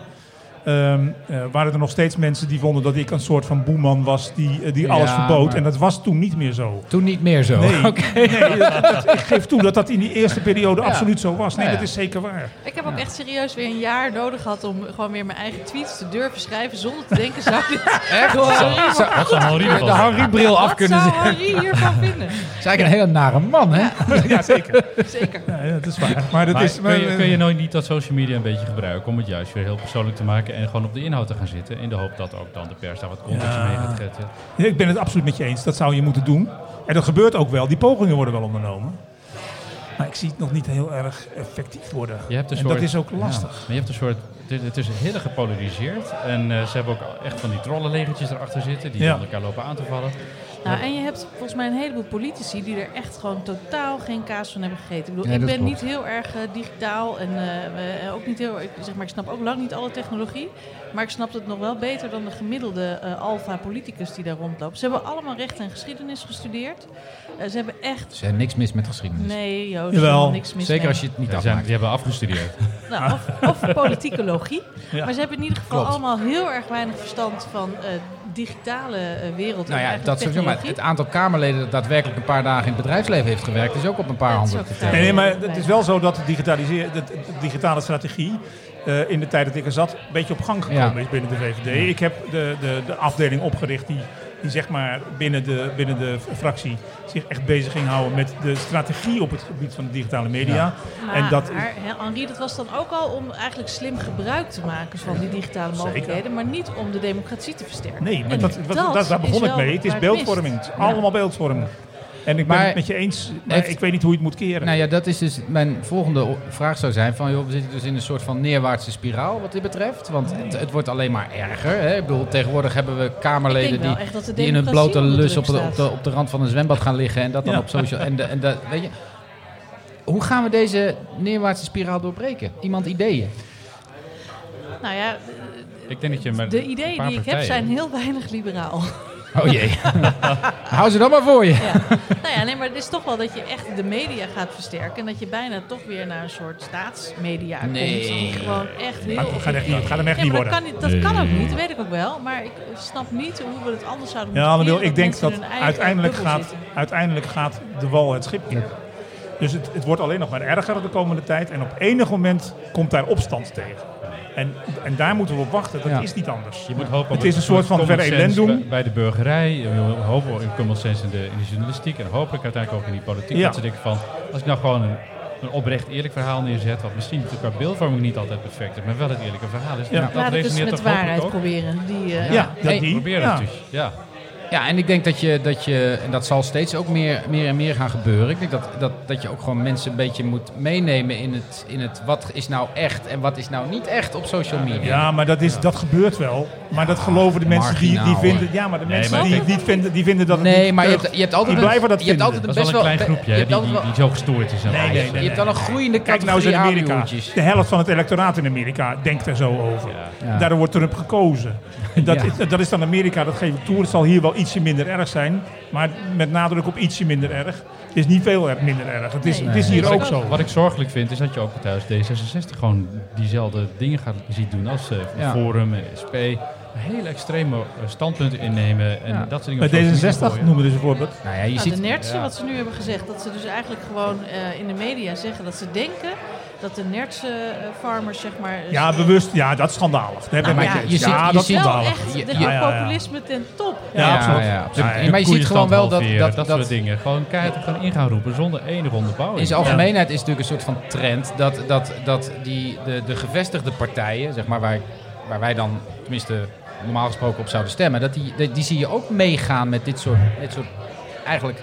Speaker 9: ehm, eh, waren er nog steeds mensen die vonden dat ik een soort van boeman was die, eh, die alles
Speaker 3: Ja,
Speaker 9: verbood.
Speaker 3: maar-
Speaker 9: En dat was toen niet meer zo.
Speaker 3: Toen niet meer
Speaker 4: Oh.
Speaker 3: zo.
Speaker 9: Nee,
Speaker 3: Oké.
Speaker 9: nee dat, dat- ik geef toe dat dat in die eerste periode
Speaker 3: Ja. Nou
Speaker 9: absoluut zo was. Nee,
Speaker 3: Ja, ja.
Speaker 9: dat is zeker waar.
Speaker 6: Ik heb ook echt serieus weer een jaar nodig gehad om gewoon weer mijn eigen tweets te durven schrijven zonder te denken, zou dit...
Speaker 3: Echt?
Speaker 6: Sorry,
Speaker 3: Zou-
Speaker 6: maar
Speaker 3: zou-
Speaker 6: goed
Speaker 3: zou Henri
Speaker 6: gebeuren.
Speaker 3: ervan zeggen? De Henri-bril af kunnen
Speaker 6: Wat
Speaker 3: zetten.
Speaker 6: zou Henri hiervan vinden?
Speaker 3: Dat is eigenlijk een hele nare man, hè?
Speaker 9: Ja, zeker.
Speaker 6: Zeker.
Speaker 9: Ja, dat is waar. Maar dat
Speaker 4: Maar
Speaker 9: is... eh,
Speaker 4: kun, je, kun je nooit niet dat social media een beetje gebruiken om het juist weer heel persoonlijk te maken en gewoon op de inhoud te gaan zitten in de hoop dat ook dan de pers daar wat context mee gaat geven.
Speaker 9: Ja, ik ben het absoluut met je eens. Dat zou je moeten doen. En dat gebeurt ook wel. Die pogingen worden wel ondernomen. Maar ik zie het nog niet heel erg effectief worden.
Speaker 4: Je hebt een
Speaker 9: en
Speaker 4: soort-
Speaker 9: dat is ook
Speaker 4: ja,
Speaker 9: lastig.
Speaker 4: maar je hebt een soort, het, het is heel erg gepolariseerd en eh, ze hebben ook echt van die trollenlegertjes erachter zitten die
Speaker 9: Ja.
Speaker 4: dan elkaar lopen aan te vallen.
Speaker 6: Nou, en je hebt volgens mij een heleboel politici die er echt gewoon totaal geen kaas van hebben gegeten. Ik bedoel,
Speaker 4: Nee,
Speaker 6: ik
Speaker 4: dat
Speaker 6: ben
Speaker 4: klopt.
Speaker 6: niet heel erg eh, digitaal en eh, eh, ook niet heel, ik, zeg maar, ik snap ook lang niet alle technologie. Maar ik snap het nog wel beter dan de gemiddelde eh alfa-politicus die daar rondloopt. Ze hebben allemaal recht en geschiedenis gestudeerd. Eh, ze hebben echt...
Speaker 3: Er is eh, niks mis met geschiedenis.
Speaker 6: Nee, Joost,
Speaker 3: Jawel.
Speaker 6: helemaal niks mis
Speaker 3: Zeker
Speaker 6: mee.
Speaker 3: als je het niet
Speaker 4: Die,
Speaker 3: afmaakt.
Speaker 4: zijn, die hebben afgestudeerd.
Speaker 6: Nou, of, of politicologie.
Speaker 4: Ja.
Speaker 6: Maar ze hebben in ieder geval
Speaker 4: Klopt.
Speaker 6: allemaal heel erg weinig verstand van eh, digitale eh, wereld.
Speaker 3: Nou
Speaker 6: en
Speaker 3: ja,
Speaker 6: eigenlijk
Speaker 3: dat sowieso. Maar
Speaker 6: technologie.
Speaker 3: het aantal Kamerleden dat daadwerkelijk een paar dagen in het bedrijfsleven heeft gewerkt, is ook op een paar handen te tellen.
Speaker 9: Nee, nee, maar het is wel zo dat de, digitaliseer, dat de digitale strategie eh, in de tijd dat ik er zat, een beetje op gang gekomen
Speaker 3: Ja.
Speaker 9: is binnen de VVD. Ik heb de, de, de afdeling opgericht die, die zeg maar binnen de, binnen de fractie zich echt bezig ging houden met de strategie op het gebied van de digitale media.
Speaker 6: Maar,
Speaker 9: En dat,
Speaker 6: maar, hè, Henri, dat was dan ook al om eigenlijk slim gebruik te maken van die digitale
Speaker 9: Zeker.
Speaker 6: mogelijkheden, maar niet om de democratie te versterken.
Speaker 9: nee, maar
Speaker 6: En
Speaker 9: dat, dat, dat- daar
Speaker 6: is
Speaker 9: begon ik
Speaker 6: wel
Speaker 9: mee. Het is
Speaker 6: waar het mist.
Speaker 9: beeldvorming. Het is
Speaker 6: Ja.
Speaker 9: allemaal beeldvorming. En ik ben
Speaker 3: Maar
Speaker 9: het met je eens, maar
Speaker 3: heeft-
Speaker 9: ik weet niet hoe je het moet keren.
Speaker 3: Nou ja, dat is dus mijn volgende o- vraag zou zijn van, joh, we zitten dus in een soort van neerwaartse spiraal wat dit betreft. Want het, het wordt alleen maar erger. Hè? Ik bedoel, tegenwoordig hebben we
Speaker 6: Ik
Speaker 3: Kamerleden
Speaker 6: denk wel
Speaker 3: die,
Speaker 6: echt dat de
Speaker 3: die in hun
Speaker 6: democratie
Speaker 3: blote
Speaker 6: onder
Speaker 3: lus op
Speaker 6: druk
Speaker 3: de, op, de,
Speaker 6: staat.
Speaker 3: op de rand van een zwembad gaan liggen en dat dan
Speaker 6: Ja.
Speaker 3: op social. En, de, en dat, weet je, hoe gaan we deze neerwaartse spiraal doorbreken? Iemand ideeën?
Speaker 6: Nou ja,
Speaker 4: Ik denk dat je met
Speaker 6: de
Speaker 4: een
Speaker 6: ideeën die
Speaker 4: paar
Speaker 6: ik heb
Speaker 4: partijen-
Speaker 6: zijn heel weinig liberaal.
Speaker 3: Oh jee. Hou ze dan maar voor je.
Speaker 6: Nou ja, nee, maar het is toch wel dat je echt de media gaat versterken. En dat je bijna toch weer naar een soort staatsmedia
Speaker 9: Nee.
Speaker 6: komt. Die gewoon echt heel...
Speaker 9: Maar dat gaat echt niet- dat gaat hem echt
Speaker 6: Nee, maar
Speaker 9: niet
Speaker 6: dat
Speaker 9: worden.
Speaker 6: Kan, niet- dat kan ook
Speaker 9: Nee.
Speaker 6: niet, dat weet ik ook wel. Maar ik snap niet hoe we het anders zouden
Speaker 9: Ja,
Speaker 6: moeten
Speaker 9: Anne wil,
Speaker 6: keren,
Speaker 9: ik denk
Speaker 6: mensen in
Speaker 9: dat
Speaker 6: hun eigen
Speaker 9: uiteindelijk
Speaker 6: bubbel
Speaker 9: gaat,
Speaker 6: zitten.
Speaker 9: uiteindelijk gaat de wal het schip in. Dus het, het wordt alleen nog maar erger de komende tijd. En op enig moment komt daar opstand tegen. En, en daar moeten we op wachten. Dat
Speaker 4: Ja.
Speaker 9: is niet anders.
Speaker 4: Je moet hopen op
Speaker 9: het is een soort van
Speaker 4: common sense
Speaker 9: verelendum.
Speaker 4: bij- Bij de burgerij, je wil hopen op common sense in de, in de journalistiek en hopelijk uiteindelijk ook in die politiek.
Speaker 9: Ja.
Speaker 4: Dat ze denken van, als ik nou gewoon een, een oprecht eerlijk verhaal neerzet, wat misschien qua beeldvorming niet altijd perfect is, maar wel het eerlijke verhaal is.
Speaker 6: Ja.
Speaker 4: dat
Speaker 6: Laat het eens
Speaker 4: resoneert
Speaker 6: Nou, met
Speaker 4: toch hopelijk
Speaker 6: waarheid
Speaker 4: ook.
Speaker 6: proberen. Die, eh,
Speaker 4: Ja, dat
Speaker 3: Hey.
Speaker 4: die. Probeer het dus, ja.
Speaker 3: Ja, en ik denk dat je, dat je en dat zal steeds ook meer, meer en meer gaan gebeuren. Ik denk dat, dat, dat je ook gewoon mensen een beetje moet meenemen in het, in het wat is nou echt en wat is nou niet echt op social media.
Speaker 9: Ja, maar dat, is, dat gebeurt wel. Maar dat geloven de mensen die, die
Speaker 3: marginaal,
Speaker 9: vinden.
Speaker 3: hoor.
Speaker 9: Ja, maar de
Speaker 3: Nee,
Speaker 9: mensen
Speaker 3: maar
Speaker 9: die
Speaker 3: kijk-
Speaker 9: het niet vinden, die vinden dat het
Speaker 3: Nee,
Speaker 9: niet
Speaker 3: maar je
Speaker 9: deugt.
Speaker 3: hebt, je hebt altijd
Speaker 9: die blijven dat
Speaker 3: je hebt
Speaker 9: vinden.
Speaker 3: altijd een best
Speaker 4: wel een klein groepje,
Speaker 3: je
Speaker 4: hè,
Speaker 3: hebt
Speaker 4: die,
Speaker 3: altijd
Speaker 4: die,
Speaker 3: wel-
Speaker 4: die zo gestoord is. aan
Speaker 9: Nee,
Speaker 4: alles.
Speaker 9: nee, nee,
Speaker 3: Je hebt al een groeiende
Speaker 9: Kijk nou eens in
Speaker 3: categorie
Speaker 9: Amerika.
Speaker 3: ABO'tjes.
Speaker 9: De helft van het electoraat in Amerika denkt er zo over.
Speaker 3: Ja.
Speaker 9: Daardoor wordt Trump gekozen. Dat,
Speaker 3: Ja.
Speaker 9: is, dat is dan Amerika, dat geef ik toe. Het zal hier wel ietsje minder erg zijn. Maar met nadruk op ietsje minder erg. Het is niet veel er- minder erg. Het is, het is hier
Speaker 4: Wat
Speaker 9: ook
Speaker 4: ik-
Speaker 9: zo.
Speaker 4: Wat ik zorgelijk vind is dat je ook thuis D66 gewoon diezelfde dingen gaat ziet doen als eh,
Speaker 9: Ja.
Speaker 4: Forum, eh, SP. Hele extreme eh, standpunten innemen en
Speaker 9: Ja.
Speaker 4: dat soort dingen.
Speaker 9: Bij
Speaker 4: op social media
Speaker 9: D66
Speaker 4: gooien.
Speaker 9: noemen we dus een voorbeeld.
Speaker 3: Nou ja, je
Speaker 6: Nou, de nertsen, wat ze nu hebben gezegd, dat ze dus eigenlijk gewoon eh, in de media zeggen dat ze denken dat de nertse eh, farmers, zeg maar... eh,
Speaker 9: Ja, bewust. Ja, dat is schandalig.
Speaker 3: Nou,
Speaker 9: Daar ben ik
Speaker 3: maar
Speaker 9: het
Speaker 3: je
Speaker 9: eens.
Speaker 3: ziet-
Speaker 9: ja,
Speaker 3: je
Speaker 9: dat is
Speaker 3: ziet-
Speaker 6: wel
Speaker 9: schandalig.
Speaker 6: echt de
Speaker 9: Ja, ja, ja.
Speaker 6: populisme ten top.
Speaker 9: Ja, absoluut.
Speaker 3: absoluut.
Speaker 9: Ja, ja.
Speaker 3: Maar je ziet gewoon wel dat...
Speaker 4: Koeienstand
Speaker 3: dat,
Speaker 4: halveren, dat soort dingen. Gewoon keihard gaan in gaan roepen zonder enige onderbouwing.
Speaker 3: In zijn algemeenheid is het natuurlijk een soort van trend dat, dat, dat die, de, de gevestigde partijen, zeg maar, waar, waar wij dan tenminste normaal gesproken op zouden stemmen, dat die, die, die zie je ook meegaan met dit soort, dit soort eigenlijk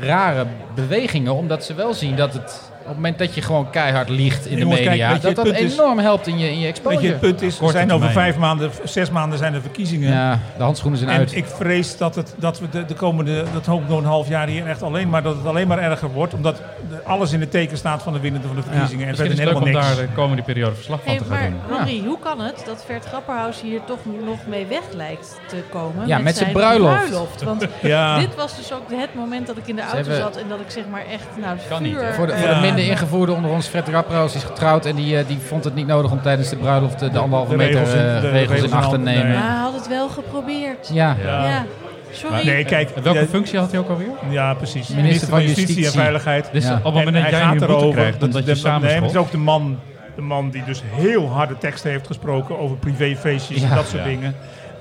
Speaker 3: rare bewegingen. Omdat ze wel zien dat het op het moment dat je gewoon keihard liegt in de
Speaker 9: Jongens, kijk,
Speaker 3: media,
Speaker 9: weet je,
Speaker 3: dat
Speaker 9: het
Speaker 3: dat
Speaker 9: punt is-
Speaker 3: enorm helpt in je, in je exposure.
Speaker 9: Weet je, het punt is, er
Speaker 3: Korte
Speaker 9: zijn over
Speaker 3: termijn.
Speaker 9: vijf maanden, zes maanden zijn er verkiezingen.
Speaker 3: Ja, de handschoenen zijn
Speaker 9: en
Speaker 3: uit.
Speaker 9: ik vrees dat, het, dat we de, de komende, dat hoop ik nog een half jaar hier echt alleen maar, dat het alleen maar erger wordt. Omdat de- alles in het teken staat van de winnende van de verkiezingen. en
Speaker 4: Misschien
Speaker 9: verder
Speaker 4: is het leuk om
Speaker 9: helemaal niks.
Speaker 4: daar de komende periode verslag van
Speaker 6: Hey,
Speaker 4: te gaan doen.
Speaker 6: maar Rory, hoe kan het dat Vert Grapperhaus hier toch nog mee weg lijkt te komen?
Speaker 4: Ja, met zijn bruiloft.
Speaker 6: Want
Speaker 4: Ja.
Speaker 6: dit was dus ook het moment dat ik in de auto
Speaker 3: hebben-
Speaker 6: zat en dat ik zeg maar echt, nou, het
Speaker 3: Kan niet,
Speaker 6: vuur,
Speaker 3: hè? Voor de, voor
Speaker 6: eh,
Speaker 3: de minder ingevoerde onder ons, Fred Rappraus is getrouwd en die, eh, die vond het niet nodig om tijdens de bruiloft eh, de, anderhalve
Speaker 9: de
Speaker 3: meter
Speaker 9: regels in-
Speaker 3: eh,
Speaker 9: de
Speaker 3: regels
Speaker 9: regels
Speaker 3: in
Speaker 9: in
Speaker 3: acht te
Speaker 9: handen
Speaker 3: nemen.
Speaker 9: nemen.
Speaker 6: Maar hij had het wel geprobeerd.
Speaker 3: Ja.
Speaker 9: Ja.
Speaker 6: Ja, sorry.
Speaker 9: Maar- nee, kijk,
Speaker 4: En welke
Speaker 9: ja,
Speaker 4: functie had hij ook alweer?
Speaker 9: Ja, precies.
Speaker 4: Minister
Speaker 9: Minister,
Speaker 4: van
Speaker 9: van Justitie, en
Speaker 4: Justitie.
Speaker 9: Veiligheid.
Speaker 4: Dus op het moment
Speaker 9: En
Speaker 4: dat
Speaker 9: hij
Speaker 4: jij nu
Speaker 9: gaat
Speaker 4: een boete
Speaker 9: erover.
Speaker 4: krijgt,
Speaker 9: dat
Speaker 4: omdat
Speaker 9: is
Speaker 4: je
Speaker 9: de-
Speaker 4: samen
Speaker 9: Nee, maar het is
Speaker 4: schopt.
Speaker 9: ook de man, de man die dus heel harde teksten heeft gesproken over privéfeestjes
Speaker 3: Ja.
Speaker 9: en dat soort
Speaker 3: Ja.
Speaker 9: dingen.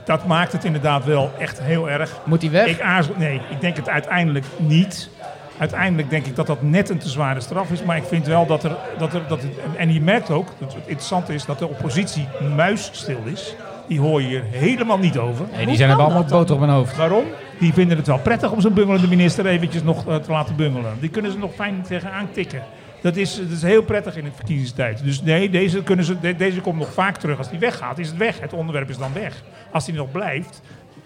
Speaker 9: Dat maakt het inderdaad wel echt heel erg.
Speaker 3: Moet hij weg?
Speaker 9: Ik aarzel, nee, ik denk het uiteindelijk niet. Uiteindelijk denk ik dat dat net een te zware straf is. Maar ik vind wel dat er. Dat er dat het- en je merkt ook, dat het interessant is, dat de oppositie muisstil is. Die hoor je hier helemaal niet over.
Speaker 3: Nee, die zijn hebben allemaal boter op hun hoofd.
Speaker 9: Waarom? Die vinden het wel prettig om zo'n bungelende minister eventjes nog eh, te laten bungelen. Die kunnen ze nog fijn tegen aantikken. Dat is, dat is heel prettig in het verkiezingstijd. Dus nee, deze, kunnen ze, de- deze komt nog vaak terug. Als die weggaat, is het weg. Het onderwerp is dan weg. Als die nog blijft,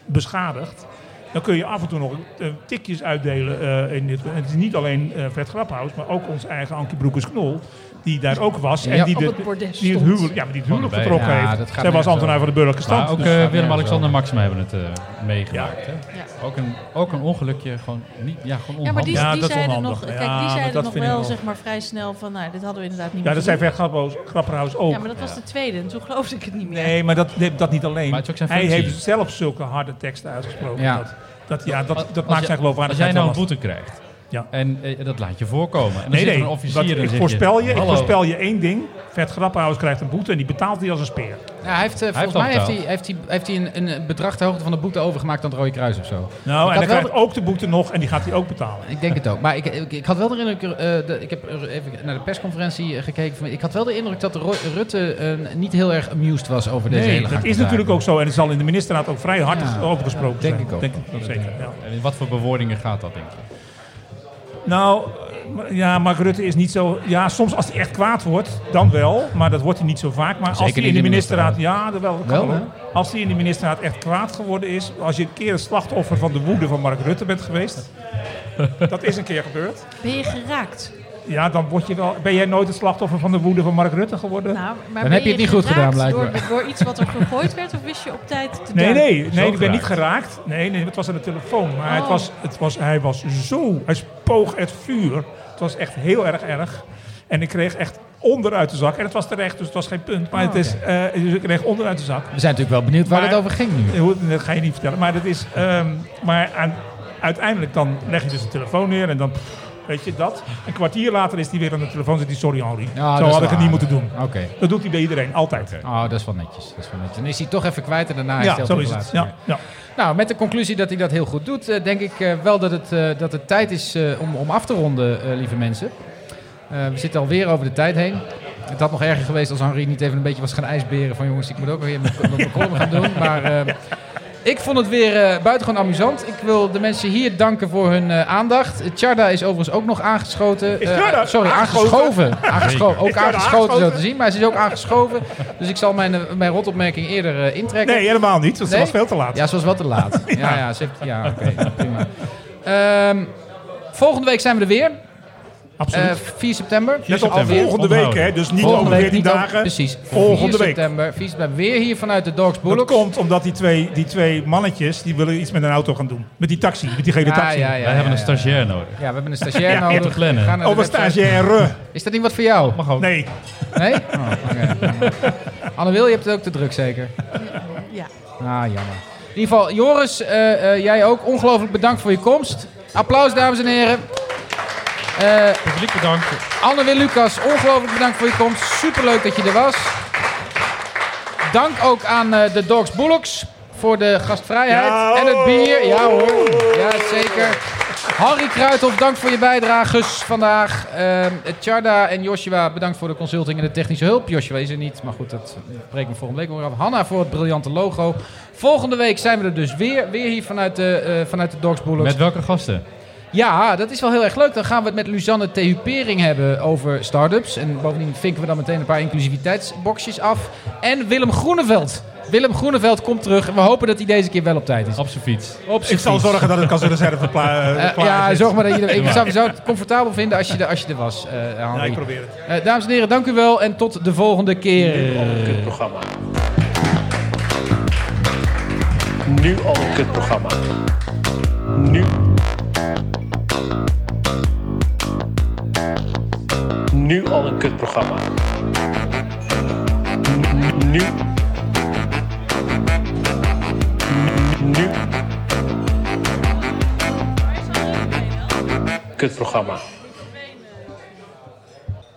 Speaker 9: beschadigd, dan kun je af en toe nog eh, tikjes uitdelen. eh, in dit, het is niet alleen eh Fred Graphaus, maar ook onze eigen Ankie Broekers-Knol. Die daar ook was. En
Speaker 4: Ja,
Speaker 9: die,
Speaker 4: op
Speaker 9: de-
Speaker 4: het bordes
Speaker 9: die het
Speaker 4: stond.
Speaker 9: huwelijk, ja, maar die het
Speaker 4: Van
Speaker 9: huwelijk
Speaker 4: erbij.
Speaker 9: vertrokken
Speaker 4: Ja, dat
Speaker 9: heeft.
Speaker 4: gaat
Speaker 9: Zij was
Speaker 4: nergens
Speaker 9: ambtenaar
Speaker 4: over.
Speaker 9: van de burgerlijke stand.
Speaker 4: Maar ook
Speaker 9: dus-
Speaker 4: eh, Willem-Alexander en Maxima hebben het eh, meegemaakt.
Speaker 9: Ja.
Speaker 4: Hè? Ook, een, ook een ongelukje, gewoon, niet, ja, gewoon onhandig.
Speaker 6: Ja, maar die, die
Speaker 9: dat is
Speaker 6: zeiden nog,
Speaker 9: onhandig.
Speaker 6: kijk,
Speaker 9: Ja,
Speaker 6: die
Speaker 9: maar
Speaker 6: zeiden
Speaker 9: dat
Speaker 6: nog
Speaker 9: vind ik
Speaker 6: wel
Speaker 9: wel.
Speaker 6: zeg maar vrij snel van, nou, dit hadden we inderdaad niet
Speaker 9: Ja,
Speaker 6: moeten
Speaker 9: dat zijn
Speaker 6: doen.
Speaker 9: Ver Grapperhaus- Grapperhaus ook.
Speaker 6: Ja, maar dat was de tweede en toen geloofde ik het niet meer.
Speaker 9: Nee, maar dat, dat niet alleen.
Speaker 4: Maar het is ook zijn
Speaker 9: hij
Speaker 4: functie.
Speaker 9: heeft zelf zulke harde teksten uitgesproken.
Speaker 4: Ja.
Speaker 9: Dat, dat, ja, dat,
Speaker 4: Als- als
Speaker 9: dat maakt
Speaker 4: je-
Speaker 9: zijn
Speaker 4: Als jij
Speaker 9: geloofwaardigheid
Speaker 4: nou een
Speaker 9: wel lastig.
Speaker 4: boete krijgt
Speaker 9: Ja.
Speaker 4: en eh, dat laat je voorkomen. En dan
Speaker 9: Nee,
Speaker 4: zit er
Speaker 9: nee.
Speaker 4: een officier en
Speaker 9: dat,
Speaker 4: dan
Speaker 9: ik,
Speaker 4: zeg
Speaker 9: voorspel je, ik
Speaker 4: "Hallo."
Speaker 9: voorspel je één ding. Vet Grapperhaus krijgt een boete en die betaalt hij als een speer.
Speaker 3: Ja, hij heeft, eh,
Speaker 9: Hij
Speaker 3: volgens mij heeft
Speaker 9: heeft al
Speaker 3: hij, heeft hij, heeft hij een, een bedrag ter hoogte van de boete overgemaakt aan het Rode Kruis of zo.
Speaker 9: Nou,
Speaker 3: Ik
Speaker 9: en
Speaker 3: had
Speaker 9: hij
Speaker 3: wel
Speaker 9: krijgt ook de boete nog en die gaat hij ook betalen.
Speaker 3: de- ik denk het ook. Maar ik, ik, ik had wel de indruk, eh, de- ik heb er even naar de persconferentie eh, gekeken. van- Ik had wel de indruk dat Ro- Rutte eh, niet heel erg amused was over deze
Speaker 9: nee,
Speaker 3: hele
Speaker 9: dat is natuurlijk ook zo. En het zal in de ministerraad ook vrij hard
Speaker 3: Ja,
Speaker 9: over gesproken
Speaker 3: denk
Speaker 9: zijn.
Speaker 3: ik ook.
Speaker 9: dat zeker. Ja.
Speaker 4: En in wat voor bewoordingen gaat dat, denk je?
Speaker 9: Nou, ja, Mark Rutte is niet zo... Ja, soms als hij echt kwaad wordt, dan wel. Maar dat wordt hij niet zo vaak. Maar als
Speaker 3: Zeker
Speaker 9: hij in de ministerraad... Ja, dat wel. dat
Speaker 3: Wel,
Speaker 9: kan wel. Als hij in de ministerraad echt kwaad geworden is... Als je een keer het slachtoffer van de woede van Mark Rutte bent geweest... dat is een keer gebeurd.
Speaker 6: Ben je geraakt?
Speaker 9: Ja, dan word je wel... Ben jij nooit het slachtoffer van de woede van Mark Rutte geworden?
Speaker 6: Nou, maar
Speaker 9: Dan
Speaker 6: ben
Speaker 9: heb je het niet goed
Speaker 6: geraakt
Speaker 9: gedaan, blijkbaar.
Speaker 6: Door, door iets wat er gegooid werd, of wist je op tijd te
Speaker 9: Nee,
Speaker 6: duiken?
Speaker 9: nee, nee, ik ben niet
Speaker 6: geraakt.
Speaker 9: geraakt. Nee, nee, het was aan de telefoon. Maar het
Speaker 6: Oh.
Speaker 9: was, het was, hij was zo, hij spoog het vuur. Het was echt heel erg erg. En ik kreeg echt onderuit de zak. En het was terecht, dus het was geen punt. Maar
Speaker 3: Oh,
Speaker 9: het is, eh, dus ik kreeg onderuit de zak.
Speaker 3: We zijn natuurlijk wel benieuwd waar
Speaker 9: Maar-
Speaker 3: het over ging nu.
Speaker 9: Hoe- Dat ga je niet vertellen. Maar, dat is, ehm, maar aan- uiteindelijk dan leg je dus de telefoon neer en dan... pff, Weet je dat? Een kwartier later is hij weer aan de telefoon. Zit hij, sorry Henri.
Speaker 3: Ja,
Speaker 9: Zo
Speaker 3: Ah, dat is
Speaker 9: had ik het niet
Speaker 3: waar.
Speaker 9: moeten doen.
Speaker 3: Oké.
Speaker 9: Dat doet hij bij iedereen, altijd.
Speaker 3: Oh, dat is wel netjes. Dat is wel netjes. Dan is hij toch even kwijt en daarna
Speaker 9: Ja,
Speaker 3: hij
Speaker 9: zo is het. Ja, ja.
Speaker 3: Nou, met de conclusie dat hij dat heel goed doet, eh, denk ik eh, wel dat het, eh, dat het tijd is eh, om, om af te ronden, eh, lieve mensen. Eh, we zitten alweer over de tijd heen. Het had nog erger geweest als Henri niet even een beetje was gaan ijsberen van jongens, ik moet ook weer mijn, mijn column gaan doen. Maar eh, ik vond het weer eh, buitengewoon amusant. Ik wil de mensen hier danken voor hun eh, aandacht. Eh, Tjarda is overigens ook nog aangeschoten.
Speaker 9: Is
Speaker 3: Eh,
Speaker 9: Tjarda
Speaker 3: sorry,
Speaker 9: aangeschoten?
Speaker 3: aangeschoven. Aangescho-
Speaker 9: Is
Speaker 3: ook
Speaker 9: Tjarda
Speaker 3: aangeschoten zo
Speaker 9: aangeschoten?
Speaker 3: te zien, maar ze is ook aangeschoven. Dus ik zal mijn, eh, mijn rotopmerking eerder eh, intrekken.
Speaker 9: Nee, helemaal niet. want
Speaker 3: Nee?
Speaker 9: Het was veel te laat.
Speaker 3: Ja, ze was wel te laat. ja, ja, ze heeft- ja oké, prima. Ehm, volgende week zijn we er weer.
Speaker 9: Absoluut.
Speaker 3: Eh, 4 september.
Speaker 9: Let op,
Speaker 3: Alweer.
Speaker 9: volgende week, hè? Dus niet
Speaker 3: Volgende
Speaker 9: over
Speaker 3: week,
Speaker 9: 14
Speaker 3: niet over-
Speaker 9: dagen.
Speaker 3: Precies.
Speaker 9: Volgende
Speaker 3: 4
Speaker 9: week.
Speaker 3: september. 4 september. Weer hier vanuit de Dogs Boulevard.
Speaker 9: Dat komt omdat die twee, die twee mannetjes die willen iets met een auto gaan doen. Met die taxi, met die gele
Speaker 3: Ja,
Speaker 9: taxi.
Speaker 3: ja, ja, Wij hebben ja, een ja. stagiair nodig. Ja, we hebben een stagiair
Speaker 9: Ja,
Speaker 3: nodig.
Speaker 9: ja.
Speaker 3: We gaan naar de
Speaker 9: Over
Speaker 3: website.
Speaker 9: stagiaire.
Speaker 3: Is dat niet wat voor jou? Mag ook.
Speaker 9: Nee.
Speaker 3: Nee? Oh, oké. Anne Wil, je hebt het ook te druk zeker?
Speaker 6: Ja.
Speaker 3: Ah, jammer. In ieder geval, Joris, eh, eh, jij ook. Ongelooflijk bedankt voor je komst. Applaus, dames en heren. Publiek bedankt. Anne Wil Lucas, ongelooflijk bedankt voor je komst. Superleuk dat je er was. Dank ook aan eh, de Dogs Bullocks voor de gastvrijheid en het bier. Ja hoor, ja zeker. Harry Kruithof, dank voor je bijdrages vandaag. Ehm Tjarda en Joshua, bedankt voor de consulting en de technische hulp. Joshua is er niet, maar goed, dat breekt me volgende week weer af. Hanna voor het briljante logo. Volgende week zijn we er dus weer. Weer hier vanuit de, eh, vanuit de Dogs Bullocks.
Speaker 16: Met welke gasten?
Speaker 3: Ja, dat is wel heel erg leuk. Dan gaan we het met Luzanne Tehupering hebben over start-ups. En bovendien vinken we dan meteen een paar inclusiviteitsboxjes af. En Willem Groeneveld. Willem Groeneveld komt terug. En we hopen dat hij deze keer wel op tijd is. Op zijn fiets.
Speaker 9: Ik zal zorgen dat het kan zijn reserve pla- eh,
Speaker 3: Eh,
Speaker 9: klaar
Speaker 3: ja,
Speaker 9: zit.
Speaker 3: zorg maar dat je er... Ik zou, zou het comfortabel vinden als je er, als je er was, eh Henri.
Speaker 9: Ja, ik probeer het.
Speaker 3: Eh, dames en heren, dank u wel en tot de volgende keer.
Speaker 4: programma. Nu al een kutprogramma. Nu. Nu al een kutprogramma. Nu. Nu. Kutprogramma.